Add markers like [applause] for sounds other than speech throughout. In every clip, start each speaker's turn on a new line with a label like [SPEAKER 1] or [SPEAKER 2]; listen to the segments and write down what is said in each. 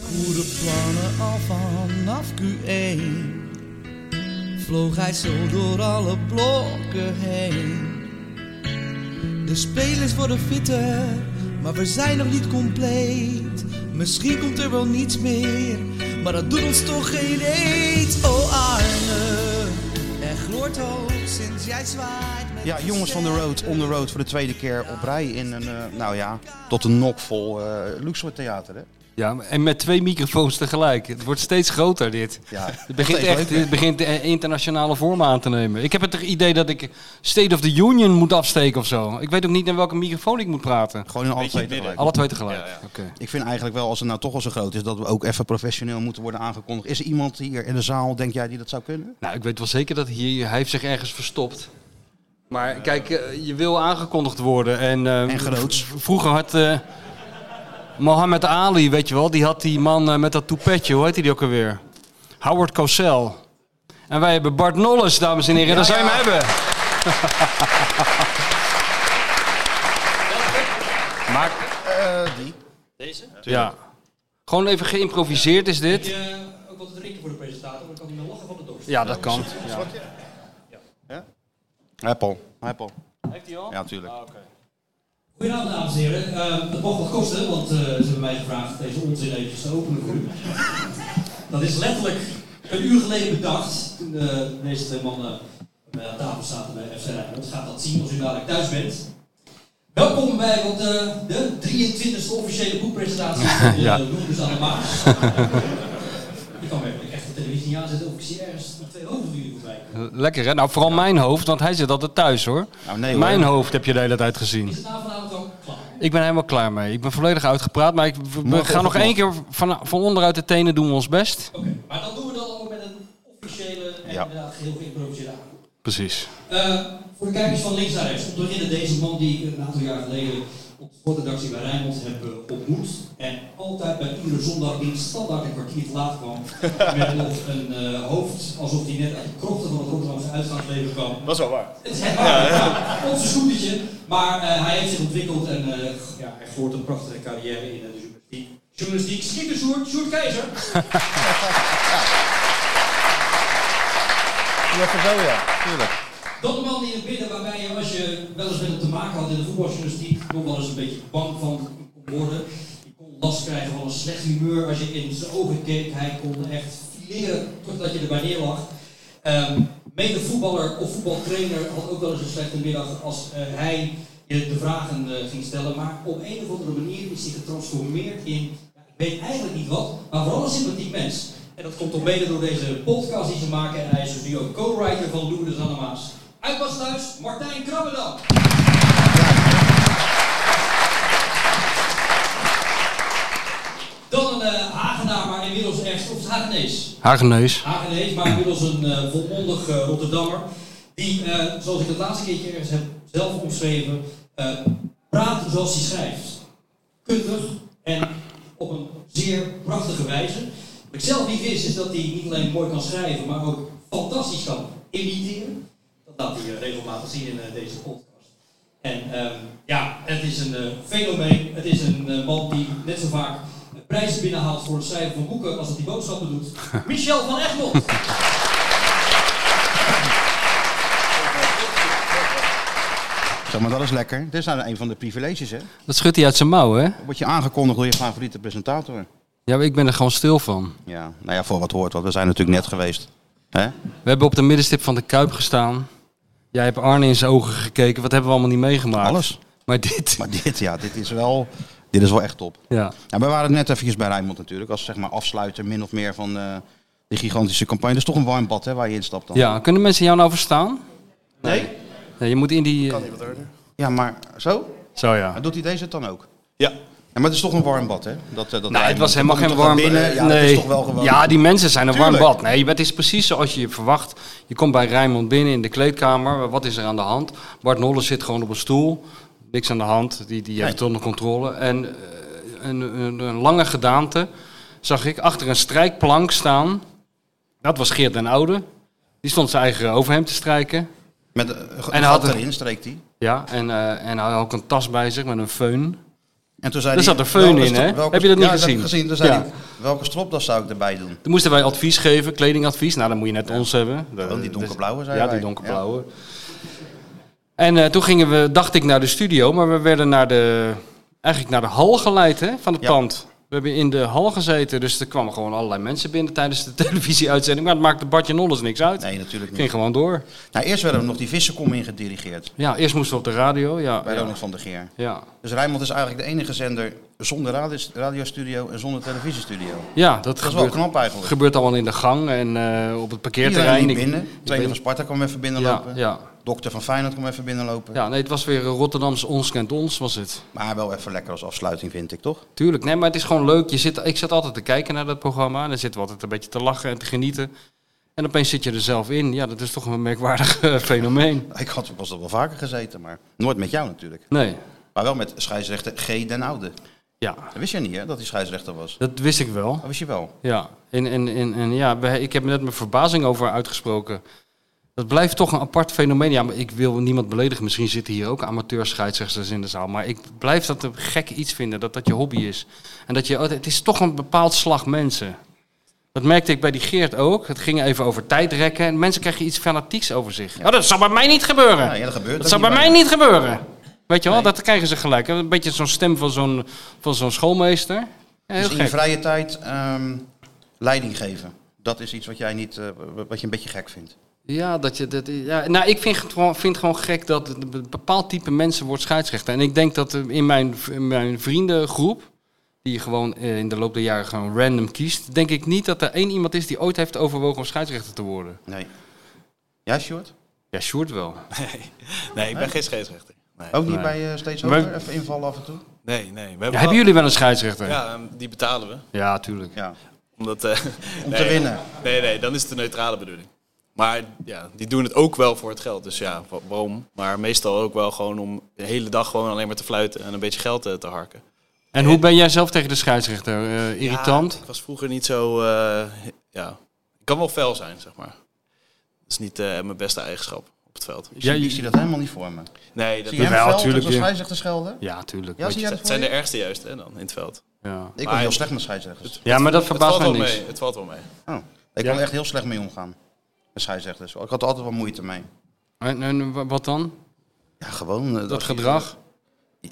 [SPEAKER 1] goede plannen al vanaf Q1 Vloog hij zo door alle blokken heen De spelers worden fitter, maar we zijn nog niet compleet Misschien komt er wel niets meer, maar dat doet ons toch geen eet Oh Arne, er gloort hoop sinds jij zwaait met
[SPEAKER 2] Ja,
[SPEAKER 1] de
[SPEAKER 2] jongens van de road, on the road voor de tweede keer op rij in een, eh, nou ja, tot een nokvol eh Luxor Theater. Hè?
[SPEAKER 3] Ja, en met twee microfoons tegelijk. Het wordt steeds groter dit.
[SPEAKER 2] Ja,
[SPEAKER 3] [laughs] Het begint
[SPEAKER 2] steeds
[SPEAKER 3] echt
[SPEAKER 2] leuker.
[SPEAKER 3] het begint eh, internationale vormen aan te nemen. Ik heb het idee dat ik State of the Union moet afsteken of zo. Ik weet ook niet naar welke microfoon ik moet praten.
[SPEAKER 2] Gewoon in alle
[SPEAKER 4] Beetje
[SPEAKER 2] twee
[SPEAKER 4] in het midden.
[SPEAKER 2] tegelijk.
[SPEAKER 3] Alle twee tegelijk.
[SPEAKER 4] Ja, ja.
[SPEAKER 3] Oké.
[SPEAKER 2] Ik vind eigenlijk wel, als het nou toch al zo groot is, dat we ook even professioneel moeten worden aangekondigd. Is er iemand hier in de zaal, denk jij, die dat zou kunnen?
[SPEAKER 3] Nou, ik weet wel zeker dat hier, hij heeft zich ergens verstopt. Maar kijk, eh, je wil aangekondigd worden. En, eh,
[SPEAKER 2] En groots.
[SPEAKER 3] v- Vroeger had eh, Mohammed Ali, weet je wel, die had die man eh, met dat toepetje, hoe heet die ook alweer? Howard Cosell. En wij hebben Bart Nolles, dames en heren. Dan zou je hem hebben. [laughs] Maar, eh,
[SPEAKER 2] die.
[SPEAKER 3] ja. Gewoon even geïmproviseerd is dit.
[SPEAKER 5] ook wat te drinken voor de presentator, want ik kan niet meer lachen van de dorst.
[SPEAKER 3] Ja, dat kan.
[SPEAKER 2] Hij Paul. Hij Paul.
[SPEAKER 3] Heeft hij al? Oh.
[SPEAKER 2] Ja, natuurlijk.
[SPEAKER 5] Goedenavond, dames en heren. Eh, dat mag wat kosten, want eh, ze hebben mij gevraagd deze onzin eventjes te openen [laughs] voor u. dat is letterlijk een uur geleden bedacht, toen de meeste twee mannen bij aan tafel zaten bij FC Rijnmond. Gaat dat zien als u dadelijk thuis bent. Welkom bij wat, eh, de 23e officiële boekpresentatie van de
[SPEAKER 3] Ja.
[SPEAKER 5] ja. aan de Maas. [laughs] Ik kan werkelijk echt de televisie niet aanzetten of ik zie ergens nog twee hoofden van jullie voorbij. komen.
[SPEAKER 3] Lekker hè? Nou, vooral mijn hoofd, want hij zit altijd thuis hoor.
[SPEAKER 2] Nou, nee, hoor.
[SPEAKER 3] Mijn hoofd heb je de hele tijd gezien.
[SPEAKER 5] Is het nou vanavond ook klaar?
[SPEAKER 3] Ik ben helemaal klaar mee. Ik ben volledig uitgepraat, maar ik, we- we
[SPEAKER 2] Morgen
[SPEAKER 3] gaan
[SPEAKER 2] of
[SPEAKER 3] nog
[SPEAKER 2] het
[SPEAKER 3] één keer van, van onderuit de tenen doen we ons best.
[SPEAKER 5] Oké, maar dan doen we dat ook met een officiële en
[SPEAKER 2] Ja.
[SPEAKER 5] inderdaad geheel geïmproviseerde avond.
[SPEAKER 3] Precies.
[SPEAKER 5] Eh, voor de kijkers van links naar rechts, om te beginnen deze man die ik een aantal jaar geleden op de sportredactie bij Rijnmond heb eh, ontmoet. En altijd bij iedere zondag die standaard een kwartier te laat kwam. [laughs] met nog een eh, hoofd alsof hij net uit de krochten van het Rotterdamse uitgaansleven kwam.
[SPEAKER 4] Dat is wel waar.
[SPEAKER 5] Het is echt waar, ja. Onze schoentje. Maar eh, hij heeft zich ontwikkeld en eh, ja, hij voert een prachtige carrière in eh, de journalistiek. Journalistiek, schieten Sjoerd, Sjoerd Keizer.
[SPEAKER 2] Even zo, ja. Tuurlijk.
[SPEAKER 5] Dan de man in het midden waarbij je, als je wel eens met hem te maken had in de voetbaljournalistiek, nog wel eens een beetje bang van kon worden. Je kon last krijgen van een slecht humeur als je in zijn ogen keek. Hij kon echt fileren totdat je erbij neer lag. Ehm mede voetballer of voetbaltrainer had ook wel eens een slechte middag als eh, hij je de vragen eh, ging stellen. Maar op een of andere manier is hij getransformeerd in, ja, ik weet eigenlijk niet wat, maar vooral een sympathiek mens. En dat komt toch mede door deze podcast die ze maken. En hij is dus nu ook co-writer van Loerders aan de Maas. Uit Basluis, Martijn Krabbendam. Dan een eh, Hagenaar, maar inmiddels echt, of het Hagenees?
[SPEAKER 3] Hageneus.
[SPEAKER 5] Hagenees, maar inmiddels een eh, volmondig eh, Rotterdammer. Die, eh, zoals ik het laatste keertje ergens heb zelf omschreven, eh, praat zoals hij schrijft. Kundig en op een zeer prachtige wijze. Wat ik zelf niet wist, is dat hij niet alleen mooi kan schrijven, maar ook fantastisch kan imiteren. Dat laat hij eh, regelmatig zien in eh, deze podcast. En ehm, ja, het is een eh, fenomeen. Het is een eh, man die net zo vaak prijzen binnenhaalt voor het schrijven van boeken als dat hij boodschappen doet.
[SPEAKER 2] [laughs]
[SPEAKER 5] Michel van Egmond.
[SPEAKER 2] Zeg maar, dat is lekker. Dit is nou een van de privileges, hè?
[SPEAKER 3] Dat schudt hij uit zijn mouw, hè?
[SPEAKER 2] Dan word je aangekondigd door je favoriete presentator.
[SPEAKER 3] Ja, maar ik ben er gewoon stil van.
[SPEAKER 2] Ja, nou ja, voor wat hoort, want we zijn natuurlijk net geweest. Hè?
[SPEAKER 3] We hebben op de middenstip van de Kuip gestaan. Jij hebt Arne in zijn ogen gekeken. Wat hebben we allemaal niet meegemaakt?
[SPEAKER 2] Alles.
[SPEAKER 3] Maar dit. [laughs]
[SPEAKER 2] Maar dit, ja, dit is wel, dit is wel echt top.
[SPEAKER 3] Ja.
[SPEAKER 2] Nou, we waren net eventjes bij Rijnmond natuurlijk, als zeg maar afsluiter min of meer van eh die gigantische campagne. Dat is toch een warm bad hè, waar je instapt dan.
[SPEAKER 3] ja, kunnen mensen jou nou verstaan?
[SPEAKER 2] Nee?
[SPEAKER 3] Ja, je moet in die...
[SPEAKER 4] niet wat harder.
[SPEAKER 2] Ja, maar zo?
[SPEAKER 3] Zo ja.
[SPEAKER 2] Maar doet hij deze het dan ook?
[SPEAKER 4] Ja.
[SPEAKER 2] Ja, maar het is toch een warm bad hè? Dat, eh, dat
[SPEAKER 3] Nou, het
[SPEAKER 2] Rijnmond-
[SPEAKER 3] was helemaal
[SPEAKER 2] Dan
[SPEAKER 3] geen
[SPEAKER 2] kom je
[SPEAKER 3] warm
[SPEAKER 2] toch naar binnen? Ja,
[SPEAKER 3] nee.
[SPEAKER 2] dat is toch wel gewoon...
[SPEAKER 3] Ja, die mensen zijn een warm
[SPEAKER 2] Tuurlijk.
[SPEAKER 3] bad. Nee, het is precies zoals je je verwacht. Je komt bij Rijnmond binnen in de kleedkamer. Wat is er aan de hand? Bart Nolles zit gewoon op een stoel. Niks aan de hand. Die, die heeft het onder controle. En eh, een, een, een lange gedaante zag ik achter een strijkplank staan. Dat was Geert den Oude. Die stond zijn eigen overhemd te strijken.
[SPEAKER 2] Met eh, een
[SPEAKER 3] hij
[SPEAKER 2] gat
[SPEAKER 3] had een-
[SPEAKER 2] erin, streekt hij.
[SPEAKER 3] Ja, en, eh, en hij had ook een tas bij zich met een föhn.
[SPEAKER 2] En toen zei
[SPEAKER 3] Daar
[SPEAKER 2] hij,
[SPEAKER 3] zat er feun
[SPEAKER 2] welke
[SPEAKER 3] in,
[SPEAKER 2] stro-
[SPEAKER 3] hè?
[SPEAKER 2] welke-
[SPEAKER 3] Heb je dat niet
[SPEAKER 2] ja,
[SPEAKER 3] gezien?
[SPEAKER 2] heb ik gezien. Toen zei
[SPEAKER 3] Ja.
[SPEAKER 2] hij, welke stropdas zou ik erbij doen?
[SPEAKER 3] Toen moesten wij advies geven, kledingadvies. Nou, dan moet je net ons hebben. Dat-
[SPEAKER 2] die donkerblauwe, zei
[SPEAKER 3] Ja,
[SPEAKER 2] wij.
[SPEAKER 3] die donkerblauwe. En eh, toen gingen we, dacht ik, naar de studio. Maar we werden naar de, eigenlijk naar de hal geleid hè, van het
[SPEAKER 2] Ja.
[SPEAKER 3] pand. We hebben in de hal gezeten. Dus er kwamen gewoon allerlei mensen binnen tijdens de [laughs] televisieuitzending. Maar het maakte Bartje Nolles niks uit.
[SPEAKER 2] Nee, natuurlijk
[SPEAKER 3] ging
[SPEAKER 2] niet.
[SPEAKER 3] gewoon door.
[SPEAKER 2] Nou, eerst werden we nog die vissenkom ingedirigeerd
[SPEAKER 3] Ja, eerst moesten we op de radio. Ja,
[SPEAKER 2] bij
[SPEAKER 3] ja,
[SPEAKER 2] Ronald van der Geer.
[SPEAKER 3] ja.
[SPEAKER 2] Dus Rijnmond is eigenlijk de enige zender zonder radi- radiostudio en zonder televisiestudio.
[SPEAKER 3] ja dat,
[SPEAKER 2] Dat is wel
[SPEAKER 3] gebeurt,
[SPEAKER 2] knap eigenlijk.
[SPEAKER 3] gebeurt allemaal in de gang en eh, op het
[SPEAKER 2] Iedereen
[SPEAKER 3] parkeerterrein.
[SPEAKER 2] liep
[SPEAKER 3] Ik-
[SPEAKER 2] binnen.
[SPEAKER 3] ik
[SPEAKER 2] Trainer van
[SPEAKER 3] weet-
[SPEAKER 2] Sparta kwam even
[SPEAKER 3] ja,
[SPEAKER 2] binnenlopen.
[SPEAKER 3] ja,
[SPEAKER 2] Dokter van Feyenoord kwam even binnenlopen.
[SPEAKER 3] ja, nee, het was weer Rotterdams Ons Kent Ons was het.
[SPEAKER 2] Maar wel even lekker als afsluiting vind ik, toch? [laughs]
[SPEAKER 3] Tuurlijk, nee, maar het is gewoon leuk. Je zit, ik zat altijd te kijken naar dat programma. En dan zitten we altijd een beetje te lachen en te genieten. En opeens zit je er zelf in. Ja, dat is toch een merkwaardig eh, fenomeen.
[SPEAKER 2] Ik had pas al wel vaker gezeten, maar nooit met jou natuurlijk.
[SPEAKER 3] Nee,
[SPEAKER 2] Maar wel met scheidsrechter G. Den Oude.
[SPEAKER 3] ja,
[SPEAKER 2] Dat wist je niet, hè, dat hij scheidsrechter was.
[SPEAKER 3] dat wist ik wel.
[SPEAKER 2] Dat wist je wel.
[SPEAKER 3] Ja, en, en, en, en ja, we- ik heb er net mijn verbazing over uitgesproken. Dat blijft toch een apart fenomeen. Ja, maar ik wil niemand beledigen. Misschien zitten hier ook amateurscheidsrechters in de zaal. Maar ik blijf dat een gek iets vinden, dat dat je hobby is. En dat je, oh, het is toch een bepaald slag mensen. Dat merkte ik bij die Geert ook. Het ging even over tijdrekken. En mensen krijgen iets fanatieks over zich. Oh, dat zal bij mij niet gebeuren.
[SPEAKER 2] Ja, ja, dat gebeurt
[SPEAKER 3] dat
[SPEAKER 2] ook
[SPEAKER 3] zal
[SPEAKER 2] niet
[SPEAKER 3] bij mij niet gebeuren. Weet je wel,
[SPEAKER 2] Nee.
[SPEAKER 3] dat krijgen ze gelijk. Een beetje zo'n stem van zo'n, van zo'n schoolmeester. Ja, heel
[SPEAKER 2] Dus in
[SPEAKER 3] gek.
[SPEAKER 2] je vrije tijd ehm, leiding geven. Dat is iets wat jij niet, eh, wat je een beetje gek vindt.
[SPEAKER 3] Ja, dat je dat, ja, nou, ik vind het gewoon, vind gewoon gek dat het een bepaald type mensen wordt scheidsrechter. En ik denk dat eh, in mijn, v- in mijn vriendengroep, die je gewoon eh, in de loop der jaren gewoon random kiest, denk ik niet dat er één iemand is die ooit heeft overwogen om scheidsrechter te worden.
[SPEAKER 2] Nee. Ja, Sjoerd?
[SPEAKER 3] Ja, Sjoerd wel.
[SPEAKER 4] Nee, ik ben geen scheidsrechter. Nee,
[SPEAKER 2] Ook niet
[SPEAKER 3] Nee.
[SPEAKER 2] bij eh, Steeds
[SPEAKER 3] Maar-
[SPEAKER 2] Hoger? Even invallen af en toe?
[SPEAKER 4] nee. nee. We
[SPEAKER 3] Ja, hebben jullie wel een scheidsrechter?
[SPEAKER 4] Ja, ehm, die betalen we.
[SPEAKER 3] Ja, tuurlijk.
[SPEAKER 2] Ja.
[SPEAKER 4] Omdat, eh,
[SPEAKER 2] Om
[SPEAKER 4] nee,
[SPEAKER 2] te winnen.
[SPEAKER 4] Nee, nee, dan is het een neutrale bedoeling. Maar ja, die doen het ook wel voor het geld. Dus ja, wa- waarom? Maar meestal ook wel gewoon om de hele dag gewoon alleen maar te fluiten en een beetje geld eh, te harken.
[SPEAKER 3] En hoe ben jij zelf tegen de scheidsrechter? Eh, irritant?
[SPEAKER 4] Ja, ik was vroeger niet zo... eh, ja, ik kan wel fel zijn, zeg maar. Dat is niet eh, mijn beste eigenschap op het veld.
[SPEAKER 2] Ik,
[SPEAKER 3] Ja,
[SPEAKER 2] zie,
[SPEAKER 3] je-
[SPEAKER 2] ik zie dat helemaal niet voor me.
[SPEAKER 4] Nee, dat,
[SPEAKER 2] Zie je hem
[SPEAKER 3] Jawel,
[SPEAKER 2] velden
[SPEAKER 3] tuurlijk,
[SPEAKER 2] als
[SPEAKER 3] ja.
[SPEAKER 2] scheidsrechter schelden?
[SPEAKER 3] Ja, tuurlijk.
[SPEAKER 2] Ja,
[SPEAKER 3] Weet
[SPEAKER 2] zie
[SPEAKER 3] je-
[SPEAKER 2] jij dat
[SPEAKER 4] het
[SPEAKER 2] voor
[SPEAKER 4] zijn de
[SPEAKER 2] je?
[SPEAKER 4] ergste juist hè, dan, in het veld.
[SPEAKER 3] ja.
[SPEAKER 2] Ik ben
[SPEAKER 4] Maar-
[SPEAKER 2] heel slecht met scheidsrechters.
[SPEAKER 3] ja, maar dat verbaast
[SPEAKER 4] het
[SPEAKER 3] mij
[SPEAKER 4] valt wel
[SPEAKER 3] niks.
[SPEAKER 4] mee, het valt wel mee.
[SPEAKER 2] Oh. Ik
[SPEAKER 3] Ja.
[SPEAKER 2] kon er echt heel slecht mee omgaan. Met scheidsrechters. Ik had er altijd wel moeite mee.
[SPEAKER 3] En, en wa- wat dan?
[SPEAKER 2] Ja, gewoon. eh,
[SPEAKER 3] Dat
[SPEAKER 2] als je-
[SPEAKER 3] gedrag?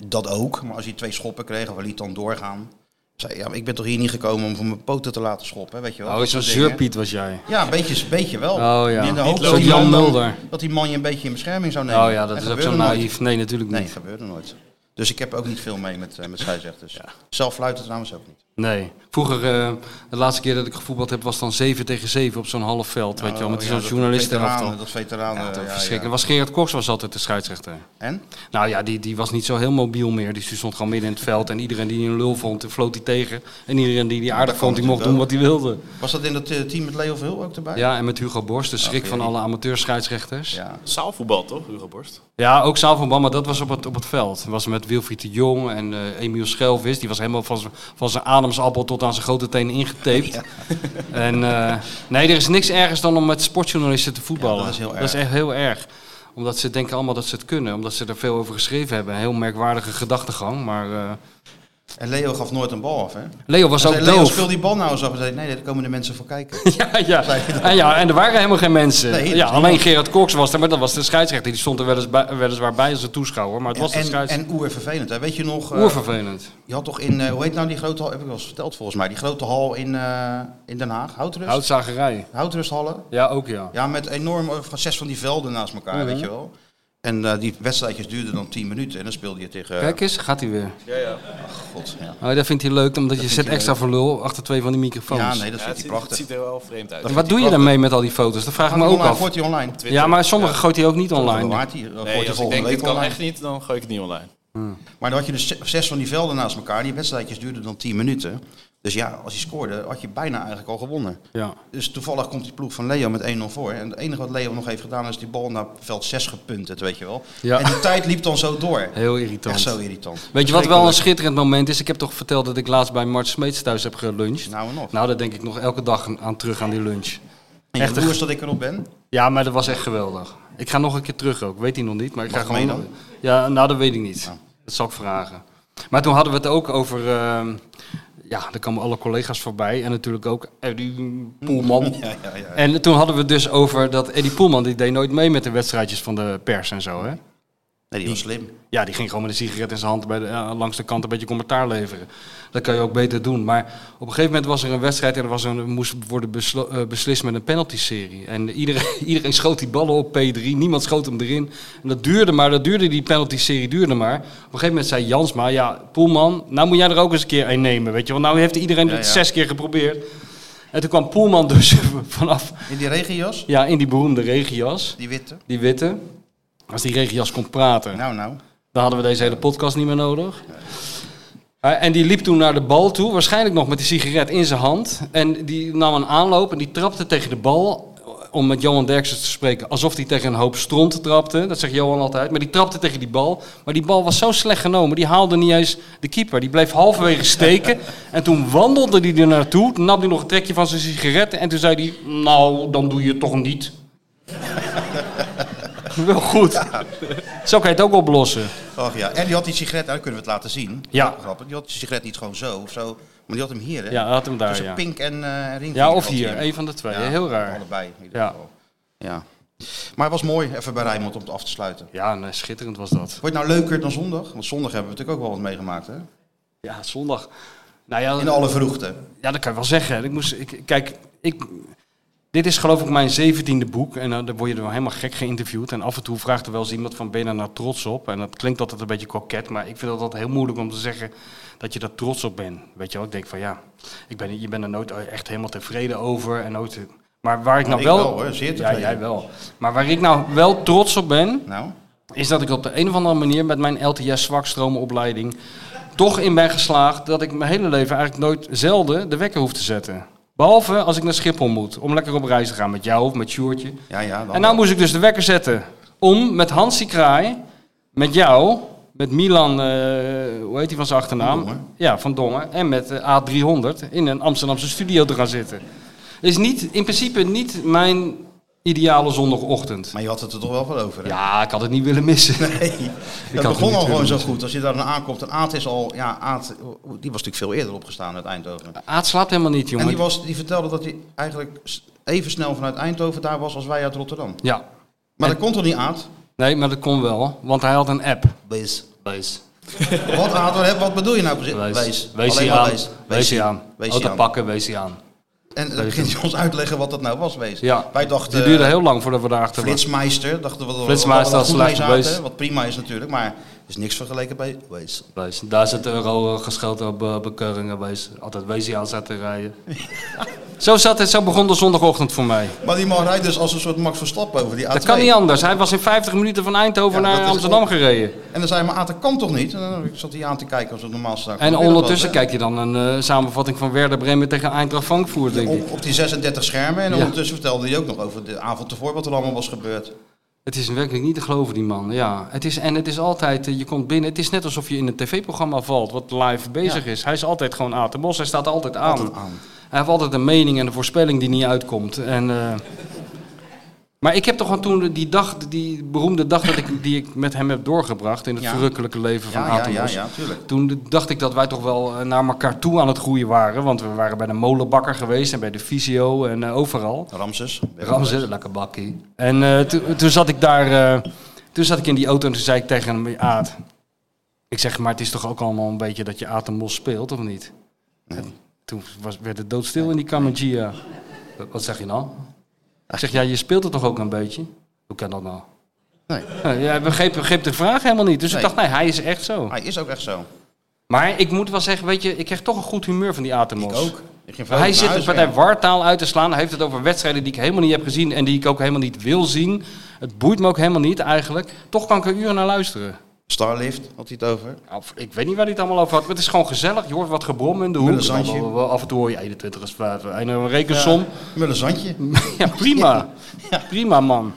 [SPEAKER 2] Dat ook. Maar als hij twee schoppen kreeg of hij liet dan doorgaan. Zei, ja, maar ik ben toch hier niet gekomen om voor mijn poten te laten schoppen, weet je wel.
[SPEAKER 3] Oh,
[SPEAKER 2] Dat
[SPEAKER 3] zo'n
[SPEAKER 2] soort dingen.
[SPEAKER 3] zeurpiet was jij.
[SPEAKER 2] Ja, een beetje, een beetje wel.
[SPEAKER 3] Oh, ja.
[SPEAKER 2] In de
[SPEAKER 3] Niet
[SPEAKER 2] hoop dat
[SPEAKER 3] lopen.
[SPEAKER 2] die man
[SPEAKER 3] Jan
[SPEAKER 2] dan-
[SPEAKER 3] Mulder.
[SPEAKER 2] Dat die man je een beetje in bescherming zou nemen.
[SPEAKER 3] Oh ja,
[SPEAKER 2] En
[SPEAKER 3] dat is ook
[SPEAKER 2] gebeurde
[SPEAKER 3] zo
[SPEAKER 2] nooit.
[SPEAKER 3] naïef. Nee, natuurlijk niet.
[SPEAKER 2] Nee, gebeurde nooit. Dus ik heb ook niet veel mee met, eh, met scheidsrechters. Zelf fluiten trouwens ook niet.
[SPEAKER 3] Nee. Vroeger, eh, de laatste keer dat ik gevoetbald heb, was dan 7 tegen 7 op zo'n half veld. weet je wel, met
[SPEAKER 2] Oh,
[SPEAKER 3] zo'n
[SPEAKER 2] ja, dat
[SPEAKER 3] journalist
[SPEAKER 2] veteranen, Dat veteranen.
[SPEAKER 3] Ja,
[SPEAKER 2] ja, ja.
[SPEAKER 3] verschrikkelijk. Was Gerard Koks was altijd de scheidsrechter.
[SPEAKER 2] En?
[SPEAKER 3] Nou ja, die, die was niet zo heel mobiel meer. Die stond gewoon midden in het veld. En iedereen die een lul vond, die floot hij tegen. En iedereen die die aardig
[SPEAKER 2] dat kan
[SPEAKER 3] vond, die mocht doen wat
[SPEAKER 2] natuurlijk
[SPEAKER 3] hij wilde.
[SPEAKER 2] Was dat in dat eh, team met Leo Verhul ook erbij?
[SPEAKER 3] Ja, en met Hugo Borst, de schrik
[SPEAKER 2] Gerrie.
[SPEAKER 3] van alle amateurscheidsrechters. Ja,
[SPEAKER 2] Ja.
[SPEAKER 4] Zaalvoetbal toch, Hugo Borst?
[SPEAKER 3] ook Saal van Bam, maar dat was op het, op het veld. Dat was met Wilfried de Jong en eh, Emiel Schelvis. Die was helemaal van zijn- van zijn ademsappel tot aan zijn grote tenen ingetaped. [laughs] En, eh, nee, er is niks ergers dan om met sportjournalisten te voetballen.
[SPEAKER 2] Ja, dat is heel erg.
[SPEAKER 3] echt heel erg. Omdat ze denken allemaal dat ze het kunnen. Omdat ze er veel over geschreven hebben. Een heel merkwaardige gedachtegang. Maar eh,
[SPEAKER 2] En Leo gaf nooit een bal af, hè?
[SPEAKER 3] Leo was
[SPEAKER 2] Hij
[SPEAKER 3] ook
[SPEAKER 2] zei, Leo,
[SPEAKER 3] doof.
[SPEAKER 2] speel die bal nou eens af. Hij zei, nee, daar komen de mensen voor kijken.
[SPEAKER 3] [laughs] Ja, ja. En, ja, en er waren helemaal geen mensen.
[SPEAKER 2] Nee,
[SPEAKER 3] ja,
[SPEAKER 2] dus
[SPEAKER 3] alleen Gerard Koks was er, maar dat was de scheidsrechter. Die stond er welis bij- weliswaar bij als een toeschouwer, maar het was de
[SPEAKER 2] en,
[SPEAKER 3] scheidsrechter.
[SPEAKER 2] en oer vervelend, hè? Weet je nog... eh,
[SPEAKER 3] Oervervelend.
[SPEAKER 2] je had toch in, eh, hoe heet nou die grote hal, heb ik wel eens verteld volgens mij, die grote hal in, eh, in Den Haag, Houtrust?
[SPEAKER 3] Houtzagerij.
[SPEAKER 2] Houtrusthallen.
[SPEAKER 3] Ja, ook ja.
[SPEAKER 2] Ja, met enorm eh, zes van die velden naast elkaar,
[SPEAKER 3] Mhm.
[SPEAKER 2] weet je wel. En eh, die wedstrijdjes duurden dan 10 minuten en dan speelde je tegen... eh,
[SPEAKER 3] Kijk eens, gaat hij weer.
[SPEAKER 4] Ja, ja.
[SPEAKER 2] God, ja.
[SPEAKER 3] Oh, dat vindt hij leuk, omdat je zit
[SPEAKER 2] vindt hij
[SPEAKER 3] extra voor lul achter twee van die microfoons.
[SPEAKER 2] ja, nee, dat
[SPEAKER 4] Ja,
[SPEAKER 2] vind
[SPEAKER 4] het,
[SPEAKER 2] ik
[SPEAKER 4] ziet,
[SPEAKER 2] prachtig.
[SPEAKER 4] het ziet er wel vreemd uit.
[SPEAKER 3] en wat doe je daarmee met al die foto's? Dat vraag ik
[SPEAKER 2] Gaat
[SPEAKER 3] me
[SPEAKER 2] hij
[SPEAKER 3] ook
[SPEAKER 2] online?
[SPEAKER 3] af.
[SPEAKER 2] Wordt hij online?
[SPEAKER 4] Twitter.
[SPEAKER 3] Ja, maar sommige gooit hij ook niet
[SPEAKER 2] Dan
[SPEAKER 3] online.
[SPEAKER 2] waart hij, eh, wordt hij
[SPEAKER 4] Nee, als ik
[SPEAKER 2] volgende
[SPEAKER 4] denk,
[SPEAKER 2] week
[SPEAKER 4] dit kan
[SPEAKER 2] online.
[SPEAKER 4] echt niet, dan gooi ik het niet online.
[SPEAKER 2] Maar dan had je dus ze- zes van die velden naast elkaar. Die wedstrijdjes duurden dan 10 minuten. Dus ja, als hij scoorde, had je bijna eigenlijk al gewonnen.
[SPEAKER 3] Ja.
[SPEAKER 2] Dus toevallig komt die ploeg van Leo met 1-0 voor. En het enige wat Leo nog heeft gedaan is die bal naar veld 6 gepunt, dat weet je wel.
[SPEAKER 3] Ja.
[SPEAKER 2] En die tijd liep dan zo door.
[SPEAKER 3] Heel
[SPEAKER 2] Echt zo
[SPEAKER 3] irritant.
[SPEAKER 2] irritant.
[SPEAKER 3] Weet je wat wel een schitterend moment is? Ik heb toch verteld dat ik laatst bij Mart Smeets thuis heb geluncht.
[SPEAKER 2] Nou en of.
[SPEAKER 3] Nou, daar denk ik nog elke dag aan terug aan die lunch.
[SPEAKER 2] En
[SPEAKER 3] echt
[SPEAKER 2] je
[SPEAKER 3] een-
[SPEAKER 2] broers dat ik erop ben.
[SPEAKER 3] Ja, maar dat was echt geweldig. Ik ga nog een keer terug ook. Weet hij nog niet, maar ik ga
[SPEAKER 2] Mag
[SPEAKER 3] gewoon.
[SPEAKER 2] mee dan?
[SPEAKER 3] Ja, nou dat weet ik niet.
[SPEAKER 2] Oh.
[SPEAKER 3] Dat zal ik vragen. Maar toen hadden we het ook over... eh, ja, daar kwamen alle collega's voorbij. En natuurlijk ook Eddie Poelman.
[SPEAKER 2] [laughs] Ja, ja, ja.
[SPEAKER 3] En toen hadden we het dus over dat Eddie Poelman... die deed nooit mee met de wedstrijdjes van de pers en zo, hè?
[SPEAKER 2] Nee, die was slim.
[SPEAKER 3] Ja, die ging gewoon met een sigaret in zijn hand bij de, eh, langs de kant een beetje commentaar leveren. Dat kan je ook beter doen. Maar op een gegeven moment was er een wedstrijd en er was een, moest worden beslo- eh, beslist met een penalty-serie. En [laughs] iedereen, iedereen schoot die ballen op P3, niemand schoot hem erin. En dat duurde maar, dat duurde die penalty-serie duurde maar. Op een gegeven moment zei Jansma, ja, Poelman, nou moet jij er ook eens een keer een nemen, weet je. Want nou heeft iedereen
[SPEAKER 2] Ja,
[SPEAKER 3] het
[SPEAKER 2] ja.
[SPEAKER 3] zes keer geprobeerd. En toen kwam Poelman [laughs] dus vanaf,
[SPEAKER 2] In die regenjas?
[SPEAKER 3] ja, in die beroemde regenjas,
[SPEAKER 2] Die witte?
[SPEAKER 3] die witte. Als die regenjas kon praten.
[SPEAKER 2] Nou, nou.
[SPEAKER 3] Dan hadden we deze hele podcast niet meer nodig. Eh, en die liep toen naar de bal toe, waarschijnlijk nog met die sigaret in zijn hand. En die nam een aanloop en die trapte tegen de bal. eh, Om met Johan Derksen te spreken, alsof hij tegen een hoop stront trapte. Dat zegt Johan altijd. Maar die trapte tegen die bal. Maar die bal was zo slecht genomen. Die haalde niet eens de keeper. Die bleef halverwege steken. En toen wandelde hij er naartoe. Toen nam hij nog een trekje van zijn sigaret. En toen zei hij: Nou, dan doe je het toch niet. Wel goed. Zo kan je het ook oplossen.
[SPEAKER 2] Och ja. En die had die sigaret, nou, dan kunnen we het laten zien.
[SPEAKER 3] Ja.
[SPEAKER 2] Grappig. Die had die sigaret niet gewoon zo of zo. Maar die had hem hier, hè?
[SPEAKER 3] Ja, hij had hem daar.
[SPEAKER 2] Tussen
[SPEAKER 3] Ja.
[SPEAKER 2] Pink en eh Ring.
[SPEAKER 3] ja, of hier. Een van de twee.
[SPEAKER 2] Ja,
[SPEAKER 3] Heel raar.
[SPEAKER 2] Allebei. In ieder
[SPEAKER 3] Ja.
[SPEAKER 2] geval. ja. Maar het was mooi, even bij Rijnmond om het af te sluiten.
[SPEAKER 3] Ja, nee, schitterend was dat.
[SPEAKER 2] Wordt het nou leuker dan zondag? Want zondag hebben we natuurlijk ook wel wat meegemaakt, hè?
[SPEAKER 3] Ja, zondag. Nou ja,
[SPEAKER 2] In alle vroegte.
[SPEAKER 3] ja, dat kan je wel zeggen. Ik moest, ik, kijk, ik, dit is geloof ik mijn zeventiende boek. En eh, dan word je er wel helemaal gek geïnterviewd. En af en toe vraagt er wel eens iemand van, ben je daar nou trots op? En dat klinkt altijd een beetje koket. Maar ik vind dat altijd heel moeilijk om te zeggen dat je daar trots op bent. Weet je wel, ik denk van ja, ik ben, je bent er nooit echt helemaal tevreden over. En nooit, maar waar ik nou
[SPEAKER 2] Ik
[SPEAKER 3] wel...
[SPEAKER 2] wel, hoor. Zeer tevreden.
[SPEAKER 3] Ja, jij wel. Maar waar ik nou wel trots op ben...
[SPEAKER 2] Nou,
[SPEAKER 3] is dat ik op de een of andere manier met mijn LTS-zwakstromenopleiding toch in ben geslaagd dat ik mijn hele leven eigenlijk nooit zelden de wekker hoef te zetten. Behalve als ik naar Schiphol moet, om lekker op reis te gaan met jou of met Sjoertje.
[SPEAKER 2] ja, ja. Dan
[SPEAKER 3] En nou moest ik dus de wekker zetten om met Hansie Kraai, met jou, met Milan, eh, hoe heet die van zijn achternaam?
[SPEAKER 2] Van Dongen.
[SPEAKER 3] Ja, van Dongen. En met eh, A300 in een Amsterdamse studio te gaan zitten. Is niet, in principe niet mijn ideale zondagochtend.
[SPEAKER 2] Maar je had het er toch wel van over, hè?
[SPEAKER 3] Ja, ik had het niet willen missen. [laughs]
[SPEAKER 2] Hey, dat
[SPEAKER 3] had hem
[SPEAKER 2] begon
[SPEAKER 3] niet
[SPEAKER 2] al gewoon zo
[SPEAKER 3] willen
[SPEAKER 2] goed. Als je daar dan aankomt, en Aad is al, ja, Aad, die was natuurlijk veel eerder opgestaan uit Eindhoven.
[SPEAKER 3] Aad slaapt Ah, helemaal niet,
[SPEAKER 2] En
[SPEAKER 3] jongen.
[SPEAKER 2] die, was, die vertelde dat hij eigenlijk s- even snel vanuit Eindhoven daar was als wij uit Rotterdam.
[SPEAKER 3] Ja.
[SPEAKER 2] Maar
[SPEAKER 3] En-
[SPEAKER 2] dat kon toch niet, Aad?
[SPEAKER 3] Nee, maar dat kon wel, want hij had een app.
[SPEAKER 2] Wees.
[SPEAKER 3] Wees.
[SPEAKER 2] Wat, Aad, wat- wat bedoel je nou precies?
[SPEAKER 3] Wees.
[SPEAKER 2] Alleen
[SPEAKER 3] Wees hij
[SPEAKER 2] maar
[SPEAKER 3] aan.
[SPEAKER 2] Wees.
[SPEAKER 3] Wees hij
[SPEAKER 2] hij-
[SPEAKER 3] aan.
[SPEAKER 2] Wees
[SPEAKER 3] Auto
[SPEAKER 2] hij aan.
[SPEAKER 3] pakken, wees hij aan.
[SPEAKER 2] En dan ging hij ons uitleggen wat dat nou was, Wees.
[SPEAKER 3] Ja.
[SPEAKER 2] Wij
[SPEAKER 3] Het
[SPEAKER 2] dachten...
[SPEAKER 3] duurde heel lang voordat we daarachter waren.
[SPEAKER 2] Flitsmeister, dachten we dat we
[SPEAKER 3] Flitsmeister
[SPEAKER 2] dat we
[SPEAKER 3] als
[SPEAKER 2] goed
[SPEAKER 3] slechte
[SPEAKER 2] mee
[SPEAKER 3] Wees.
[SPEAKER 2] zaten. Wat prima is natuurlijk, maar is niks vergeleken bij Wees.
[SPEAKER 3] Wees. Duizend euro eh, gescheld op eh, bekeuringen, wees. Altijd wees hij aan zaten rijden. [laughs] zo, zat het, zo begon de zondagochtend voor mij.
[SPEAKER 2] Maar die man rijdt dus als een soort Max Verstappen over die A2.
[SPEAKER 3] Dat kan niet anders. Hij was in 50 minuten van Eindhoven
[SPEAKER 2] Ja, dat
[SPEAKER 3] naar
[SPEAKER 2] is
[SPEAKER 3] Amsterdam
[SPEAKER 2] ook-
[SPEAKER 3] gereden.
[SPEAKER 2] En dan zei hij, maar Aten kan toch niet? En dan zat hij aan te kijken als het normaal staat.
[SPEAKER 3] En ondertussen kijk je dan een eh, samenvatting van Werder Bremen tegen Eintracht Frankfurt, denk ik.
[SPEAKER 2] eh, Op, op die 36 schermen. En
[SPEAKER 3] Ja.
[SPEAKER 2] ondertussen vertelde hij ook nog over de avond ervoor wat er allemaal was gebeurd.
[SPEAKER 3] Het is werkelijk niet te geloven, die man. Ja, het is, en het is altijd, eh, je komt binnen, het is net alsof je in een tv-programma valt, wat live bezig is. Hij is altijd gewoon Aad de Bos, hij staat altijd aan. Hij heeft altijd een mening en een voorspelling die niet uitkomt. En, eh, maar ik heb toch gewoon toen die dag, die beroemde dag dat ik, die ik met hem heb doorgebracht in het
[SPEAKER 2] Ja.
[SPEAKER 3] verrukkelijke leven van
[SPEAKER 2] Ja,
[SPEAKER 3] Aad
[SPEAKER 2] ja,
[SPEAKER 3] de
[SPEAKER 2] ja,
[SPEAKER 3] Bos.
[SPEAKER 2] ja, tuurlijk.
[SPEAKER 3] Toen dacht ik dat wij toch wel eh, naar elkaar toe aan het groeien waren, want we waren bij de molenbakker geweest en bij de fysio en eh, overal.
[SPEAKER 2] Ramses.
[SPEAKER 3] Ramses, lekker bakkie. En eh, toen- toen zat ik daar, eh, toen zat ik in die auto en toen zei ik tegen hem, Aad, ik zeg, maar het is toch ook allemaal een beetje dat je Aad en Mos speelt, of niet? En toen was, werd het doodstil in die Kamagia. Wat zeg je nou? Ik zeg, ja, je speelt het toch ook een beetje? Hoe kan dat nou? [laughs]
[SPEAKER 2] Nee.
[SPEAKER 3] Eh, Jij begreep, begreep de vraag helemaal niet. Dus
[SPEAKER 2] Nee.
[SPEAKER 3] ik dacht, nee, hij is echt zo.
[SPEAKER 2] Hij is ook echt zo.
[SPEAKER 3] Maar ik moet wel zeggen, weet je, ik kreeg toch een goed humeur van die Aad en
[SPEAKER 2] Ik
[SPEAKER 3] Mos.
[SPEAKER 2] ook. Ik ging
[SPEAKER 3] Hij
[SPEAKER 2] vrolijk naar
[SPEAKER 3] zit dus de
[SPEAKER 2] huis
[SPEAKER 3] partij
[SPEAKER 2] weer.
[SPEAKER 3] wartaal uit te slaan. Hij heeft het over wedstrijden die ik helemaal niet heb gezien en die ik ook helemaal niet wil zien. Het boeit me ook helemaal niet eigenlijk. Toch kan ik er uren naar luisteren.
[SPEAKER 2] Starlift had hij het over.
[SPEAKER 3] Of, ik weet niet waar hij het allemaal over had, maar het is gewoon gezellig. Je hoort wat gebrom in de
[SPEAKER 2] Met
[SPEAKER 3] hoek.
[SPEAKER 2] een zandje.
[SPEAKER 3] Wel- wel- Af en toe hoor je 21 is vijf en een rekensom.
[SPEAKER 2] Mullenzandje.
[SPEAKER 3] [laughs] Ja,
[SPEAKER 2] [laughs]
[SPEAKER 3] prima. Prima man.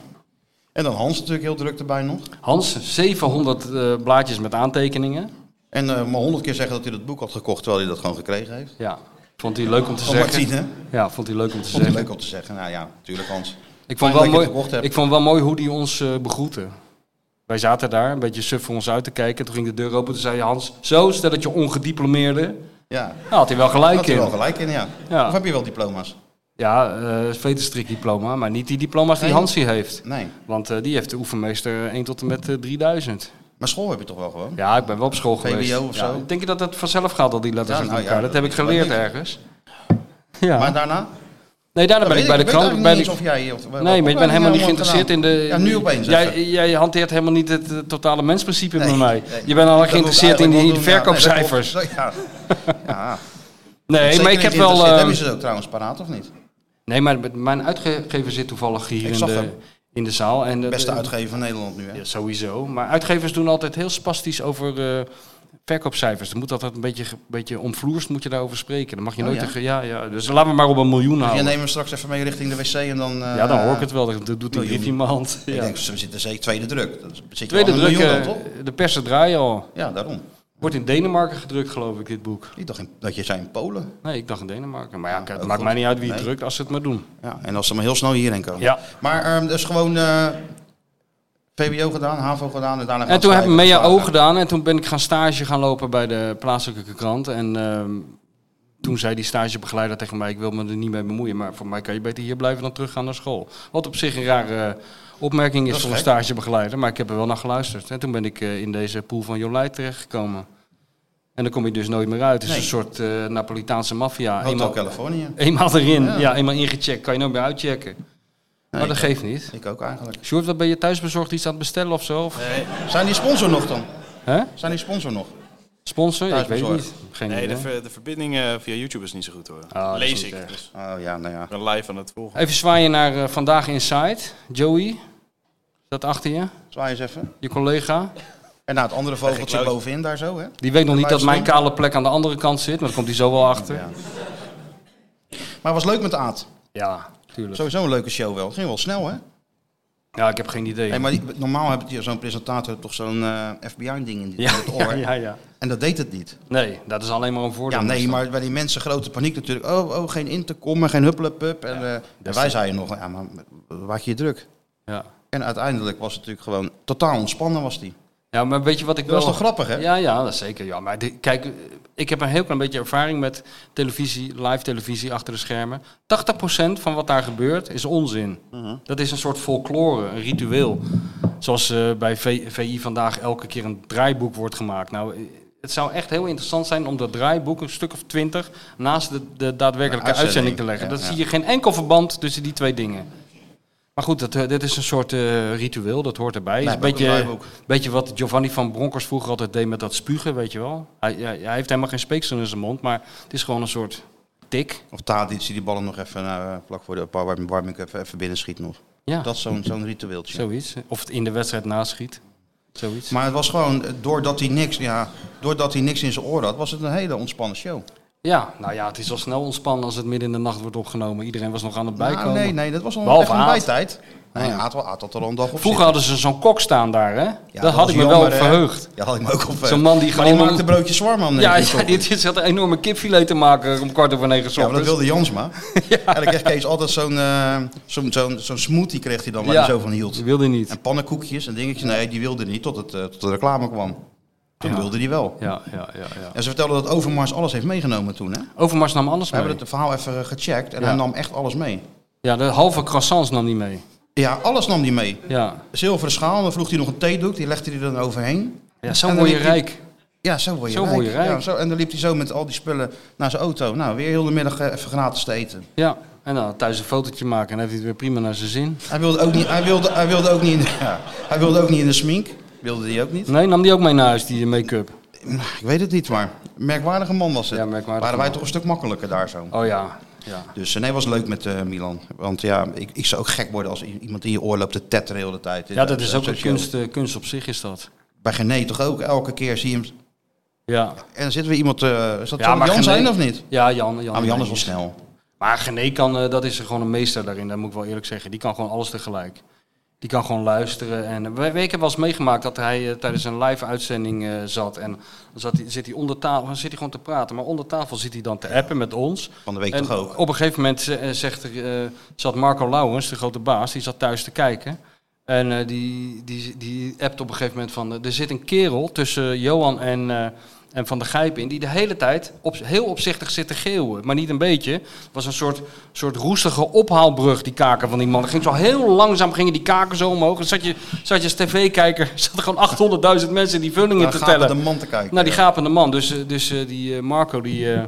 [SPEAKER 2] En dan Hans natuurlijk heel druk erbij nog.
[SPEAKER 3] Hans, 700 eh, blaadjes met aantekeningen.
[SPEAKER 2] En eh, maar honderd keer zeggen dat hij dat boek had gekocht, terwijl hij dat gewoon gekregen heeft.
[SPEAKER 3] Ja, vond hij leuk om te
[SPEAKER 2] Van
[SPEAKER 3] zeggen.
[SPEAKER 2] Martine.
[SPEAKER 3] Ja, vond hij leuk om te
[SPEAKER 2] Vond hij
[SPEAKER 3] zeggen.
[SPEAKER 2] leuk Oh, om te zeggen. Nou ja, natuurlijk Hans.
[SPEAKER 3] Ik vond,
[SPEAKER 2] Fijn
[SPEAKER 3] wel
[SPEAKER 2] dat je het
[SPEAKER 3] mooi,
[SPEAKER 2] gekocht hebt.
[SPEAKER 3] ik vond wel mooi hoe die ons eh begroette. Wij zaten daar een beetje suf voor ons uit te kijken. Toen ging de deur open. Toen zei Hans, zo, stel dat je ongediplomeerde...
[SPEAKER 2] Ja.
[SPEAKER 3] Nou, had hij wel gelijk
[SPEAKER 2] Had je
[SPEAKER 3] in.
[SPEAKER 2] wel gelijk in, ja.
[SPEAKER 3] Ja.
[SPEAKER 2] Of heb je wel diploma's?
[SPEAKER 3] Ja, eh veterstrikdiploma, maar niet die diploma's die
[SPEAKER 2] Nee.
[SPEAKER 3] Hansie heeft.
[SPEAKER 2] Nee.
[SPEAKER 3] Want eh, die heeft de oefenmeester 1 tot en met eh, 3000.
[SPEAKER 2] Maar school heb je toch wel gewoon?
[SPEAKER 3] Ja, ik ben wel op school geweest.
[SPEAKER 2] VWO of
[SPEAKER 3] Ja,
[SPEAKER 2] zo?
[SPEAKER 3] Denk je dat dat vanzelf gaat, al die letters
[SPEAKER 2] Ja,
[SPEAKER 3] uit
[SPEAKER 2] nou ja,
[SPEAKER 3] elkaar? dat,
[SPEAKER 2] dat
[SPEAKER 3] heb ik
[SPEAKER 2] weet
[SPEAKER 3] geleerd
[SPEAKER 2] ik.
[SPEAKER 3] ergens. Ja.
[SPEAKER 2] Maar daarna?
[SPEAKER 3] nee, daarna ben ik bij de krant. Bij
[SPEAKER 2] bij
[SPEAKER 3] de...
[SPEAKER 2] of jij, of,
[SPEAKER 3] Nee, maar ik ben helemaal niet geïnteresseerd in de...
[SPEAKER 2] Ja, nu opeens. even.
[SPEAKER 3] Jij, jij hanteert helemaal niet het eh, totale mensprincipe
[SPEAKER 2] Nee,
[SPEAKER 3] bij mij.
[SPEAKER 2] nee.
[SPEAKER 3] Je bent al
[SPEAKER 2] Dat
[SPEAKER 3] geïnteresseerd
[SPEAKER 2] moet
[SPEAKER 3] in die
[SPEAKER 2] eigenlijk wel doen, ja. Nee,
[SPEAKER 3] verkoopcijfers.
[SPEAKER 2] dat klopt.
[SPEAKER 3] [laughs]
[SPEAKER 2] Ja. Ja.
[SPEAKER 3] Nee,
[SPEAKER 2] Zeker
[SPEAKER 3] maar ik
[SPEAKER 2] niet
[SPEAKER 3] heb wel...
[SPEAKER 2] geïnteresseerd.
[SPEAKER 3] eh,
[SPEAKER 2] Hebben ze het ook trouwens paraat of niet?
[SPEAKER 3] Nee, maar mijn uitgever zit toevallig hier
[SPEAKER 2] Ik
[SPEAKER 3] in
[SPEAKER 2] zag
[SPEAKER 3] de,
[SPEAKER 2] hem.
[SPEAKER 3] in de zaal. En, eh,
[SPEAKER 2] Beste
[SPEAKER 3] de-
[SPEAKER 2] uitgever van Nederland nu, hè?
[SPEAKER 3] Ja, sowieso. Maar uitgevers doen altijd heel spastisch over eh, verkoopcijfers. Dan moet altijd een beetje, ge- beetje omvloerst moet je daarover spreken. Dan mag je
[SPEAKER 2] Oh,
[SPEAKER 3] nooit
[SPEAKER 2] ja?
[SPEAKER 3] tegen... Ja, ja. Dus laten we maar op een miljoen
[SPEAKER 2] Dus jij
[SPEAKER 3] houden.
[SPEAKER 2] neemt hem straks even mee richting de wc en dan... eh,
[SPEAKER 3] ja, dan hoor ik het wel. Dan doet die
[SPEAKER 2] miljoen.
[SPEAKER 3] brief in mijn hand.
[SPEAKER 2] Ik
[SPEAKER 3] Ja.
[SPEAKER 2] denk, ze zitten zeker tweede druk. Dan zit je
[SPEAKER 3] Tweede
[SPEAKER 2] al aan een
[SPEAKER 3] druk,
[SPEAKER 2] miljoen
[SPEAKER 3] eh,
[SPEAKER 2] dan, toch?
[SPEAKER 3] de persen draaien al.
[SPEAKER 2] Ja, daarom.
[SPEAKER 3] Wordt in Denemarken gedrukt, geloof ik, dit boek.
[SPEAKER 2] Ik dacht in- dat je zei in Polen.
[SPEAKER 3] Nee, ik dacht in Denemarken. Maar ja,
[SPEAKER 2] Ja,
[SPEAKER 3] kijk, het
[SPEAKER 2] ook
[SPEAKER 3] maakt
[SPEAKER 2] goed.
[SPEAKER 3] mij niet uit wie het
[SPEAKER 2] Nee.
[SPEAKER 3] drukt als ze het maar doen.
[SPEAKER 2] Ja, en als ze maar heel snel hierheen komen.
[SPEAKER 3] Ja.
[SPEAKER 2] Maar ehm, dus gewoon eh VWO gedaan, HAVO gedaan en daarna
[SPEAKER 3] En toen heb ik
[SPEAKER 2] mee
[SPEAKER 3] MEAO gedaan en toen ben ik gaan stage gaan lopen bij de plaatselijke krant. En ehm, toen zei die stagebegeleider tegen mij, ik wil me er niet mee bemoeien, maar voor mij kan je beter hier blijven dan teruggaan naar school. Wat op zich een rare eh, opmerking is,
[SPEAKER 2] Dat is
[SPEAKER 3] voor een
[SPEAKER 2] gek.
[SPEAKER 3] stagebegeleider, maar ik heb er wel naar geluisterd. En toen ben ik eh, in deze pool van Jolijt terechtgekomen. En dan kom je dus nooit meer uit. Het is
[SPEAKER 2] Nee.
[SPEAKER 3] een soort eh, Napolitaanse maffia.
[SPEAKER 2] Hotel
[SPEAKER 3] Eenmaal,
[SPEAKER 2] Californië.
[SPEAKER 3] eenmaal erin, ja.
[SPEAKER 2] Ja.
[SPEAKER 3] eenmaal ingecheckt, kan je nooit meer uitchecken. maar dat
[SPEAKER 2] ik-
[SPEAKER 3] geeft niet.
[SPEAKER 2] Ik ook eigenlijk.
[SPEAKER 3] Sjoerd, wat ben je thuisbezorgd iets aan het bestellen of zo? Of,
[SPEAKER 2] Zijn die sponsor nog dan?
[SPEAKER 3] Hè?
[SPEAKER 2] Zijn die sponsor nog?
[SPEAKER 3] Sponsor? Ik weet
[SPEAKER 2] Thuisbezorgd.
[SPEAKER 3] niet. Geen
[SPEAKER 4] Nee, de,
[SPEAKER 3] idee.
[SPEAKER 4] ver- de verbinding eh, via YouTube is niet zo goed hoor.
[SPEAKER 3] Ah, dat is
[SPEAKER 4] Lees
[SPEAKER 3] niet
[SPEAKER 4] ik.
[SPEAKER 3] erg.
[SPEAKER 4] Dus
[SPEAKER 2] Oh ja, nou ja.
[SPEAKER 4] ik ben live aan het volgen.
[SPEAKER 3] Even zwaaien naar eh, Vandaag Inside. Joey, dat achter je,
[SPEAKER 2] Zwaai eens even.
[SPEAKER 3] je collega.
[SPEAKER 2] En nou, het andere vogeltje
[SPEAKER 4] Klauwtje.
[SPEAKER 2] bovenin daar zo, hè?
[SPEAKER 3] Die weet nog niet dat mijn
[SPEAKER 2] luisteren.
[SPEAKER 3] kale plek aan de andere kant zit, maar daar komt hij zo wel achter.
[SPEAKER 2] Ja.
[SPEAKER 3] Ja,
[SPEAKER 2] Maar het was leuk met Aad.
[SPEAKER 3] tuurlijk.
[SPEAKER 2] Sowieso een leuke show wel. Het ging wel snel, hè?
[SPEAKER 3] Ja, ik heb geen idee.
[SPEAKER 2] Hey, maar die- normaal heb je zo'n presentator toch zo'n eh, FBI-ding in, dit- in [laughs]
[SPEAKER 3] ja,
[SPEAKER 2] het
[SPEAKER 3] ja,
[SPEAKER 2] oor.
[SPEAKER 3] ja, ja.
[SPEAKER 2] En dat deed het niet.
[SPEAKER 3] Nee, dat is alleen maar een voordeel.
[SPEAKER 2] Ja, nee,
[SPEAKER 3] Dus
[SPEAKER 2] maar bij die mensen grote paniek natuurlijk. Oh, oh geen intercom en geen hupplepup. En, eh, en wij zeiden nog, ja, maar wat je je druk.
[SPEAKER 3] dan- Ja.
[SPEAKER 2] En uiteindelijk was het natuurlijk gewoon totaal ontspannen was die.
[SPEAKER 3] ja, maar weet je wat ik
[SPEAKER 2] Dat was
[SPEAKER 3] wel...
[SPEAKER 2] toch grappig, hè?
[SPEAKER 3] Ja, ja, dat is zeker. Ja, maar dit- kijk, eh, ik heb een heel klein beetje ervaring met televisie, live televisie achter de schermen. 80% van wat daar gebeurt is onzin.
[SPEAKER 2] Mhm.
[SPEAKER 3] Dat is een soort folklore, een ritueel. Zoals eh, bij V- VI vandaag elke keer een draaiboek wordt gemaakt. Nou, eh, het zou echt heel interessant zijn om dat draaiboek een stuk of twintig naast de, de daadwerkelijke
[SPEAKER 2] Een uitzending,
[SPEAKER 3] uitzending, te leggen.
[SPEAKER 2] ja,
[SPEAKER 3] Dan
[SPEAKER 2] ja.
[SPEAKER 3] zie je geen enkel verband tussen die twee dingen. Maar goed, dat, eh, dit is een soort eh, ritueel, dat hoort erbij. Is een
[SPEAKER 2] Draaiboek,
[SPEAKER 3] beetje,
[SPEAKER 2] draaiboek.
[SPEAKER 3] Weet je wat Giovanni van Bronckhorst vroeger altijd deed met dat spugen, weet je wel? Hij, hij, hij heeft helemaal geen speeksel in zijn mond, maar het is gewoon een soort tik.
[SPEAKER 2] Of Tadic die die ballen nog even eh, vlak voor de warming, warming up even binnen schiet nog.
[SPEAKER 3] Ja,
[SPEAKER 2] Dat is zo'n zo'n ritueeltje.
[SPEAKER 3] zoiets. Of het in de wedstrijd naschiet. Zoiets.
[SPEAKER 2] Maar het was gewoon, eh, doordat hij niks, ja, doordat hij niks in zijn oor had, was het een hele ontspannen show.
[SPEAKER 3] ja, nou ja, het is al snel ontspannen als het midden in de nacht wordt opgenomen. Iedereen was nog aan het
[SPEAKER 2] Nou,
[SPEAKER 3] bijkomen.
[SPEAKER 2] nee, nee, dat was al
[SPEAKER 3] Behalve
[SPEAKER 2] echt een
[SPEAKER 3] Aad. Ah,
[SPEAKER 2] bijtijd. Nee,
[SPEAKER 3] Ja.
[SPEAKER 2] Aad, wel- Aad had er al een dag op
[SPEAKER 3] Vroeger hadden ze zo'n kok staan daar, hè?
[SPEAKER 2] zitten. Ja,
[SPEAKER 3] Daar had
[SPEAKER 2] was
[SPEAKER 3] ik me wel
[SPEAKER 2] jammer,
[SPEAKER 3] op
[SPEAKER 2] hè.
[SPEAKER 3] verheugd.
[SPEAKER 2] Ja, had ik me ook op verheugd.
[SPEAKER 3] Zo'n man die
[SPEAKER 2] maar
[SPEAKER 3] gewoon-
[SPEAKER 2] die maakte broodjes zwarm aan.
[SPEAKER 3] Ja, ja, [laughs] dit dit zat een enorme kipfilet te maken om kwart over negen 's
[SPEAKER 2] Ja, maar dat
[SPEAKER 3] ochtends.
[SPEAKER 2] wilde [laughs] Jansma. En dan kreeg Kees altijd zo'n eh, zo'n zo'n zo'n smoothie kreeg hij dan waar
[SPEAKER 3] Ja.
[SPEAKER 2] hij zo van hield.
[SPEAKER 3] Die wilde niet.
[SPEAKER 2] En pannenkoekjes en dingetjes. Nee, die wilde niet tot, het, eh, tot de reclame kwam. Toen wilde die wel.
[SPEAKER 3] Ja, ja, ja, ja.
[SPEAKER 2] En ze vertelden dat Overmars alles heeft meegenomen toen. Hè? We
[SPEAKER 3] Overmars nam alles mee.
[SPEAKER 2] hebben het verhaal even eh, gecheckt en
[SPEAKER 3] Ja.
[SPEAKER 2] hij nam echt alles mee.
[SPEAKER 3] Ja, de halve croissants nam hij mee.
[SPEAKER 2] Ja, alles nam hij mee.
[SPEAKER 3] Ja,
[SPEAKER 2] Zilveren schaal, dan vroeg hij nog een theedoek, die legde hij er dan overheen.
[SPEAKER 3] ja zo
[SPEAKER 2] En dan
[SPEAKER 3] word je
[SPEAKER 2] liep hij-
[SPEAKER 3] rijk.
[SPEAKER 2] Ja, zo word je
[SPEAKER 3] Zo
[SPEAKER 2] rijk.
[SPEAKER 3] word je rijk.
[SPEAKER 2] Ja, zo, en dan liep hij zo met al die spullen naar zijn auto. Nou, weer heel de middag eh, even gratis te eten.
[SPEAKER 3] Ja, en dan thuis een fotootje maken en heeft hij het weer prima naar zijn zin.
[SPEAKER 2] Hij wilde ook niet, hij wilde, hij wilde ook niet, in de- ja, [laughs] hij wilde ook niet in de smink. Wilde die ook niet.
[SPEAKER 3] Nee, nam die ook mee naar huis, die make-up.
[SPEAKER 2] Mm, Ik weet het niet, maar een merkwaardige man was het.
[SPEAKER 3] Ja, merkwaardige
[SPEAKER 2] Waren wij
[SPEAKER 3] man.
[SPEAKER 2] toch een stuk makkelijker daar zo.
[SPEAKER 3] Oh ja, ja.
[SPEAKER 2] Dus eh, nee, was leuk met eh, Milan. Want ja, ik, ik zou ook gek worden als i- iemand in je oor loopt te tetteren de hele tijd.
[SPEAKER 3] Ja, dat is ook
[SPEAKER 2] zo'n
[SPEAKER 3] een kunst, eh, kunst op zich is dat.
[SPEAKER 2] show. Bij Gené toch ook, elke keer zie je hem.
[SPEAKER 3] Ja,
[SPEAKER 2] En dan zit weer iemand, eh, is dat
[SPEAKER 3] ja
[SPEAKER 2] Jan
[SPEAKER 3] Gené- Oh,
[SPEAKER 2] zijn of niet?
[SPEAKER 3] Ja, Jan. Nou, Jan,
[SPEAKER 2] Ah, maar Jan is wel snel.
[SPEAKER 3] Maar Gené kan, eh, dat is gewoon een meester daarin, dat moet ik wel eerlijk zeggen. Die kan gewoon alles tegelijk. Die kan gewoon luisteren. En we, we- ik heb wel eens meegemaakt dat hij eh, tijdens een live uitzending eh, zat. En dan zat hij, zit hij onder tafel, dan zit hij gewoon te praten. Maar onder tafel zit hij dan te appen met ons.
[SPEAKER 2] Van de week
[SPEAKER 3] En
[SPEAKER 2] toch ook.
[SPEAKER 3] eh, Op een gegeven moment eh, zegt er, eh, zat Marco Lauwens, de grote baas, die zat thuis te kijken. En eh, die, die, die appt op een gegeven moment van... eh, er zit een kerel tussen Johan en, eh, en Van der Gijp in... die de hele tijd op, heel opzichtig zit te geeuwen. Maar niet een beetje. Het was een soort, soort roestige ophaalbrug, die kaken van die man. Het ging zo heel langzaam, gingen die kaken zo omhoog. En zat je, zat je als tv-kijker, [laughs] zaten gewoon 800.000 mensen die vullingen
[SPEAKER 2] Naar
[SPEAKER 3] te
[SPEAKER 2] gaat
[SPEAKER 3] tellen.
[SPEAKER 2] de man te kijken.
[SPEAKER 3] Nou, die
[SPEAKER 2] Ja.
[SPEAKER 3] gapende man. Dus, eh, dus eh, die eh, Marco, die, eh,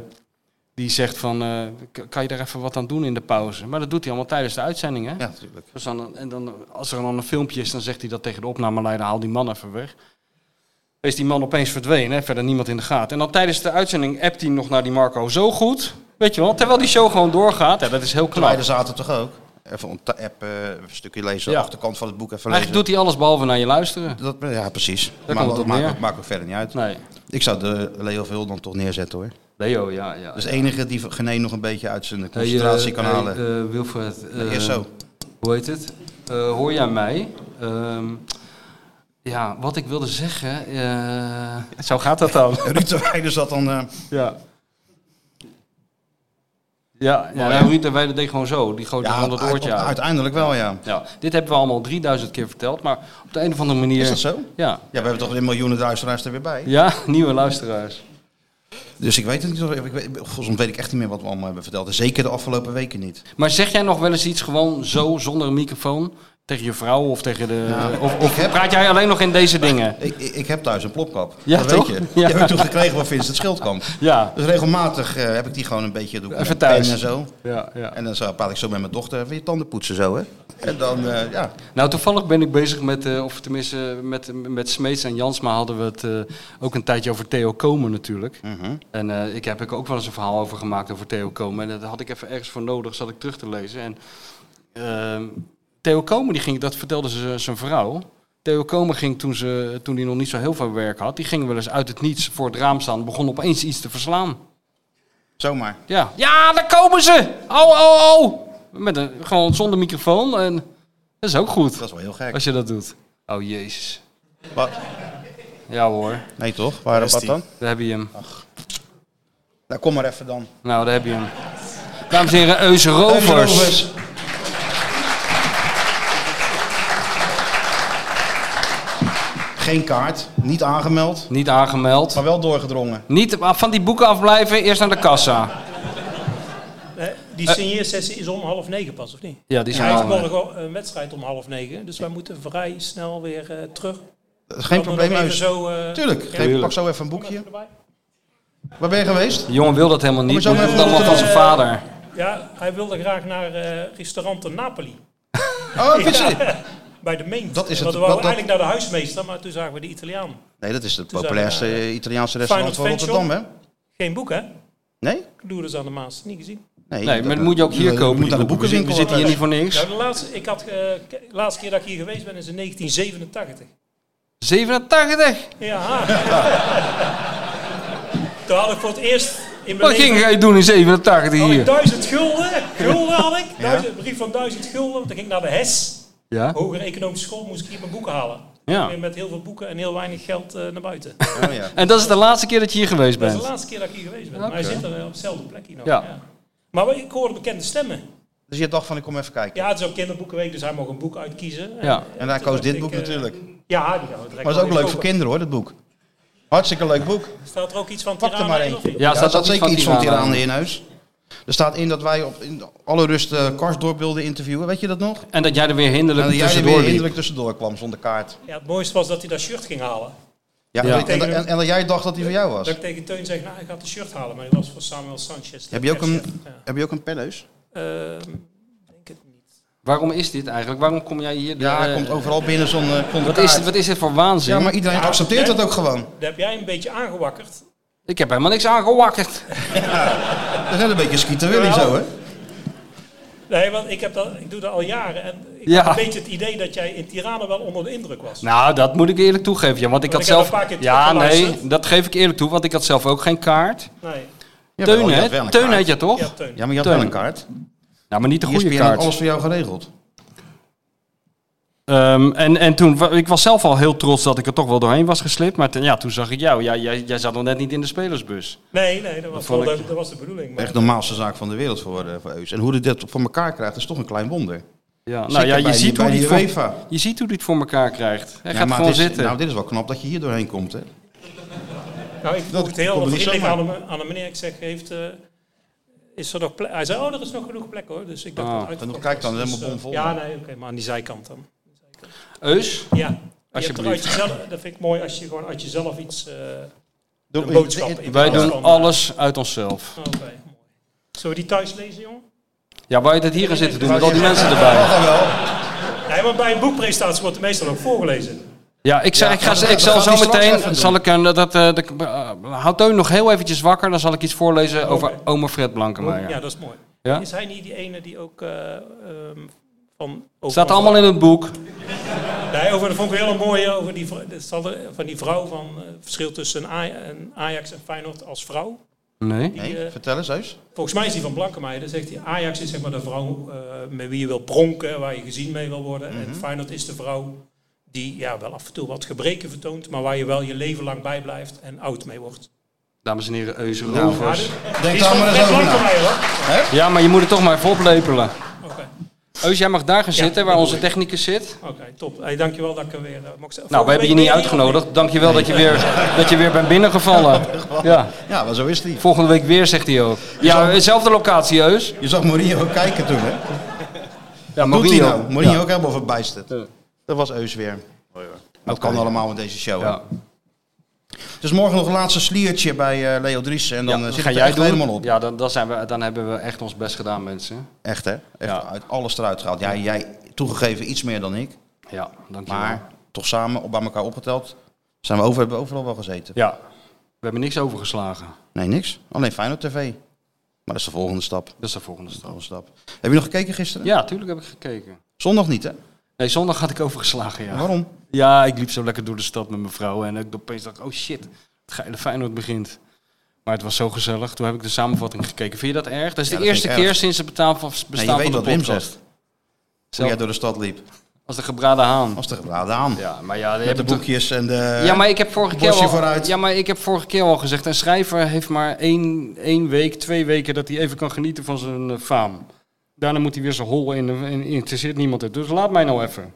[SPEAKER 3] die zegt van... eh, k- kan je daar even wat aan doen in de pauze? Maar dat doet hij allemaal tijdens de uitzending, hè?
[SPEAKER 2] Ja, natuurlijk.
[SPEAKER 3] Dus dan, en dan, als er dan een filmpje is, dan zegt hij dat tegen de opnameleider, haal die man even weg. Is die man opeens verdwenen, hè? verder niemand in de gaten. En dan tijdens de uitzending appt hij nog naar die Marco zo goed, weet je wel, terwijl die show gewoon doorgaat. Ja, dat is heel
[SPEAKER 2] Terwijl dus
[SPEAKER 3] knap.
[SPEAKER 2] er zaten toch ook? Even een ta- app, eh, een stukje lezen,
[SPEAKER 3] Ja.
[SPEAKER 2] achterkant van het boek even lezen.
[SPEAKER 3] Eigenlijk doet hij alles behalve naar je luisteren.
[SPEAKER 2] dat, ja, precies.
[SPEAKER 3] komt
[SPEAKER 2] maar
[SPEAKER 3] het
[SPEAKER 2] dat
[SPEAKER 3] op
[SPEAKER 2] maakt,
[SPEAKER 3] neer.
[SPEAKER 2] ook- maakt ook verder niet uit.
[SPEAKER 3] Nee.
[SPEAKER 2] Ik zou de Leo Vul dan toch neerzetten hoor.
[SPEAKER 3] Leo, ja, ja.
[SPEAKER 2] Dat is de enige die Genee nog een beetje uit zijn concentratie kan halen.
[SPEAKER 3] Wilfred.
[SPEAKER 2] Eerst zo.
[SPEAKER 3] hoe heet het? Eh, hoor jij mij? Ehm, ja, wat ik wilde zeggen. eh, Zo gaat dat [laughs] dan.
[SPEAKER 2] [laughs] Ruud de Weijer zat dan... eh,
[SPEAKER 3] ja. Ja, ja nou, Ruud en Weijden deed gewoon zo. Die gooit er gewoon dat
[SPEAKER 2] uit-
[SPEAKER 3] oortje uit.
[SPEAKER 2] uiteindelijk wel, ja.
[SPEAKER 3] Ja, dit hebben we allemaal 3000 keer verteld, maar op de een of andere manier...
[SPEAKER 2] Is dat zo?
[SPEAKER 3] Ja.
[SPEAKER 2] Ja, we hebben toch weer miljoenen luisteraars er weer bij.
[SPEAKER 3] ja, [laughs] nieuwe luisteraars.
[SPEAKER 2] Dus ik weet het niet. of- Ik weet, soms weet ik echt niet meer wat we allemaal hebben verteld. En zeker de afgelopen weken niet.
[SPEAKER 3] Maar zeg jij nog wel eens iets gewoon zo, zonder een microfoon? Tegen je vrouw of tegen de... of of
[SPEAKER 2] Eh, ik heb-
[SPEAKER 3] praat jij alleen nog in deze dingen?
[SPEAKER 2] Ik, ik, ik heb thuis een plopkap.
[SPEAKER 3] Ja,
[SPEAKER 2] dat
[SPEAKER 3] toch?
[SPEAKER 2] weet je.
[SPEAKER 3] Ja.
[SPEAKER 2] Die heb ik toen gekregen van Vincent Schildkamp.
[SPEAKER 3] Ja.
[SPEAKER 2] Dus regelmatig eh, heb ik die gewoon een beetje... Doe ik
[SPEAKER 3] Even
[SPEAKER 2] met
[SPEAKER 3] thuis.
[SPEAKER 2] pen en zo.
[SPEAKER 3] Ja, ja.
[SPEAKER 2] En dan zo, praat ik zo met mijn dochter. Even je tanden poetsen zo, hè. En dan, eh, ja.
[SPEAKER 3] Nou, toevallig ben ik bezig met, eh, of tenminste eh, met, met Smeets en Jansma hadden we het eh, ook een tijdje over Theo Komen natuurlijk. En eh, ik heb ik ook wel eens een verhaal over gemaakt over Theo Komen. En dat had ik even ergens voor nodig, zat ik terug te lezen. En ehm, Theo Komen, die ging, dat vertelde ze, eh, zijn vrouw. Theo Komen ging toen hij toen die nog niet zo heel veel werk had, die ging wel eens uit het niets voor het raam staan, begon opeens iets te verslaan.
[SPEAKER 2] Zomaar.
[SPEAKER 3] Ja, ja daar komen ze! Oh, oh, oh! Met een, gewoon zonder microfoon. En dat is ook goed.
[SPEAKER 2] Dat is wel heel gek.
[SPEAKER 3] Als je dat doet. Oh jezus.
[SPEAKER 2] Wat?
[SPEAKER 3] Ja hoor,
[SPEAKER 2] Nee, toch? Waar,
[SPEAKER 4] Daar is
[SPEAKER 2] wat
[SPEAKER 4] die.
[SPEAKER 2] dan?
[SPEAKER 3] daar heb je hem.
[SPEAKER 2] Nou, kom maar even dan.
[SPEAKER 3] Nou, daar heb je hem. Dames en heren, Eus
[SPEAKER 2] Eus
[SPEAKER 3] Rovers.
[SPEAKER 2] Rovers. Geen kaart. Niet aangemeld.
[SPEAKER 3] Niet aangemeld.
[SPEAKER 2] Maar wel doorgedrongen.
[SPEAKER 3] Niet af- van die boeken afblijven, eerst naar de kassa.
[SPEAKER 6] Hè, Die
[SPEAKER 2] Eh,
[SPEAKER 6] signeersessie is om half negen pas, of niet?
[SPEAKER 3] Ja, die
[SPEAKER 6] Hij
[SPEAKER 3] zijn
[SPEAKER 6] heeft
[SPEAKER 3] al.
[SPEAKER 6] morgen een wedstrijd om half negen, dus wij moeten vrij snel weer eh, terug.
[SPEAKER 2] Dat is geen
[SPEAKER 6] Dan
[SPEAKER 2] probleem,
[SPEAKER 6] nog even
[SPEAKER 2] Eus.
[SPEAKER 6] Zo, eh,
[SPEAKER 2] Tuurlijk. Geef,
[SPEAKER 3] Tuurlijk.
[SPEAKER 2] pak zo even een boekje.
[SPEAKER 6] erbij.
[SPEAKER 2] Waar ben je geweest?
[SPEAKER 3] De jongen wil dat helemaal niet.
[SPEAKER 2] zo
[SPEAKER 3] Dat
[SPEAKER 2] maar
[SPEAKER 3] is
[SPEAKER 2] even
[SPEAKER 3] allemaal van
[SPEAKER 6] terug.
[SPEAKER 3] zijn vader.
[SPEAKER 6] Ja, hij wilde graag naar eh restaurant de Napoli.
[SPEAKER 2] Oh, Pizzi.
[SPEAKER 6] Bij de Meent.
[SPEAKER 2] Dat is het-
[SPEAKER 6] Want we
[SPEAKER 2] dat-
[SPEAKER 6] wouden
[SPEAKER 2] dat-
[SPEAKER 6] eigenlijk naar de huismeester, maar toen zagen we de Italiaan.
[SPEAKER 2] Nee, dat is het
[SPEAKER 6] Toen
[SPEAKER 2] populairste
[SPEAKER 6] zijn we,
[SPEAKER 2] eh, Italiaanse restaurant van
[SPEAKER 6] Final Fantasy
[SPEAKER 2] Rotterdam, hè?
[SPEAKER 6] Geen boek, hè?
[SPEAKER 2] Nee?
[SPEAKER 6] Doerders aan de Maas, niet gezien.
[SPEAKER 3] Nee,
[SPEAKER 2] dat-
[SPEAKER 3] maar dat moet je ook hier
[SPEAKER 2] dat
[SPEAKER 3] kopen.
[SPEAKER 2] moet
[SPEAKER 3] die
[SPEAKER 2] aan de
[SPEAKER 3] boeken.
[SPEAKER 2] boekenwinkel.
[SPEAKER 3] We zitten hier niet voor niks.
[SPEAKER 6] Nou, de laatste, ik had, eh, ke- de laatste keer dat ik hier geweest ben is in 1987.
[SPEAKER 3] 87.
[SPEAKER 2] [laughs]
[SPEAKER 6] Ja. Toen had ik voor het eerst in mijn
[SPEAKER 3] Wat
[SPEAKER 6] leven...
[SPEAKER 3] ging jij doen in 87
[SPEAKER 2] Oh,
[SPEAKER 6] Had ik
[SPEAKER 3] hier?
[SPEAKER 6] Oh, duizend gulden, gulden had ik, duizend, een brief van duizend gulden, want dan ging ik naar de HES,
[SPEAKER 3] Ja?
[SPEAKER 2] Oh.
[SPEAKER 6] hogere economische school, moest ik hier mijn boeken halen.
[SPEAKER 3] Ja.
[SPEAKER 6] Weer Met heel veel boeken en heel weinig geld eh, naar buiten.
[SPEAKER 2] Oh, ja.
[SPEAKER 3] En dat is de laatste keer dat je hier geweest
[SPEAKER 6] Dat is de
[SPEAKER 3] bent.
[SPEAKER 6] laatste keer dat ik hier geweest ben. Maar hij zit er eh, op dezelfde plek hier nog.
[SPEAKER 3] Ja.
[SPEAKER 6] Maar ik hoorde bekende stemmen.
[SPEAKER 2] Dus je dacht van, ik kom even kijken.
[SPEAKER 6] Ja, het is ook kinderboekenweek, dus hij mocht een boek uitkiezen.
[SPEAKER 3] Ja.
[SPEAKER 2] En daar koos dit
[SPEAKER 6] Ik,
[SPEAKER 2] boek
[SPEAKER 6] eh,
[SPEAKER 2] natuurlijk.
[SPEAKER 6] Ja, die gaan we direct
[SPEAKER 2] Maar het is ook
[SPEAKER 6] wel
[SPEAKER 2] leuk
[SPEAKER 6] weer
[SPEAKER 2] voor
[SPEAKER 6] kopen.
[SPEAKER 2] kinderen hoor, dat boek. Hartstikke leuk boek.
[SPEAKER 6] Staat er ook iets van
[SPEAKER 2] Pak er
[SPEAKER 6] Tirana
[SPEAKER 2] maar
[SPEAKER 6] in,
[SPEAKER 2] één.
[SPEAKER 6] of
[SPEAKER 3] Ja,
[SPEAKER 6] niet?
[SPEAKER 2] Ja,
[SPEAKER 3] staat
[SPEAKER 2] staat
[SPEAKER 3] dat
[SPEAKER 2] zeker iets van
[SPEAKER 3] Tirana
[SPEAKER 2] Tirana
[SPEAKER 3] in?
[SPEAKER 2] in huis. Er staat in dat wij op in alle rust eh Karsdorp wilden interviewen. Weet je dat nog?
[SPEAKER 3] En dat jij er weer
[SPEAKER 2] En
[SPEAKER 3] hinderlijk
[SPEAKER 2] dat jij er weer
[SPEAKER 3] tussendoor liep.
[SPEAKER 2] hinderlijk tussendoor kwam zonder kaart.
[SPEAKER 6] Ja, het mooiste was dat hij dat shirt ging halen.
[SPEAKER 2] Ja,
[SPEAKER 3] Ja.
[SPEAKER 2] En, dat- en, en dat jij dacht dat die van jou was.
[SPEAKER 6] Dat ik tegen Teun zeg, nou, ik had een shirt halen, maar die was voor Samuel Sanchez. de
[SPEAKER 2] Heb je ook een-
[SPEAKER 6] perschef. Ja.
[SPEAKER 2] Heb je ook een penneus?
[SPEAKER 6] Ehm, ik denk het niet.
[SPEAKER 3] Waarom is dit eigenlijk? Waarom kom jij hier?
[SPEAKER 2] Ja, hij
[SPEAKER 3] eh,
[SPEAKER 2] komt overal binnen zonder eh, zonder
[SPEAKER 3] wat, is
[SPEAKER 2] kaart.
[SPEAKER 3] dit, wat is dit voor waanzin?
[SPEAKER 2] Ja, maar iedereen
[SPEAKER 6] Ja,
[SPEAKER 2] accepteert
[SPEAKER 6] hè?
[SPEAKER 2] dat ook gewoon.
[SPEAKER 6] Daar heb jij een beetje aangewakkerd.
[SPEAKER 3] Ik heb helemaal niks aangewakkerd.
[SPEAKER 2] Dat is net een beetje Skeeter Willy
[SPEAKER 6] Jawel.
[SPEAKER 2] zo, hè?
[SPEAKER 6] Nee, want ik, heb dat, ik doe dat al jaren. En ik
[SPEAKER 3] Ja.
[SPEAKER 6] had een beetje het idee dat jij in Tirana wel onder de indruk was.
[SPEAKER 3] Nou, dat moet ik eerlijk toegeven. Ja, want ik
[SPEAKER 6] Want
[SPEAKER 3] had
[SPEAKER 6] ik heb
[SPEAKER 3] zelf.
[SPEAKER 6] een paar keer
[SPEAKER 3] ja,
[SPEAKER 6] teruggeluisterd.
[SPEAKER 3] nee, dat geef ik eerlijk toe, want ik had zelf ook geen kaart.
[SPEAKER 6] Nee,
[SPEAKER 2] Jawel,
[SPEAKER 3] Teun,
[SPEAKER 2] oh, je had wel
[SPEAKER 3] hè?
[SPEAKER 2] een
[SPEAKER 3] Teun
[SPEAKER 2] kaart.
[SPEAKER 3] had je toch?
[SPEAKER 6] ja,
[SPEAKER 3] Ja,
[SPEAKER 6] Teun.
[SPEAKER 2] Ja, maar je had
[SPEAKER 3] Teun.
[SPEAKER 2] wel een kaart.
[SPEAKER 3] maar niet de goede
[SPEAKER 2] ESPN had
[SPEAKER 3] kaart.
[SPEAKER 2] alles voor jou geregeld.
[SPEAKER 3] Ehm, en, en toen, wa- ik was zelf al heel trots dat ik er toch wel doorheen was geslipt. Maar ten- ja, toen zag ik jou. Ja, jij, jij zat nog net niet in de spelersbus.
[SPEAKER 6] Nee, nee, dat was,
[SPEAKER 3] vond
[SPEAKER 6] wel
[SPEAKER 3] ik-
[SPEAKER 6] de- dat was de bedoeling. Maar
[SPEAKER 2] Echt de normaalste zaak van de wereld voor, eh, voor Eus. En hoe hij dat voor elkaar krijgt, is toch een klein wonder.
[SPEAKER 3] Ja,
[SPEAKER 2] Zit
[SPEAKER 3] nou ja,
[SPEAKER 2] er bij
[SPEAKER 3] je
[SPEAKER 2] die-
[SPEAKER 3] ziet,
[SPEAKER 2] bij
[SPEAKER 3] hoe die
[SPEAKER 2] die
[SPEAKER 3] het voor-
[SPEAKER 2] UEFA.
[SPEAKER 3] je ziet hoe die het voor elkaar krijgt. Hij
[SPEAKER 2] Ja,
[SPEAKER 3] gaat
[SPEAKER 2] maar
[SPEAKER 3] gewoon
[SPEAKER 2] het is-
[SPEAKER 3] zitten.
[SPEAKER 2] Nou, dit is wel knap dat je hier doorheen komt, hè?
[SPEAKER 6] Nou, ik vroeg het heel
[SPEAKER 2] komt niet
[SPEAKER 6] vriendelijk aan
[SPEAKER 2] zomaar.
[SPEAKER 6] de, aan de meneer. Ik zeg, heeft, eh, is er nog plek? Hij zei, oh, er is nog genoeg plek hoor. Dus ik dacht,
[SPEAKER 3] Ah,
[SPEAKER 6] dat
[SPEAKER 3] dan
[SPEAKER 6] uitverkocht
[SPEAKER 2] kijk dan,
[SPEAKER 6] was.
[SPEAKER 2] helemaal
[SPEAKER 6] eh,
[SPEAKER 2] bomvol.
[SPEAKER 6] Ja, nee, oké, maar aan die zijkant dan.
[SPEAKER 3] Eus,
[SPEAKER 6] Ja, je hebt er
[SPEAKER 3] Alsjeblieft.
[SPEAKER 6] uit jezelf, dat vind ik mooi als je gewoon uit jezelf iets... eh,
[SPEAKER 2] Doe-
[SPEAKER 6] Een boodschap in
[SPEAKER 3] wij
[SPEAKER 6] plaats
[SPEAKER 3] doen
[SPEAKER 6] van-
[SPEAKER 3] alles uit onszelf.
[SPEAKER 6] oh, Oké, mooi. Zullen we die thuis lezen, jongen?
[SPEAKER 3] Ja, waar je dat hier aan zitten doen met al die mensen erbij.
[SPEAKER 6] Nee, want bij een boekpresentatie wordt het meestal ook voorgelezen.
[SPEAKER 3] Ja, ik, zei, ik, ga,
[SPEAKER 2] maar dat-
[SPEAKER 3] ik
[SPEAKER 2] dat
[SPEAKER 3] zal
[SPEAKER 2] gaan we
[SPEAKER 3] zo
[SPEAKER 2] straks even
[SPEAKER 3] meteen...
[SPEAKER 2] doen.
[SPEAKER 3] Zal ik, eh, dat, eh, dat, eh, houd Teun nog heel eventjes wakker. Dan zal ik iets voorlezen over
[SPEAKER 6] Oké.
[SPEAKER 3] oma Fred
[SPEAKER 6] Ja,
[SPEAKER 3] Blankenmeijer.
[SPEAKER 6] dat is mooi.
[SPEAKER 3] Ja?
[SPEAKER 6] Is hij niet die ene die ook eh, ehm, van... over-
[SPEAKER 3] Staat allemaal in het boek.
[SPEAKER 6] Nee, over, dat vond ik heel mooi over die, vr- dat zal er- van die vrouw van eh, verschil tussen Aj- en Ajax en Feyenoord als vrouw.
[SPEAKER 3] Nee.
[SPEAKER 6] Die, eh,
[SPEAKER 2] Nee, vertel eens, Heus.
[SPEAKER 6] Volgens mij is die van Blankenmeijer. Dan zegt hij, Ajax is zeg maar de vrouw eh, met wie je wil pronken, waar je gezien mee wil worden.
[SPEAKER 3] Mhm.
[SPEAKER 6] En Feyenoord is de vrouw die ja, wel af en toe wat gebreken vertoont, maar waar je wel je leven lang bij blijft en oud mee wordt.
[SPEAKER 3] Dames en heren, Eus
[SPEAKER 6] Maar
[SPEAKER 3] Rovers.
[SPEAKER 6] dit-
[SPEAKER 2] Denk
[SPEAKER 6] die is
[SPEAKER 2] daar
[SPEAKER 6] van
[SPEAKER 2] maar
[SPEAKER 6] Fred
[SPEAKER 2] eens over na.
[SPEAKER 6] Blankenmeijer hoor.
[SPEAKER 3] Ja, maar je moet het toch maar even oplepelen.
[SPEAKER 6] Oké,
[SPEAKER 3] Eus, jij mag daar gaan
[SPEAKER 6] Ja,
[SPEAKER 3] zitten, waar
[SPEAKER 6] dat
[SPEAKER 3] onze
[SPEAKER 6] doe
[SPEAKER 3] technicus zit.
[SPEAKER 6] oké, top. Hey, dankjewel dat ik er weer... eh, mocht zijn.
[SPEAKER 3] Nou,
[SPEAKER 6] Volgende
[SPEAKER 3] we hebben je
[SPEAKER 6] week
[SPEAKER 3] niet
[SPEAKER 6] weer
[SPEAKER 3] uitgenodigd. Dankjewel dat je weer, dat je weer bent binnengevallen. Ja.
[SPEAKER 2] Ja, maar zo is die.
[SPEAKER 3] Volgende week weer, zegt hij ook. Ja, dezelfde locatie, Eus.
[SPEAKER 2] Je zag Mourinho kijken toen, hè?
[SPEAKER 3] Ja,
[SPEAKER 2] Doet hij
[SPEAKER 3] Mourinho.
[SPEAKER 2] nou? Mourinho
[SPEAKER 3] Ja.
[SPEAKER 2] ook helemaal verbijsterd.
[SPEAKER 3] Ja.
[SPEAKER 2] Dat was Eus weer. Dat
[SPEAKER 3] Oké.
[SPEAKER 2] kan allemaal met deze show.
[SPEAKER 3] Ja.
[SPEAKER 2] hè? Dus morgen nog een laatste sliertje bij eh, Leo Driessen. En dan
[SPEAKER 3] Ja,
[SPEAKER 2] eh,
[SPEAKER 3] dat
[SPEAKER 2] zit
[SPEAKER 3] ga
[SPEAKER 2] het
[SPEAKER 3] jij
[SPEAKER 2] echt
[SPEAKER 3] doen.
[SPEAKER 2] helemaal op.
[SPEAKER 3] Ja, dan, dan, zijn we, dan hebben we echt ons best gedaan, mensen.
[SPEAKER 2] Echt, hè? Echt
[SPEAKER 3] Ja.
[SPEAKER 2] uit alles eruit gehaald. Jij, jij toegegeven iets meer dan ik.
[SPEAKER 3] Ja, dankjewel.
[SPEAKER 2] Maar toch samen op bij elkaar opgeteld. Zijn we over, hebben we overal wel gezeten.
[SPEAKER 3] Ja, we hebben niks overgeslagen.
[SPEAKER 2] Nee, niks. Alleen Feyenoord TV. Maar dat is de volgende stap.
[SPEAKER 3] Dat is de volgende stap.
[SPEAKER 2] Volgende stap. Heb je nog gekeken gisteren?
[SPEAKER 3] Ja, tuurlijk heb ik gekeken.
[SPEAKER 2] Zondag niet, hè?
[SPEAKER 3] Nee, zondag had ik overgeslagen, ja.
[SPEAKER 2] Waarom?
[SPEAKER 3] Ja, ik liep zo lekker door de stad met mijn vrouw. En ik opeens dacht, oh shit, het geile Feyenoord begint. Maar het was zo gezellig. Toen heb ik de samenvatting gekeken. Vind je dat erg? Dat is
[SPEAKER 2] Ja,
[SPEAKER 3] de
[SPEAKER 2] dat
[SPEAKER 3] eerste
[SPEAKER 2] vind ik
[SPEAKER 3] keer
[SPEAKER 2] erg.
[SPEAKER 3] sinds het bestaan van, bestaan
[SPEAKER 2] weet
[SPEAKER 3] van de
[SPEAKER 2] wat Wim
[SPEAKER 3] podcast.
[SPEAKER 2] zegt. Toen
[SPEAKER 3] Zelf-
[SPEAKER 2] jij door de stad liep.
[SPEAKER 3] als de gebraden haan.
[SPEAKER 2] Was de gebraden aan.
[SPEAKER 3] Ja, maar ja, je
[SPEAKER 2] Met
[SPEAKER 3] hebt
[SPEAKER 2] de
[SPEAKER 3] het toch-
[SPEAKER 2] boekjes en de...
[SPEAKER 3] ja, maar ik heb vorige keer
[SPEAKER 2] borstje
[SPEAKER 3] al,
[SPEAKER 2] vooruit.
[SPEAKER 3] Ja, maar ik heb vorige keer al gezegd, een schrijver heeft maar één, één week, twee weken dat hij even kan genieten van zijn eh, faam. Daarna moet hij weer zijn hol in en interesseert niemand het. Dus laat mij nou even.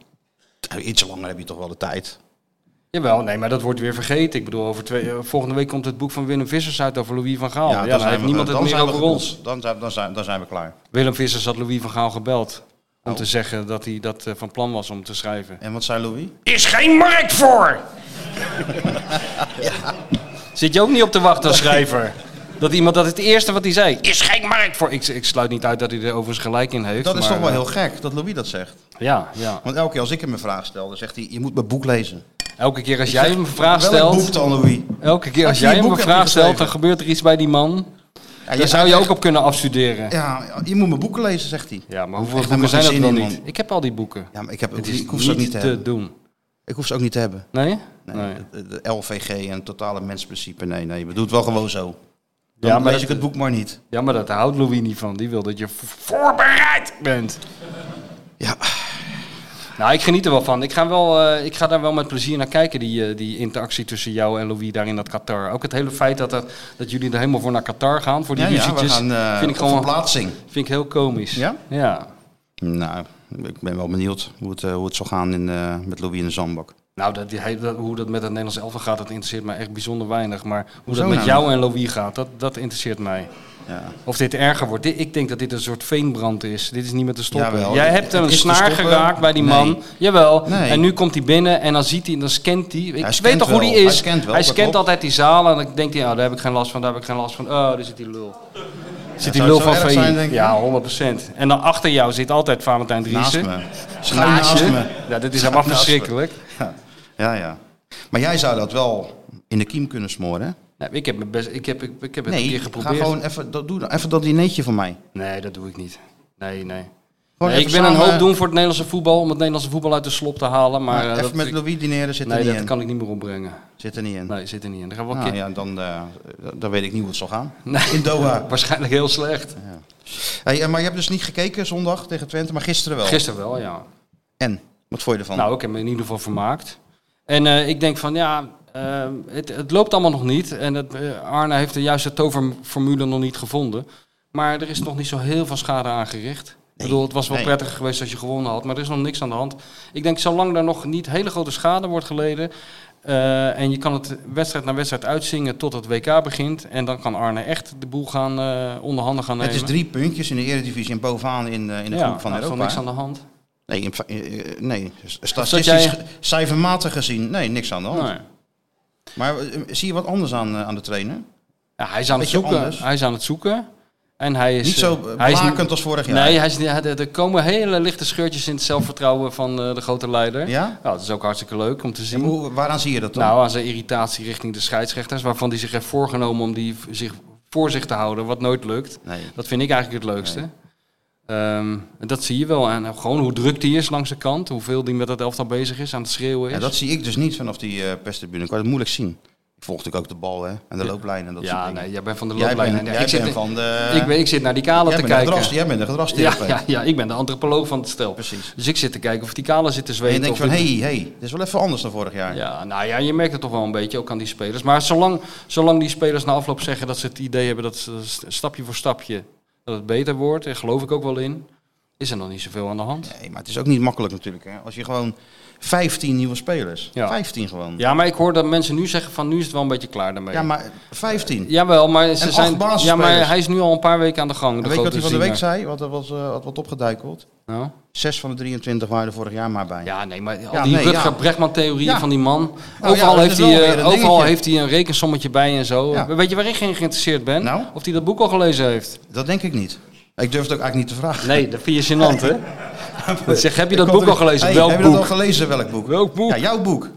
[SPEAKER 2] Nou, Iets langer heb je toch wel de
[SPEAKER 3] Oh,
[SPEAKER 2] tijd.
[SPEAKER 3] Jawel, nee, maar dat wordt weer vergeten. Ik bedoel, over twee, eh, volgende week komt het boek van Willem Vissers uit over Louis van Gaal. Ja, dan, heeft niemand het meer
[SPEAKER 2] zijn we
[SPEAKER 3] over
[SPEAKER 2] goed.
[SPEAKER 3] ons.
[SPEAKER 2] Dan zijn, dan, zijn, dan zijn we klaar.
[SPEAKER 3] Willem Vissers had Louis van Gaal gebeld.
[SPEAKER 2] Nou.
[SPEAKER 3] Om te zeggen dat hij dat eh, van plan was om te schrijven.
[SPEAKER 2] En wat zei Louis?
[SPEAKER 3] Is geen markt voor! Zit je ook niet op te wachten als schrijver? Dat iemand dat het eerste wat hij zei. Is geen markt voor! Ik, ik sluit niet uit dat hij er overigens gelijk in heeft.
[SPEAKER 2] Dat is
[SPEAKER 3] maar,
[SPEAKER 2] toch wel
[SPEAKER 3] eh,
[SPEAKER 2] heel gek dat Louis dat zegt.
[SPEAKER 3] Ja, ja.
[SPEAKER 2] Want elke keer als ik hem een vraag stel, dan zegt hij: Je moet mijn boek lezen.
[SPEAKER 3] Elke keer als jij hem een vraag
[SPEAKER 2] Welk boek
[SPEAKER 3] stelt.
[SPEAKER 2] dan, Louis?
[SPEAKER 3] Elke keer
[SPEAKER 2] Had
[SPEAKER 3] als
[SPEAKER 2] je die
[SPEAKER 3] jij hem een
[SPEAKER 2] boek heb je
[SPEAKER 3] vraag stelt, dan
[SPEAKER 2] geschreven?
[SPEAKER 3] gebeurt er iets bij die man.
[SPEAKER 2] Ja,
[SPEAKER 3] Daar zou je ook op kunnen afstuderen.
[SPEAKER 2] Ja, je moet mijn boeken lezen, zegt hij.
[SPEAKER 3] Ja, maar hoeveel
[SPEAKER 2] Echt, daar
[SPEAKER 3] boeken
[SPEAKER 2] mag
[SPEAKER 3] zijn
[SPEAKER 2] geen
[SPEAKER 3] dat
[SPEAKER 2] zin
[SPEAKER 3] wel
[SPEAKER 2] in,
[SPEAKER 3] niet?
[SPEAKER 2] man.
[SPEAKER 3] Ik heb al die boeken.
[SPEAKER 2] Ja, maar ik, heb,
[SPEAKER 3] Het
[SPEAKER 2] ik
[SPEAKER 3] is
[SPEAKER 2] hoef ze ook niet te, hebben.
[SPEAKER 3] doen.
[SPEAKER 2] Ik hoef ze ook niet te hebben.
[SPEAKER 3] Nee?
[SPEAKER 2] Nee,
[SPEAKER 3] Nee.
[SPEAKER 2] De, de LVG en het totale mensprincipe. Nee, nee, we doen het wel gewoon zo. Dan
[SPEAKER 3] Ja, maar
[SPEAKER 2] lees
[SPEAKER 3] dat-
[SPEAKER 2] ik het boek maar niet.
[SPEAKER 3] Ja, maar dat houdt Louis niet van. Die wil dat je v- voorbereid bent.
[SPEAKER 2] Ja.
[SPEAKER 3] Nou, ik geniet er wel van. Ik ga, wel, eh, ik ga daar wel met plezier naar kijken, die, eh, die interactie tussen jou en Louis daar in dat Qatar. Ook het hele feit dat, dat, dat jullie er helemaal voor naar Qatar gaan, voor die
[SPEAKER 2] Ja, ja, we
[SPEAKER 3] ruzietjes,
[SPEAKER 2] gaan eh
[SPEAKER 3] vind ik
[SPEAKER 2] op
[SPEAKER 3] gewoon
[SPEAKER 2] verplaatsing.
[SPEAKER 3] vind ik heel komisch.
[SPEAKER 2] Ja?
[SPEAKER 3] Ja.
[SPEAKER 2] Nou, ik ben wel benieuwd hoe het, eh, hoe het zal gaan in, eh, met Louis in de zandbak.
[SPEAKER 3] Nou, dat, die- hij- dat- hoe dat met het Nederlands elftal gaat, dat interesseert mij echt bijzonder weinig. Maar hoe
[SPEAKER 2] Hoezo
[SPEAKER 3] dat met
[SPEAKER 2] nou?
[SPEAKER 3] jou en Louis gaat, dat, dat interesseert mij.
[SPEAKER 2] Ja.
[SPEAKER 3] Of dit erger wordt. Dit- ik denk dat dit een soort veenbrand is. Dit is niet meer te stoppen.
[SPEAKER 2] Jawel,
[SPEAKER 3] Jij
[SPEAKER 2] het-
[SPEAKER 3] hebt
[SPEAKER 2] het
[SPEAKER 3] een
[SPEAKER 2] is te
[SPEAKER 3] snaar
[SPEAKER 2] stoppen.
[SPEAKER 3] geraakt bij die man.
[SPEAKER 2] Nee.
[SPEAKER 3] Jawel.
[SPEAKER 2] Nee.
[SPEAKER 3] En nu komt hij binnen en dan ziet hij, en dan scant hij. Ik
[SPEAKER 2] Hij
[SPEAKER 3] weet
[SPEAKER 2] scant
[SPEAKER 3] toch hoe
[SPEAKER 2] wel.
[SPEAKER 3] die is.
[SPEAKER 2] Hij scant wel, dat klopt.
[SPEAKER 3] altijd die zalen en dan denkt hij, oh, daar heb ik geen last van, daar heb ik geen last van. Oh, daar zit die lul. Zit die
[SPEAKER 2] zou het
[SPEAKER 3] lul
[SPEAKER 2] zo
[SPEAKER 3] van
[SPEAKER 2] erg
[SPEAKER 3] VI.
[SPEAKER 2] zijn, denk je?
[SPEAKER 3] ja, 100%. En dan achter jou zit altijd Valentijn
[SPEAKER 2] Naast
[SPEAKER 3] Driessen.
[SPEAKER 2] me. Schuin naast,
[SPEAKER 3] je.
[SPEAKER 2] me.
[SPEAKER 3] Ja, dit is helemaal
[SPEAKER 2] Naast me.
[SPEAKER 3] verschrikkelijk.
[SPEAKER 2] Ja, ja. Maar jij zou dat wel in de kiem kunnen smoren, hè?
[SPEAKER 3] Nou, ik heb, mijn best, ik heb, ik, ik heb het een
[SPEAKER 2] Nee,
[SPEAKER 3] keer
[SPEAKER 2] ga
[SPEAKER 3] geprobeerd.
[SPEAKER 2] gewoon even dat, doe, dan even dat dinertje van mij.
[SPEAKER 3] Nee, dat doe ik niet. Nee, nee.
[SPEAKER 2] Gewoon
[SPEAKER 3] Nee, ik
[SPEAKER 2] even
[SPEAKER 3] ben een
[SPEAKER 2] samen-
[SPEAKER 3] hoop doen voor het Nederlandse voetbal, om het Nederlandse voetbal uit de slop te halen. Maar eh,
[SPEAKER 2] even
[SPEAKER 3] dat,
[SPEAKER 2] met Louis dineren zit er
[SPEAKER 3] nee,
[SPEAKER 2] niet
[SPEAKER 3] dat
[SPEAKER 2] in.
[SPEAKER 3] kan ik niet meer opbrengen.
[SPEAKER 2] Zit er niet in.
[SPEAKER 3] Nee, zit er niet in. Dan gaan we wel
[SPEAKER 2] Nou
[SPEAKER 3] een keer-
[SPEAKER 2] ja, dan, eh, dan weet ik niet hoe het zal gaan.
[SPEAKER 3] Nee.
[SPEAKER 2] In Doha.
[SPEAKER 3] [laughs] Waarschijnlijk heel slecht.
[SPEAKER 2] Hey, eh, maar je hebt dus niet gekeken zondag tegen Twente, maar gisteren wel.
[SPEAKER 3] Gisteren wel, ja.
[SPEAKER 2] En? Wat vond je ervan?
[SPEAKER 3] Nou, ik heb me in ieder geval vermaakt. En eh, ik denk van, ja, eh, het, het loopt allemaal nog niet. En het, eh, Arne heeft de juiste toverformule nog niet gevonden. Maar er is nog niet zo heel veel schade aangericht. Ik bedoel, het was wel
[SPEAKER 2] Nee.
[SPEAKER 3] prettig geweest als je gewonnen had, maar er is nog niks aan de hand. Ik denk, zolang daar nog niet hele grote schade wordt geleden. eh, en je kan het wedstrijd na wedstrijd uitzingen tot het WK begint. En dan kan Arne echt de boel gaan eh onder handen gaan nemen.
[SPEAKER 2] Het is drie puntjes in de Eredivisie en bovenaan in, eh, in de
[SPEAKER 3] ja, nou,
[SPEAKER 2] groep van
[SPEAKER 3] er is nog
[SPEAKER 2] Europa.
[SPEAKER 3] niks aan de hand.
[SPEAKER 2] Nee, in fa- eh, eh, nee.
[SPEAKER 3] zat
[SPEAKER 2] statistisch,
[SPEAKER 3] jij-
[SPEAKER 2] ge- cijfermatig gezien, nee, niks aan de hand.
[SPEAKER 3] Nee.
[SPEAKER 2] Maar eh, zie je wat anders aan, eh, aan de trainer?
[SPEAKER 3] Ja, hij, is aan het
[SPEAKER 2] Beetje
[SPEAKER 3] zoeken.
[SPEAKER 2] anders.
[SPEAKER 3] hij is aan het zoeken. En hij is,
[SPEAKER 2] Niet zo
[SPEAKER 3] eh,
[SPEAKER 2] eh,
[SPEAKER 3] hij is
[SPEAKER 2] blakend als vorig jaar.
[SPEAKER 3] Nee, hij is, niet- hij- er komen hele lichte scheurtjes in het zelfvertrouwen van eh, de grote leider.
[SPEAKER 2] Ja?
[SPEAKER 3] dat is ook hartstikke leuk om te zien.
[SPEAKER 2] En hoe, waaraan zie je dat dan?
[SPEAKER 3] Nou, aan zijn irritatie richting de scheidsrechters, waarvan hij zich heeft voorgenomen om die v- zich voor zich te houden, wat nooit lukt.
[SPEAKER 2] nee.
[SPEAKER 3] Dat vind ik eigenlijk het leukste. Ehm, dat zie je wel. En gewoon hoe druk die is langs de kant, hoeveel die met dat elftal bezig is, aan het schreeuwen is.
[SPEAKER 2] Ja, dat zie ik dus niet vanaf die eh perstribune. Ik kan het moeilijk zien. Ik volg natuurlijk ook de bal hè, en de looplijn en dat
[SPEAKER 3] Ja,
[SPEAKER 2] soort dingen.
[SPEAKER 3] nee, jij bent van de
[SPEAKER 2] jij
[SPEAKER 3] looplijn.
[SPEAKER 2] bent,
[SPEAKER 3] Ja,
[SPEAKER 2] jij
[SPEAKER 3] ik, zit,
[SPEAKER 2] bent van de...
[SPEAKER 3] ik, ben- ik zit naar die kale
[SPEAKER 2] jij
[SPEAKER 3] te
[SPEAKER 2] bent de
[SPEAKER 3] kijken.
[SPEAKER 2] gras- jij bent de
[SPEAKER 3] ja,
[SPEAKER 2] gedragstherapeut.
[SPEAKER 3] ja, ja, ik ben de antropoloog van het stel.
[SPEAKER 2] Precies.
[SPEAKER 3] Dus ik zit te kijken of die kale zit te
[SPEAKER 2] En
[SPEAKER 3] zweten.
[SPEAKER 2] je denkt
[SPEAKER 3] of
[SPEAKER 2] van,
[SPEAKER 3] die-
[SPEAKER 2] hé, hey, hey, dit is wel even anders dan vorig jaar.
[SPEAKER 3] Ja, nou ja, je merkt het toch wel een beetje, ook aan die spelers. Maar zolang, zolang die spelers na afloop zeggen dat ze het idee hebben dat ze st- stapje voor stapje dat het beter wordt, en geloof ik ook wel in, is er nog niet zoveel aan de hand.
[SPEAKER 2] Nee, maar het is ook niet makkelijk natuurlijk. Hè. Als je gewoon 15 nieuwe spelers,
[SPEAKER 3] Ja.
[SPEAKER 2] 15 gewoon.
[SPEAKER 3] Ja, maar ik hoor dat mensen nu zeggen van nu is het wel een beetje klaar daarmee.
[SPEAKER 2] Ja, maar 15.
[SPEAKER 3] Jawel, maar ze
[SPEAKER 2] acht
[SPEAKER 3] zijn. Ja,
[SPEAKER 2] basisspelers.
[SPEAKER 3] maar hij is nu al een paar weken aan de gang. De
[SPEAKER 2] En weet je wat
[SPEAKER 3] grote
[SPEAKER 2] hij van de week
[SPEAKER 3] ziener.
[SPEAKER 2] zei? Want dat was, eh, had wat opgeduikeld.
[SPEAKER 3] Nou?
[SPEAKER 2] Zes van de 23 waren er vorig jaar maar bij.
[SPEAKER 3] Ja, nee, maar al
[SPEAKER 2] Ja,
[SPEAKER 3] die
[SPEAKER 2] nee,
[SPEAKER 3] Rutger
[SPEAKER 2] ja.
[SPEAKER 3] Brechtman-theorieën
[SPEAKER 2] Ja.
[SPEAKER 3] van die man.
[SPEAKER 2] Nou
[SPEAKER 3] overal
[SPEAKER 2] ja, dat
[SPEAKER 3] heeft,
[SPEAKER 2] is wel
[SPEAKER 3] hij,
[SPEAKER 2] weer
[SPEAKER 3] eh,
[SPEAKER 2] een
[SPEAKER 3] overal
[SPEAKER 2] dingetje.
[SPEAKER 3] heeft hij een rekensommetje bij en zo.
[SPEAKER 2] Ja.
[SPEAKER 3] Weet je waar ik geen geïnteresseerd ben?
[SPEAKER 2] Nou?
[SPEAKER 3] Of hij dat boek al gelezen heeft.
[SPEAKER 2] Dat denk ik niet. Ik durf het ook eigenlijk niet te vragen.
[SPEAKER 3] Nee, dat vind je gênant,
[SPEAKER 2] [laughs]
[SPEAKER 3] hè? Ik zeg, heb je dat
[SPEAKER 2] Ik kon
[SPEAKER 3] boek al
[SPEAKER 2] er-
[SPEAKER 3] gelezen?
[SPEAKER 2] Hey,
[SPEAKER 3] Welk
[SPEAKER 2] heb je
[SPEAKER 3] boek?
[SPEAKER 2] dat al gelezen? Welk boek?
[SPEAKER 3] [laughs] Welk boek?
[SPEAKER 2] Ja, jouw boek.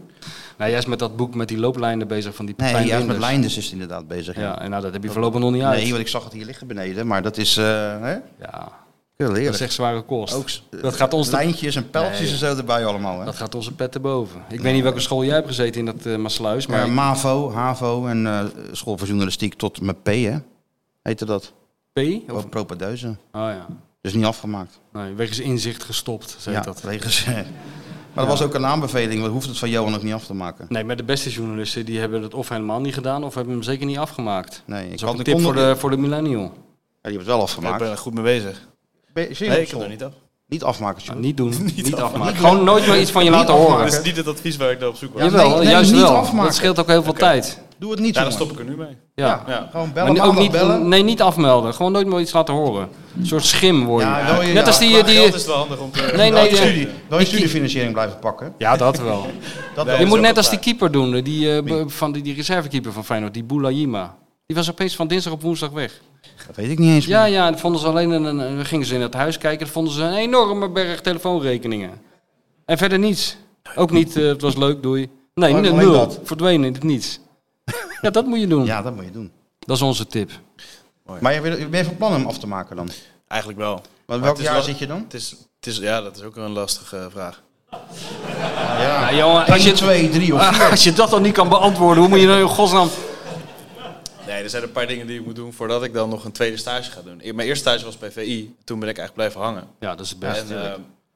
[SPEAKER 3] Nou, jij is met dat boek met die looplijnen bezig van die
[SPEAKER 2] Nee,
[SPEAKER 3] Pepijn
[SPEAKER 2] ja, met
[SPEAKER 3] Linders.
[SPEAKER 2] Leinders is het inderdaad bezig.
[SPEAKER 3] Ja, en nou, dat heb je voorlopig nog niet uit.
[SPEAKER 2] Nee, want ik zag het hier liggen beneden, maar dat is... eh hè?
[SPEAKER 3] ja,
[SPEAKER 2] Heel
[SPEAKER 3] dat is
[SPEAKER 2] eerlijk.
[SPEAKER 3] echt zware kost.
[SPEAKER 2] Ook, eh,
[SPEAKER 3] dat, gaat ons te-
[SPEAKER 2] Lijntjes en pijltjes
[SPEAKER 3] Nee.
[SPEAKER 2] en zo erbij allemaal. Hè?
[SPEAKER 3] dat gaat onze pet te boven. Ik weet niet welke school jij hebt gezeten in dat eh Maasluis, maar...
[SPEAKER 2] maar MAVO, HAVO en eh, School voor Journalistiek tot met P, hè? Heette dat?
[SPEAKER 3] P? Of,
[SPEAKER 2] Of propadeuse.
[SPEAKER 3] oh ja.
[SPEAKER 2] Dus niet afgemaakt.
[SPEAKER 3] Nee, wegens inzicht gestopt, zo heet
[SPEAKER 2] ja,
[SPEAKER 3] dat.
[SPEAKER 2] wegens- [laughs] maar dat was ook een aanbeveling, want hoeft het van Johan ook niet af te maken.
[SPEAKER 3] Nee, maar de beste journalisten die hebben het of helemaal niet gedaan of hebben hem zeker niet afgemaakt.
[SPEAKER 2] Nee, ik
[SPEAKER 3] Dat is ook
[SPEAKER 2] had een
[SPEAKER 3] een tip
[SPEAKER 2] kont-
[SPEAKER 3] voor de, voor de millennial.
[SPEAKER 2] Ja, die hebben het wel
[SPEAKER 4] ik
[SPEAKER 2] afgemaakt.
[SPEAKER 4] ben er goed mee bezig.
[SPEAKER 2] Ben je- zie je op
[SPEAKER 4] Nee, ik heb
[SPEAKER 2] school?
[SPEAKER 4] er niet af.
[SPEAKER 2] Niet afmaken, Sjoerd.
[SPEAKER 3] Nou, niet doen, niet, afmaken. Gewoon nooit meer iets van je
[SPEAKER 2] Niet
[SPEAKER 3] laten
[SPEAKER 2] afmaken.
[SPEAKER 3] horen.
[SPEAKER 4] Dat is niet het advies waar ik naar op zoek was.
[SPEAKER 2] Ja,
[SPEAKER 4] Ja,
[SPEAKER 3] Jawel,
[SPEAKER 2] nee, nee,
[SPEAKER 3] juist
[SPEAKER 2] niet
[SPEAKER 3] wel.
[SPEAKER 2] afmaken.
[SPEAKER 3] Dat scheelt ook heel veel tijd.
[SPEAKER 2] Doe het niet,
[SPEAKER 3] nou,
[SPEAKER 4] daar
[SPEAKER 2] jongen.
[SPEAKER 4] stop ik er nu mee.
[SPEAKER 3] Ja.
[SPEAKER 4] Ja.
[SPEAKER 2] Gewoon
[SPEAKER 3] Maar
[SPEAKER 2] bellen,
[SPEAKER 3] ook
[SPEAKER 2] maandag
[SPEAKER 3] niet,
[SPEAKER 2] bellen.
[SPEAKER 3] nee, niet afmelden. Gewoon nooit meer iets laten horen. Een soort schim worden.
[SPEAKER 2] Ja, wil je-
[SPEAKER 3] Net
[SPEAKER 2] ja,
[SPEAKER 3] als die...
[SPEAKER 4] Qua
[SPEAKER 3] die
[SPEAKER 4] geld is het wel handig om te...
[SPEAKER 3] nee, nee,
[SPEAKER 2] je
[SPEAKER 3] die-
[SPEAKER 2] studie, wil je studiefinanciering blijven pakken?
[SPEAKER 3] ja, dat wel.
[SPEAKER 2] Dat
[SPEAKER 4] Nee.
[SPEAKER 2] wel.
[SPEAKER 3] je
[SPEAKER 4] is
[SPEAKER 3] moet
[SPEAKER 4] ook
[SPEAKER 3] net
[SPEAKER 4] wel
[SPEAKER 3] als die keeper doen. Die, eh, be- van die, die reservekeeper van Feyenoord, die Boulajima. Die was opeens van dinsdag op woensdag weg.
[SPEAKER 2] Dat weet ik niet eens meer.
[SPEAKER 3] Ja, ja, dat vonden ze alleen een, een- we gingen ze in het huis kijken, dan vonden ze een enorme berg telefoonrekeningen. En verder niets. Ook niet, eh, het was leuk, doei. Nee,
[SPEAKER 2] Maar
[SPEAKER 3] n-
[SPEAKER 2] Oh, alleen
[SPEAKER 3] nul.
[SPEAKER 2] dat.
[SPEAKER 3] Verdwenen in het niets. Ja, dat moet je doen.
[SPEAKER 2] Ja, dat moet je doen.
[SPEAKER 3] Dat is onze tip.
[SPEAKER 2] Maar je wil- ben je van plan hem af te maken dan?
[SPEAKER 4] Eigenlijk wel.
[SPEAKER 2] Want
[SPEAKER 4] het
[SPEAKER 2] welk
[SPEAKER 4] is
[SPEAKER 2] jaar
[SPEAKER 4] wel-
[SPEAKER 2] zit je dan?
[SPEAKER 4] Het is, het is, ja, dat is ook een lastige eh, vraag.
[SPEAKER 2] Ja,
[SPEAKER 3] Nou, jongen, als je- [laughs] Ah.
[SPEAKER 2] 1, 2, 3 of 4.
[SPEAKER 3] Als je dat dan niet kan beantwoorden, hoe moet je nou in godsnaam...
[SPEAKER 4] Nee, er zijn een paar dingen die ik moet doen voordat ik dan nog een tweede stage ga doen. Mijn eerste stage was bij VI. Toen ben ik eigenlijk blijven hangen.
[SPEAKER 3] Ja, dat is het beste.
[SPEAKER 4] en eh,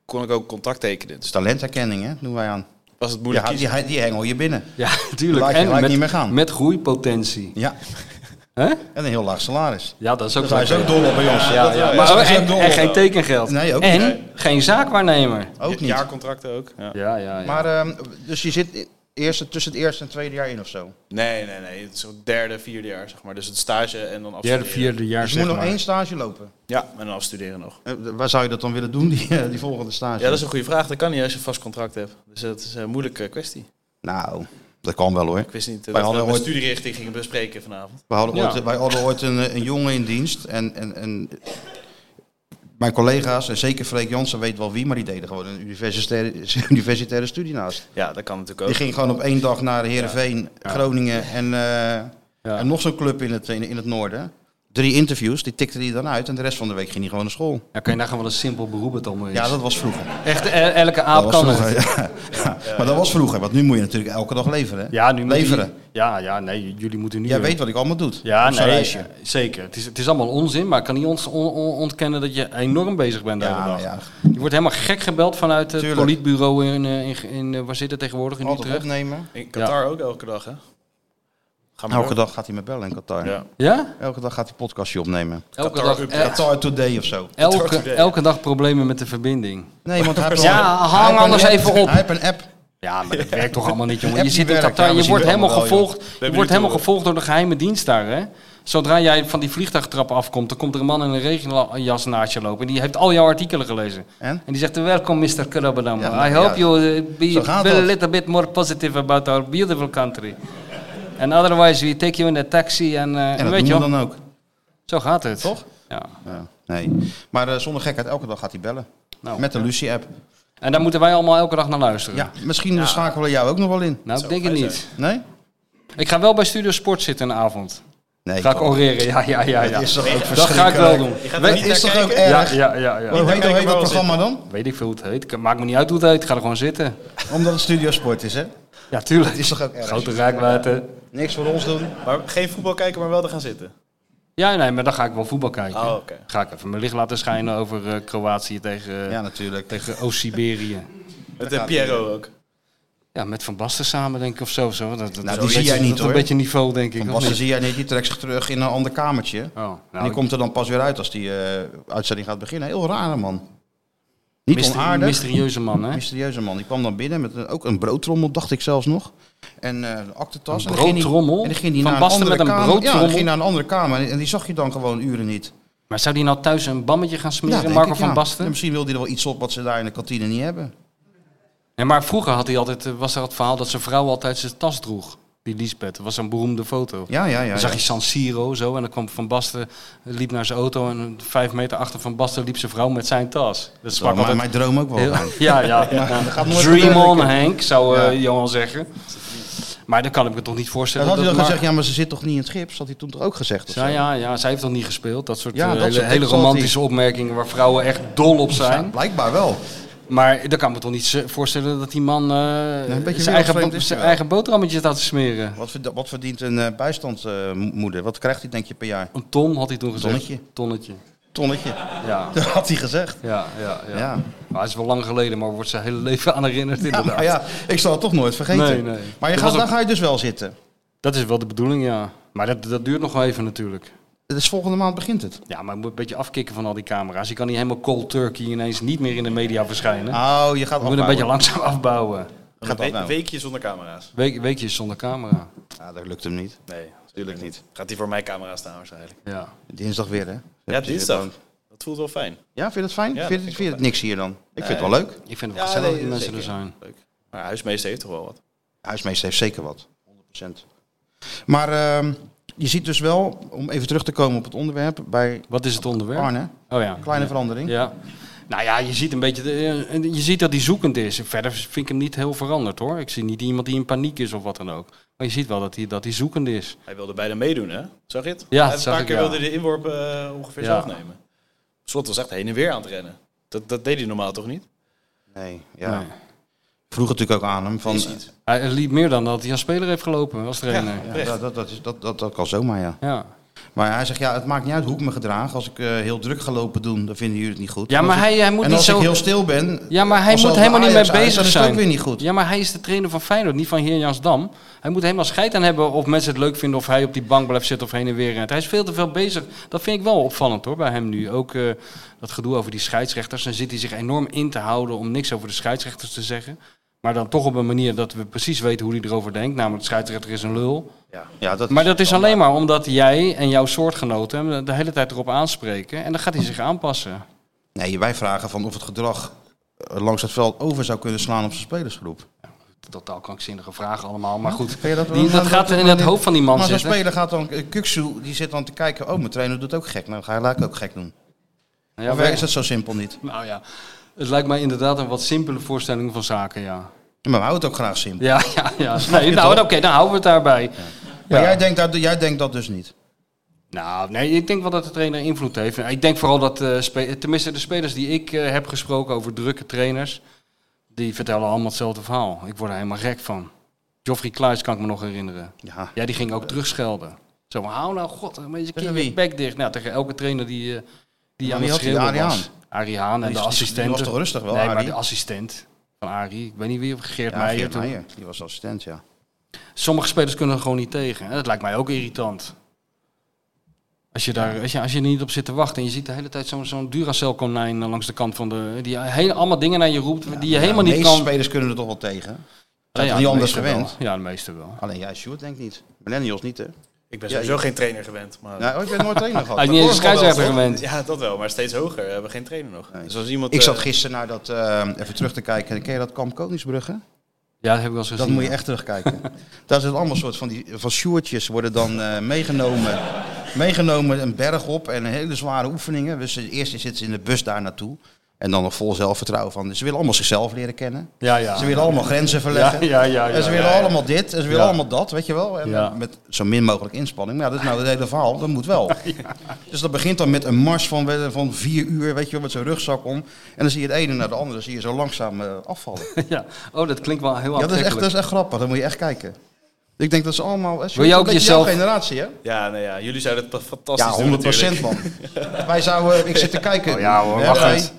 [SPEAKER 4] kon ik ook contact tekenen. Dus
[SPEAKER 2] Talenterkenning, hè? Doen wij aan.
[SPEAKER 4] was het moeilijk
[SPEAKER 2] Ja,
[SPEAKER 4] kiezen.
[SPEAKER 2] die, die hengel je binnen.
[SPEAKER 3] ja, tuurlijk.
[SPEAKER 2] laat je
[SPEAKER 3] en
[SPEAKER 2] gelijk
[SPEAKER 3] met,
[SPEAKER 2] niet meer gaan.
[SPEAKER 3] met groeipotentie.
[SPEAKER 2] Ja,
[SPEAKER 3] hè?
[SPEAKER 2] en een heel laag salaris.
[SPEAKER 3] Ja, dat is ook
[SPEAKER 2] Dus hij is
[SPEAKER 3] zo.
[SPEAKER 2] ook dol op bij ons.
[SPEAKER 3] Ja, ja, maar,
[SPEAKER 2] dat is
[SPEAKER 3] en,
[SPEAKER 2] ook dol.
[SPEAKER 3] en geen tekengeld.
[SPEAKER 2] Nee, ook
[SPEAKER 3] en
[SPEAKER 2] niet.
[SPEAKER 3] geen zaakwaarnemer.
[SPEAKER 2] eh, Ook niet.
[SPEAKER 4] Jaarcontracten ook. Ja.
[SPEAKER 3] Ja, ja, ja.
[SPEAKER 2] Maar, ehm, dus je zit i- eerst, tussen het eerste en tweede jaar in of zo.
[SPEAKER 4] Nee, nee, nee. Het is zo'n derde, vierde jaar, zeg maar. Dus het stage en dan afstuderen.
[SPEAKER 3] Derde, vierde jaar,
[SPEAKER 2] Dus je
[SPEAKER 3] zeg
[SPEAKER 2] moet nog
[SPEAKER 3] maar.
[SPEAKER 2] één stage lopen.
[SPEAKER 4] Ja, en dan afstuderen nog.
[SPEAKER 2] Eh, d- waar zou je dat dan willen doen, [laughs] die, eh, die volgende stage?
[SPEAKER 4] Ja, dat is een goede vraag. Dat kan niet als je een vast contract hebt. Dus dat is een moeilijke kwestie.
[SPEAKER 2] Nou, dat kan wel hoor.
[SPEAKER 4] Ik wist niet
[SPEAKER 2] Wij
[SPEAKER 4] eh, dat we
[SPEAKER 2] hadden
[SPEAKER 4] de
[SPEAKER 2] ooit-
[SPEAKER 4] studierichting gingen bespreken vanavond.
[SPEAKER 2] We hadden,
[SPEAKER 3] Ja.
[SPEAKER 2] ooit, wij hadden ooit een, eh, een jongen in dienst. En, en, en mijn collega's, en zeker Freek Jansen weet wel wie, maar die deden gewoon een universitaire, [laughs] universitaire studie naast.
[SPEAKER 4] Ja, dat kan natuurlijk
[SPEAKER 2] Die
[SPEAKER 4] ook.
[SPEAKER 2] ging gewoon op één dag naar Heerenveen, Groningen en, eh, en nog zo'n club in het, in, in het noorden. Drie interviews, die tikte hij dan uit en de rest van de week ging hij gewoon naar school.
[SPEAKER 3] Ja, kan je nagaan wat een simpel beroep het allemaal is.
[SPEAKER 2] Ja, dat was vroeger.
[SPEAKER 3] Echt, el- elke
[SPEAKER 2] Dat
[SPEAKER 3] aap
[SPEAKER 2] was
[SPEAKER 3] kan
[SPEAKER 2] vroeger
[SPEAKER 3] het.
[SPEAKER 2] [laughs] ja. Maar dat was vroeger, want nu moet je natuurlijk elke dag leveren. hè?
[SPEAKER 3] Ja, nu moet
[SPEAKER 2] leveren.
[SPEAKER 3] je- ja, ja, nee, jullie moeten nu...
[SPEAKER 2] Jij
[SPEAKER 3] weer-
[SPEAKER 2] weet wat ik allemaal doe.
[SPEAKER 3] ja,
[SPEAKER 2] op zo'n
[SPEAKER 3] nee,
[SPEAKER 2] reisje.
[SPEAKER 3] zeker. Het is, het is allemaal onzin, maar ik kan niet ons on- on- ontkennen dat je enorm bezig bent de
[SPEAKER 2] Ja,
[SPEAKER 3] hele dag.
[SPEAKER 2] ja.
[SPEAKER 3] Je wordt helemaal gek gebeld vanuit het
[SPEAKER 2] Tuurlijk.
[SPEAKER 3] politbureau in, eh, in, in, eh, Waar zit het tegenwoordig? In
[SPEAKER 2] Altijd
[SPEAKER 3] Utrecht?
[SPEAKER 2] opnemen.
[SPEAKER 4] In Qatar ook elke dag, hè? Ga maar
[SPEAKER 2] Elke
[SPEAKER 4] door.
[SPEAKER 2] dag gaat hij me bellen in Nou, Qatar.
[SPEAKER 4] Ja.
[SPEAKER 3] Ja?
[SPEAKER 2] Elke dag gaat hij podcastje opnemen.
[SPEAKER 4] Qatar Up.
[SPEAKER 3] eh,
[SPEAKER 2] Qatar Today of zo.
[SPEAKER 4] Torture
[SPEAKER 3] elke,
[SPEAKER 4] Day.
[SPEAKER 3] elke dag problemen met de verbinding.
[SPEAKER 2] Nee, want hij
[SPEAKER 3] [laughs]
[SPEAKER 2] heeft
[SPEAKER 3] Ja,
[SPEAKER 2] een-
[SPEAKER 3] hang
[SPEAKER 2] hij heeft een
[SPEAKER 3] anders
[SPEAKER 2] app.
[SPEAKER 3] even op.
[SPEAKER 2] Hij heeft een app.
[SPEAKER 3] Ja,
[SPEAKER 2] [laughs]
[SPEAKER 3] maar dat werkt toch allemaal niet, jongen.
[SPEAKER 2] App
[SPEAKER 3] Je
[SPEAKER 2] die
[SPEAKER 3] zit in
[SPEAKER 2] werkt, ja,
[SPEAKER 3] Qatar,
[SPEAKER 2] maar
[SPEAKER 3] je
[SPEAKER 2] ze
[SPEAKER 3] wordt
[SPEAKER 2] willen
[SPEAKER 3] helemaal
[SPEAKER 2] allemaal, joh.
[SPEAKER 3] gevolgd. Je
[SPEAKER 4] hebben
[SPEAKER 3] wordt
[SPEAKER 4] die
[SPEAKER 3] helemaal
[SPEAKER 4] door.
[SPEAKER 3] gevolgd door de geheime dienst daar, hè. Zodra jij van die vliegtuigtrap afkomt, dan komt er een man in een regenjas naast je lopen. En die heeft al jouw artikelen gelezen.
[SPEAKER 2] En?
[SPEAKER 3] die zegt, welkom Mr. Krabbenam.
[SPEAKER 2] Ja, maar
[SPEAKER 3] I hope
[SPEAKER 2] ja,
[SPEAKER 3] you uh, be
[SPEAKER 2] zo gaat
[SPEAKER 3] feel a
[SPEAKER 2] dat.
[SPEAKER 3] little bit more positive about our beautiful country. And otherwise we take you in a taxi en, eh,
[SPEAKER 2] En dat
[SPEAKER 3] weet
[SPEAKER 2] doen
[SPEAKER 3] je
[SPEAKER 2] we
[SPEAKER 3] wel,
[SPEAKER 2] dan ook.
[SPEAKER 3] zo gaat het.
[SPEAKER 2] Toch?
[SPEAKER 3] Ja.
[SPEAKER 2] Ja, nee. Maar eh, zonder gekheid, elke dag gaat hij bellen.
[SPEAKER 3] Nou,
[SPEAKER 2] Met de Lucie-app.
[SPEAKER 3] En daar moeten wij allemaal elke dag naar luisteren.
[SPEAKER 2] Ja, misschien schakelen we jou ook nog wel in.
[SPEAKER 3] Nou, ik denk het
[SPEAKER 4] fijn
[SPEAKER 3] niet.
[SPEAKER 2] Nee?
[SPEAKER 3] Ik ga wel bij Studio Sport zitten een avond.
[SPEAKER 2] Nee.
[SPEAKER 3] Ga ik
[SPEAKER 2] toch.
[SPEAKER 3] oreren, ja, ja, ja. ja.
[SPEAKER 2] Dat is toch ook
[SPEAKER 3] Dat ga ik wel
[SPEAKER 2] verschrikkelijk.
[SPEAKER 3] doen.
[SPEAKER 4] Je gaat er
[SPEAKER 2] Het
[SPEAKER 4] niet naar
[SPEAKER 2] is toch ook
[SPEAKER 4] kijken?
[SPEAKER 3] Ja,
[SPEAKER 2] erg? Oh,
[SPEAKER 3] ja, ja, ja.
[SPEAKER 2] Hoe heet, hoe
[SPEAKER 4] kijken
[SPEAKER 2] heet dat
[SPEAKER 4] wel
[SPEAKER 2] programma dan?
[SPEAKER 3] Weet ik veel hoe het heet. Maakt me niet uit hoe het heet. Ik ga er gewoon zitten.
[SPEAKER 2] Omdat het studiosport is, hè?
[SPEAKER 3] Ja, tuurlijk.
[SPEAKER 2] Het is toch ook erg?
[SPEAKER 3] Grote rijkwijde.
[SPEAKER 2] Niks voor ons doen.
[SPEAKER 4] Maar geen voetbal kijken, maar wel er gaan zitten.
[SPEAKER 3] Ja, nee, maar dan ga ik wel voetbal kijken.
[SPEAKER 4] Oh, oké.
[SPEAKER 3] Ga ik even mijn licht laten schijnen over eh, Kroatië tegen, eh,
[SPEAKER 2] Ja, natuurlijk.
[SPEAKER 3] tegen Oost-Siberië.
[SPEAKER 4] Met eh, Piero ook.
[SPEAKER 3] Ja, met Van Basten samen, denk ik, of zo. zo. Dat, dat,
[SPEAKER 2] Nou,
[SPEAKER 3] dat
[SPEAKER 2] die
[SPEAKER 3] is
[SPEAKER 2] zie jij
[SPEAKER 3] een-
[SPEAKER 2] niet,
[SPEAKER 3] dat is
[SPEAKER 2] hoor.
[SPEAKER 3] een beetje niveau, denk ik.
[SPEAKER 2] Van
[SPEAKER 3] of
[SPEAKER 2] Basten
[SPEAKER 3] niet?
[SPEAKER 2] zie jij niet, die trekt zich terug in een ander kamertje.
[SPEAKER 3] Oh, nou,
[SPEAKER 2] en die
[SPEAKER 3] ik-
[SPEAKER 2] komt er dan pas weer uit als die eh, uitzending gaat beginnen. Heel rare man. Niet
[SPEAKER 3] mysterie-
[SPEAKER 2] onaardig.
[SPEAKER 3] mysterieuze man, hè?
[SPEAKER 2] Mysterieuze man. Die kwam dan binnen met een- ook een broodtrommel, dacht ik zelfs nog. En eh een aktentas.
[SPEAKER 3] Een
[SPEAKER 2] En dan ging die-
[SPEAKER 3] broodtrommel?
[SPEAKER 2] En dan ging die
[SPEAKER 3] Van
[SPEAKER 2] naar een
[SPEAKER 3] Basten
[SPEAKER 2] andere
[SPEAKER 3] met een
[SPEAKER 2] kamer. Ja, dan
[SPEAKER 3] broodtrommel?
[SPEAKER 2] ging naar een andere kamer. En- En die zag je dan gewoon uren niet.
[SPEAKER 3] Maar zou die nou thuis een bammetje gaan
[SPEAKER 2] Ja,
[SPEAKER 3] smeren,
[SPEAKER 2] denk
[SPEAKER 3] Marco
[SPEAKER 2] ik,
[SPEAKER 3] Van
[SPEAKER 2] ja.
[SPEAKER 3] Basten?
[SPEAKER 2] En misschien wil hij er wel iets op wat ze daar in de kantine niet hebben.
[SPEAKER 3] Nee, maar vroeger had hij altijd, eh, was er het verhaal dat zijn vrouw altijd zijn tas droeg. Die Lisbeth. Dat was een beroemde foto.
[SPEAKER 2] Ja, ja, ja.
[SPEAKER 3] Dan zag
[SPEAKER 2] ja.
[SPEAKER 3] je San Siro zo en dan kwam Van Basten, eh, liep naar zijn auto en eh, vijf meter achter Van Basten liep zijn vrouw met zijn tas. Dat
[SPEAKER 2] Maar
[SPEAKER 3] sprak
[SPEAKER 2] mijn,
[SPEAKER 3] altijd...
[SPEAKER 2] mijn droom ook wel.
[SPEAKER 3] heel-
[SPEAKER 2] aan.
[SPEAKER 3] [laughs]
[SPEAKER 2] [laughs]
[SPEAKER 3] ja, ja. ja.
[SPEAKER 2] dat gaat nooit
[SPEAKER 3] Dream
[SPEAKER 2] gebeuren,
[SPEAKER 3] on,
[SPEAKER 2] denk ik.
[SPEAKER 3] Henk, zou eh,
[SPEAKER 2] Ja.
[SPEAKER 3] Johan zeggen. Maar dan kan ik me toch niet
[SPEAKER 2] Dat
[SPEAKER 3] voorstellen.
[SPEAKER 2] had hij dan
[SPEAKER 3] maar-
[SPEAKER 2] gezegd, ja, maar ze zit toch niet in het gips? Had hij toen toch ook gezegd? Of
[SPEAKER 3] ja,
[SPEAKER 2] zo?
[SPEAKER 3] ja, ja, zij heeft dan niet gespeeld. Dat soort
[SPEAKER 2] Ja,
[SPEAKER 3] eh,
[SPEAKER 2] dat
[SPEAKER 3] hele,
[SPEAKER 2] soort
[SPEAKER 3] hele
[SPEAKER 2] tekst had hij.
[SPEAKER 3] romantische opmerkingen waar vrouwen echt dol op zijn.
[SPEAKER 2] Ja, blijkbaar wel.
[SPEAKER 3] Maar dan kan ik me toch niet z- voorstellen dat die man eh,
[SPEAKER 2] beetje
[SPEAKER 3] zijn, eigen,
[SPEAKER 2] wereldvreemd
[SPEAKER 3] bo-
[SPEAKER 2] is hij
[SPEAKER 3] zijn
[SPEAKER 2] wel.
[SPEAKER 3] eigen boterhammetjes laat smeren.
[SPEAKER 2] Wat verdient, wat verdient een eh, bijstandsmoeder? Wat krijgt hij denk je per jaar?
[SPEAKER 3] Een ton had hij toen gezegd.
[SPEAKER 2] Tonnetje.
[SPEAKER 3] Tonnetje.
[SPEAKER 2] Tonnetje. [laughs]
[SPEAKER 3] Ja.
[SPEAKER 2] Dat had hij gezegd.
[SPEAKER 3] Ja, ja, ja.
[SPEAKER 2] Ja.
[SPEAKER 3] Maar het is wel lang geleden, maar wordt zijn hele leven aan herinnerd
[SPEAKER 2] Ja,
[SPEAKER 3] inderdaad.
[SPEAKER 2] maar ja, ik zal het toch nooit vergeten.
[SPEAKER 3] Nee, nee.
[SPEAKER 2] Maar je
[SPEAKER 3] Er
[SPEAKER 2] gaat,
[SPEAKER 3] was
[SPEAKER 2] daar
[SPEAKER 3] ook-
[SPEAKER 2] ga je dus wel zitten.
[SPEAKER 3] Dat is wel de bedoeling, ja. Maar dat, dat duurt nog wel even natuurlijk.
[SPEAKER 2] Het is volgende maand begint het.
[SPEAKER 3] Ja, maar je moet een beetje afkicken van al die camera's. Je kan niet helemaal cold turkey ineens niet meer in de media verschijnen.
[SPEAKER 2] Oh, je gaat
[SPEAKER 3] je moet een
[SPEAKER 2] afbouwen.
[SPEAKER 3] beetje langzaam afbouwen.
[SPEAKER 2] Je gaat
[SPEAKER 4] Een we-
[SPEAKER 2] afbouwen.
[SPEAKER 4] weekje zonder camera's.
[SPEAKER 3] Week, weekjes zonder camera.
[SPEAKER 2] Ja, Ah, dat lukt hem niet.
[SPEAKER 4] Nee, natuurlijk niet. Gaat die voor mijn camera staan waarschijnlijk.
[SPEAKER 3] Ja.
[SPEAKER 2] Dinsdag weer, hè?
[SPEAKER 4] Ja, dinsdag. Dat voelt wel fijn.
[SPEAKER 2] Ja, vind je dat fijn?
[SPEAKER 4] Ja,
[SPEAKER 2] vind
[SPEAKER 4] dat
[SPEAKER 2] je,
[SPEAKER 4] vind ik
[SPEAKER 2] vind je
[SPEAKER 4] wel
[SPEAKER 2] het niks hier dan? Ik vind het wel leuk.
[SPEAKER 3] Ik vind het
[SPEAKER 4] Ja,
[SPEAKER 3] wel gezellig dat
[SPEAKER 4] nee,
[SPEAKER 3] die mensen er
[SPEAKER 4] zeker.
[SPEAKER 3] zijn.
[SPEAKER 4] Leuk. Maar huismeester heeft toch wel wat.
[SPEAKER 2] Huismeester heeft zeker wat. 100%. Maar ehm, je ziet dus wel, om even terug te komen op het onderwerp, bij
[SPEAKER 3] Wat is het onderwerp?
[SPEAKER 2] Arne,
[SPEAKER 3] Oh ja.
[SPEAKER 2] kleine verandering.
[SPEAKER 3] Ja. Nou ja, je ziet een beetje. de- eh, je ziet dat hij zoekend is. Verder vind ik hem niet heel veranderd hoor. Ik zie niet iemand die in paniek is of wat dan ook. Maar je ziet wel dat hij, dat hij zoekend is.
[SPEAKER 4] Hij wilde bijna meedoen, hè? Zag je het?
[SPEAKER 3] Ja,
[SPEAKER 4] Hij-
[SPEAKER 3] dat zag
[SPEAKER 4] Een paar
[SPEAKER 3] ik,
[SPEAKER 4] keer
[SPEAKER 3] ja.
[SPEAKER 4] wilde hij de inworp eh, ongeveer
[SPEAKER 3] Ja.
[SPEAKER 4] zelf nemen. Slot was echt heen en weer aan het rennen. Dat, dat deed hij normaal toch niet?
[SPEAKER 2] Nee, ja.
[SPEAKER 3] Nee.
[SPEAKER 2] Vroeg natuurlijk ook aan hem van... eh,
[SPEAKER 4] Is niet.
[SPEAKER 3] Hij liep meer dan dat hij als speler heeft gelopen als trainer.
[SPEAKER 4] Ja.
[SPEAKER 3] Ja.
[SPEAKER 2] Ja, dat, dat, dat, is- dat, dat, dat kan zomaar, ja.
[SPEAKER 3] Ja.
[SPEAKER 2] Maar hij zegt, ja, het maakt niet uit hoe ik me gedraag. Als ik eh, heel druk ga lopen doen, dan vinden jullie het niet goed. En als
[SPEAKER 3] maar hij, hij
[SPEAKER 2] ik,
[SPEAKER 3] moet
[SPEAKER 2] en
[SPEAKER 3] niet
[SPEAKER 2] als
[SPEAKER 3] zo.
[SPEAKER 2] ik heel stil ben...
[SPEAKER 3] Ja, maar hij
[SPEAKER 2] als
[SPEAKER 3] moet
[SPEAKER 2] over
[SPEAKER 3] helemaal niet
[SPEAKER 2] Ajax
[SPEAKER 3] mee
[SPEAKER 2] uit,
[SPEAKER 3] bezig
[SPEAKER 2] dan is het
[SPEAKER 3] zijn.
[SPEAKER 2] ook weer niet goed.
[SPEAKER 3] Ja, maar hij is de trainer van Feyenoord, niet van Heerjansdam. Hij moet helemaal scheid aan hebben of mensen het leuk vinden of hij op die bank blijft zitten of heen en weer rent. Hij is veel te veel bezig. Dat vind ik wel opvallend hoor, bij hem nu. Ook eh, dat gedoe over die scheidsrechters. Dan zit hij zich enorm in te houden om niks over de scheidsrechters te zeggen. Maar dan toch op een manier dat we precies weten hoe hij erover denkt. Namelijk, de scheidsrechter is een lul.
[SPEAKER 2] Ja, ja, dat
[SPEAKER 3] Maar dat is alleen maar omdat jij en jouw soortgenoten hem de hele tijd erop aanspreken. En dan gaat hij zich aanpassen.
[SPEAKER 2] Nee, wij vragen van of het gedrag eh, langs het veld over zou kunnen slaan op zijn spelersgroep.
[SPEAKER 3] Totaal krankzinnige vragen allemaal, maar goed.
[SPEAKER 2] Vind je dat wel-
[SPEAKER 3] Die, dat
[SPEAKER 2] dat-
[SPEAKER 3] gaat
[SPEAKER 2] dat-
[SPEAKER 3] in het hoofd van die man
[SPEAKER 2] maar zo'n
[SPEAKER 3] zitten.
[SPEAKER 2] speler gaat dan... eh, Kuksu, die zit dan te kijken, oh, mijn trainer doet ook gek. Nou, ga laat ik ook gek doen.
[SPEAKER 3] Ja,
[SPEAKER 2] of
[SPEAKER 3] maar-
[SPEAKER 2] is dat zo simpel niet?
[SPEAKER 3] Nou ja, het lijkt mij inderdaad een wat simpele voorstelling van zaken, ja.
[SPEAKER 2] Maar we houden het ook graag simpel.
[SPEAKER 3] Ja, [laughs] ja, ja. Nee,
[SPEAKER 2] je
[SPEAKER 3] nou,
[SPEAKER 2] toch?
[SPEAKER 3] oké, dan houden we het daarbij.
[SPEAKER 2] Maar jij denkt, dat, jij denkt dat dus niet?
[SPEAKER 3] Nou, nee, ik denk wel dat de trainer invloed heeft. Ik denk vooral dat, eh, spe- tenminste de spelers die ik eh, heb gesproken over drukke trainers, die vertellen allemaal hetzelfde verhaal. Ik word er helemaal gek van. Geoffrey Kluis kan ik me nog herinneren.
[SPEAKER 2] Ja.
[SPEAKER 3] Ja, die ging ook terugschelden. Zo, maar hou nou, god, een beetje
[SPEAKER 2] Tegen
[SPEAKER 3] keer je
[SPEAKER 2] wie?
[SPEAKER 3] bek dicht. Nou, tegen elke trainer die, eh, die
[SPEAKER 2] Maar
[SPEAKER 3] aan
[SPEAKER 2] wie
[SPEAKER 3] het
[SPEAKER 2] had die?
[SPEAKER 3] schreeuwen
[SPEAKER 2] Arie
[SPEAKER 3] was. Arie Haan en
[SPEAKER 2] Die
[SPEAKER 3] de
[SPEAKER 2] is- die
[SPEAKER 3] assistent.
[SPEAKER 2] was toch rustig wel,
[SPEAKER 3] Nee,
[SPEAKER 2] Arie?
[SPEAKER 3] maar de assistent van Arie, ik weet niet wie, Geert
[SPEAKER 2] Ja,
[SPEAKER 3] Meijer
[SPEAKER 2] Geert
[SPEAKER 3] toen.
[SPEAKER 2] Meijer, die was assistent, ja.
[SPEAKER 3] Sommige spelers kunnen er gewoon niet tegen. En dat lijkt mij ook irritant. Als je, daar, als, je, als je er niet op zit te wachten en je ziet de hele tijd zo'n zo'n Duracell-konijn eh, langs de kant van de... Die hele, allemaal dingen naar je roept die je helemaal
[SPEAKER 2] de
[SPEAKER 3] niet
[SPEAKER 2] meeste
[SPEAKER 3] kan...
[SPEAKER 2] spelers kunnen er toch wel tegen.
[SPEAKER 3] Ja,
[SPEAKER 2] Zijn
[SPEAKER 3] ja,
[SPEAKER 2] toch niet
[SPEAKER 3] de
[SPEAKER 2] anders
[SPEAKER 3] meeste
[SPEAKER 2] gewend?
[SPEAKER 3] wel. Ja, de meeste wel.
[SPEAKER 2] Alleen jij, Sjoerd, denk niet. Millennials niet, hè?
[SPEAKER 4] Ik
[SPEAKER 2] Ja,
[SPEAKER 4] ben sowieso
[SPEAKER 2] je-
[SPEAKER 4] geen trainer gewend. Maar...
[SPEAKER 2] Nou, oh, ik ben nooit
[SPEAKER 3] [laughs]
[SPEAKER 2] trainer gehad.
[SPEAKER 3] Hij is
[SPEAKER 2] Dat
[SPEAKER 3] niet eens
[SPEAKER 2] hoor
[SPEAKER 3] een
[SPEAKER 2] ik wel
[SPEAKER 3] scheidsrechter
[SPEAKER 2] wel,
[SPEAKER 3] gewend.
[SPEAKER 4] Ja, dat wel, maar steeds hoger. We hebben geen trainer nog.
[SPEAKER 2] Nee.
[SPEAKER 4] Dus als iemand,
[SPEAKER 2] toch? Ik zat
[SPEAKER 4] eh,
[SPEAKER 2] gisteren naar dat, eh, even terug te kijken. Ken je dat kamp Koningsbrugge?
[SPEAKER 3] Ja, dat heb ik wel eens gezien.
[SPEAKER 2] Dat moet je echt
[SPEAKER 3] [laughs]
[SPEAKER 2] terugkijken. Daar zit allemaal soort van, die, van sjoertjes worden dan eh, meegenomen. Meegenomen een berg op en hele zware oefeningen. Dus eerst zitten ze in de bus daar naartoe. En dan nog vol zelfvertrouwen van. Dus Ze willen allemaal zichzelf leren kennen.
[SPEAKER 3] Ja, ja.
[SPEAKER 2] Ze willen allemaal grenzen
[SPEAKER 3] ja,
[SPEAKER 2] verleggen.
[SPEAKER 3] ja, ja,
[SPEAKER 2] en ze willen
[SPEAKER 3] ja.
[SPEAKER 2] allemaal dit en ze willen
[SPEAKER 3] Ja.
[SPEAKER 2] allemaal dat, weet je wel. En eh,
[SPEAKER 3] Ja.
[SPEAKER 2] Met zo min mogelijk inspanning. Maar ja, dat is nou het hele verhaal, dat moet
[SPEAKER 3] [laughs]
[SPEAKER 2] wel. Dus dat begint dan met een mars van, eh, van vier uur, weet je wel, met zo'n rugzak om. En dan zie je het ene naar de andere, zie je zo langzaam eh, afvallen.
[SPEAKER 3] Ja. Oh, dat klinkt wel
[SPEAKER 2] Ja,
[SPEAKER 3] heel
[SPEAKER 2] dat is, echt,
[SPEAKER 3] aantrekkelijk.
[SPEAKER 2] dat is echt grappig. Dan moet je echt kijken. Ik denk dat ze allemaal... eh,
[SPEAKER 3] Wil jij ook
[SPEAKER 2] een beetje
[SPEAKER 3] jezelf-
[SPEAKER 2] jouw generatie, hè?
[SPEAKER 4] ja, nee, ja, jullie zouden het pa- fantastisch
[SPEAKER 2] Ja,
[SPEAKER 4] doen
[SPEAKER 2] 100
[SPEAKER 4] natuurlijk.
[SPEAKER 2] man. [laughs] Wij zouden... eh, Ik zit te kijken.
[SPEAKER 3] Oh ja hoor,
[SPEAKER 2] Hè,
[SPEAKER 3] wacht
[SPEAKER 2] wij-
[SPEAKER 3] eens.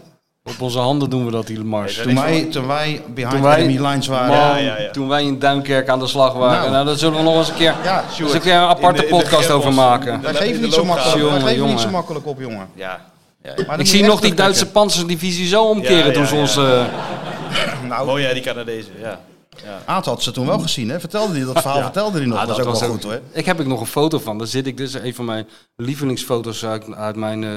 [SPEAKER 3] Op onze handen doen we dat, die mars.
[SPEAKER 4] Nee,
[SPEAKER 2] Toen wij, toen wij behind
[SPEAKER 3] Toen wij-
[SPEAKER 2] enemy lines waren...
[SPEAKER 3] Man,
[SPEAKER 4] Ja, ja, ja.
[SPEAKER 3] Toen wij in Duinkerk aan de slag waren.
[SPEAKER 2] Nou.
[SPEAKER 3] Nou, daar zullen we nog eens een keer,
[SPEAKER 2] Ja,
[SPEAKER 3] eens een,
[SPEAKER 2] Sjoerd.
[SPEAKER 3] keer een aparte
[SPEAKER 4] In de- in de
[SPEAKER 3] podcast over
[SPEAKER 4] Gerbos.
[SPEAKER 3] maken.
[SPEAKER 2] Wij
[SPEAKER 4] in de
[SPEAKER 2] geven, niet zo,
[SPEAKER 4] loopgraven.
[SPEAKER 2] makkelijk, wij
[SPEAKER 3] Jongen,
[SPEAKER 2] geven niet
[SPEAKER 3] jongen.
[SPEAKER 2] zo makkelijk op, jongen.
[SPEAKER 4] Ja,
[SPEAKER 2] Maar dan
[SPEAKER 3] Ik
[SPEAKER 2] moet
[SPEAKER 3] zie
[SPEAKER 2] je
[SPEAKER 3] nog
[SPEAKER 2] echt
[SPEAKER 3] die Duitse
[SPEAKER 2] terugkijken.
[SPEAKER 3] panzerdivisie zo omkeren
[SPEAKER 4] Ja, ja,
[SPEAKER 3] toen ze
[SPEAKER 4] ja.
[SPEAKER 3] ons... eh,
[SPEAKER 2] Nou,
[SPEAKER 4] oh ja, die Canadezen, ja.
[SPEAKER 2] Aad had ze toen wel gezien, hè? Vertelde hij dat verhaal? Vertelde hij nog?
[SPEAKER 3] Ah,
[SPEAKER 2] dat was ook wel goed, hoor.
[SPEAKER 3] Ik heb ik nog een foto van. Daar zit ik dus een van mijn lievelingsfoto's uit, uit mijn eh,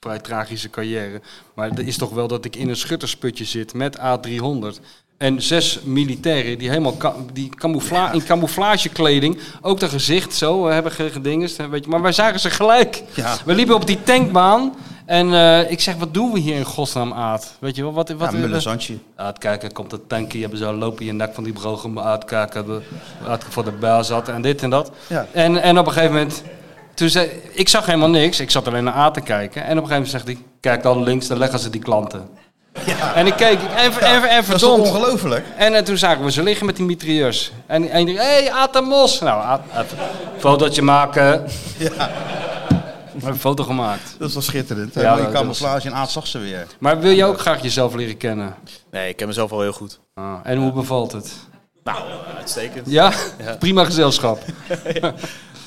[SPEAKER 3] vrij tragische carrière. Maar het is toch wel dat ik in een schuttersputje zit met A300. En zes militairen die helemaal ka- die camoufla in camouflagekleding, ook dat gezicht zo, eh, hebben ge- gedingest. hè, Weet je. Maar wij zagen ze gelijk.
[SPEAKER 2] Ja.
[SPEAKER 3] We liepen op die tankbaan en eh, ik zeg, wat doen we hier in godsnaam, Aad? Weet je wel, wat... wat eh,
[SPEAKER 2] Ja, Mullenzandje.
[SPEAKER 3] Uitkijken, komt het tankje, hebben ze al lopen je nek van die brogen uitkijken, we- uit voor de bel zat en dit en dat.
[SPEAKER 2] Ja.
[SPEAKER 3] En, en op een gegeven moment, toen zei, ik zag helemaal niks, ik zat alleen naar A te kijken. En op een gegeven moment zegt hij, kijk dan links, daar leggen ze die klanten. En ik keek, en, en, en, en
[SPEAKER 2] Dat is toch
[SPEAKER 3] verdomd.
[SPEAKER 2] ongelooflijk?
[SPEAKER 3] En eh, toen zagen we ze liggen met die mitrieurs. En, en die, hé, hey, Atamos! Nou, Aad, even een fotootje maken. Een foto gemaakt.
[SPEAKER 2] Dat was schitterend.
[SPEAKER 3] Ja,
[SPEAKER 2] Ja, je
[SPEAKER 3] dat
[SPEAKER 2] camouflage en Aad zag ze weer.
[SPEAKER 3] Maar wil je ook graag jezelf leren kennen?
[SPEAKER 4] Nee, ik ken mezelf al heel goed.
[SPEAKER 3] Ah, en hoe bevalt het?
[SPEAKER 4] Nou, uitstekend.
[SPEAKER 3] Ja? [laughs] Prima gezelschap.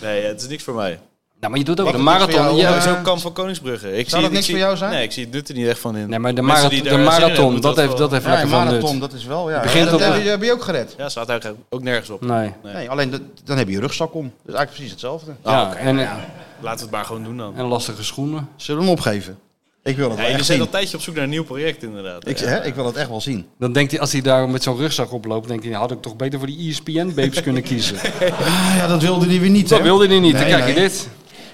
[SPEAKER 4] Nee, het is niks voor mij.
[SPEAKER 3] Nou, maar je doet ook
[SPEAKER 2] Wat
[SPEAKER 3] de
[SPEAKER 2] het is voor
[SPEAKER 3] marathon.
[SPEAKER 2] jou,
[SPEAKER 3] Ja,
[SPEAKER 2] eh,
[SPEAKER 4] Zo'n kamp van Koningsbrugge. Ik zie,
[SPEAKER 2] dat
[SPEAKER 4] ik
[SPEAKER 2] niks
[SPEAKER 4] zie-
[SPEAKER 2] voor jou zijn?
[SPEAKER 4] Nee, ik zie het nut er niet echt van in.
[SPEAKER 3] Nee, maar de,
[SPEAKER 4] Mensen
[SPEAKER 3] mara-
[SPEAKER 4] die
[SPEAKER 3] de
[SPEAKER 4] daar zin in hebben,
[SPEAKER 3] marathon,
[SPEAKER 4] moet
[SPEAKER 3] dat heeft, dat heeft
[SPEAKER 2] Ja,
[SPEAKER 3] lekker
[SPEAKER 2] een
[SPEAKER 3] van nut.
[SPEAKER 2] marathon, dat is wel, ja.
[SPEAKER 3] begint
[SPEAKER 2] dat
[SPEAKER 3] op-
[SPEAKER 2] heb je, heb je ook gered.
[SPEAKER 4] Ja, staat eigenlijk ook nergens op.
[SPEAKER 3] Nee.
[SPEAKER 2] Nee, alleen dat- dan heb je je rugzak om. Dat is eigenlijk precies hetzelfde.
[SPEAKER 3] Ja, en,
[SPEAKER 4] Laten we het maar gewoon doen dan.
[SPEAKER 3] en lastige schoenen.
[SPEAKER 2] Zullen we hem opgeven? Ik wil dat wel
[SPEAKER 4] Ja, jullie
[SPEAKER 2] echt
[SPEAKER 4] zijn al
[SPEAKER 2] zien.
[SPEAKER 4] een tijdje op zoek naar een nieuw project inderdaad.
[SPEAKER 2] Ik,
[SPEAKER 4] Ja.
[SPEAKER 2] hè, ik wil dat echt wel zien.
[SPEAKER 3] Dan denkt hij, als hij daar met zo'n rugzak oploopt, denkt hij, nou, had ik toch beter voor die E ESPN-babes kunnen kiezen.
[SPEAKER 2] Ah, [laughs] ja, dat wilde hij weer niet,
[SPEAKER 3] Dat
[SPEAKER 2] hè?
[SPEAKER 3] wilde hij niet.
[SPEAKER 2] Nee,
[SPEAKER 3] dan kijk je
[SPEAKER 2] nee.
[SPEAKER 3] dit.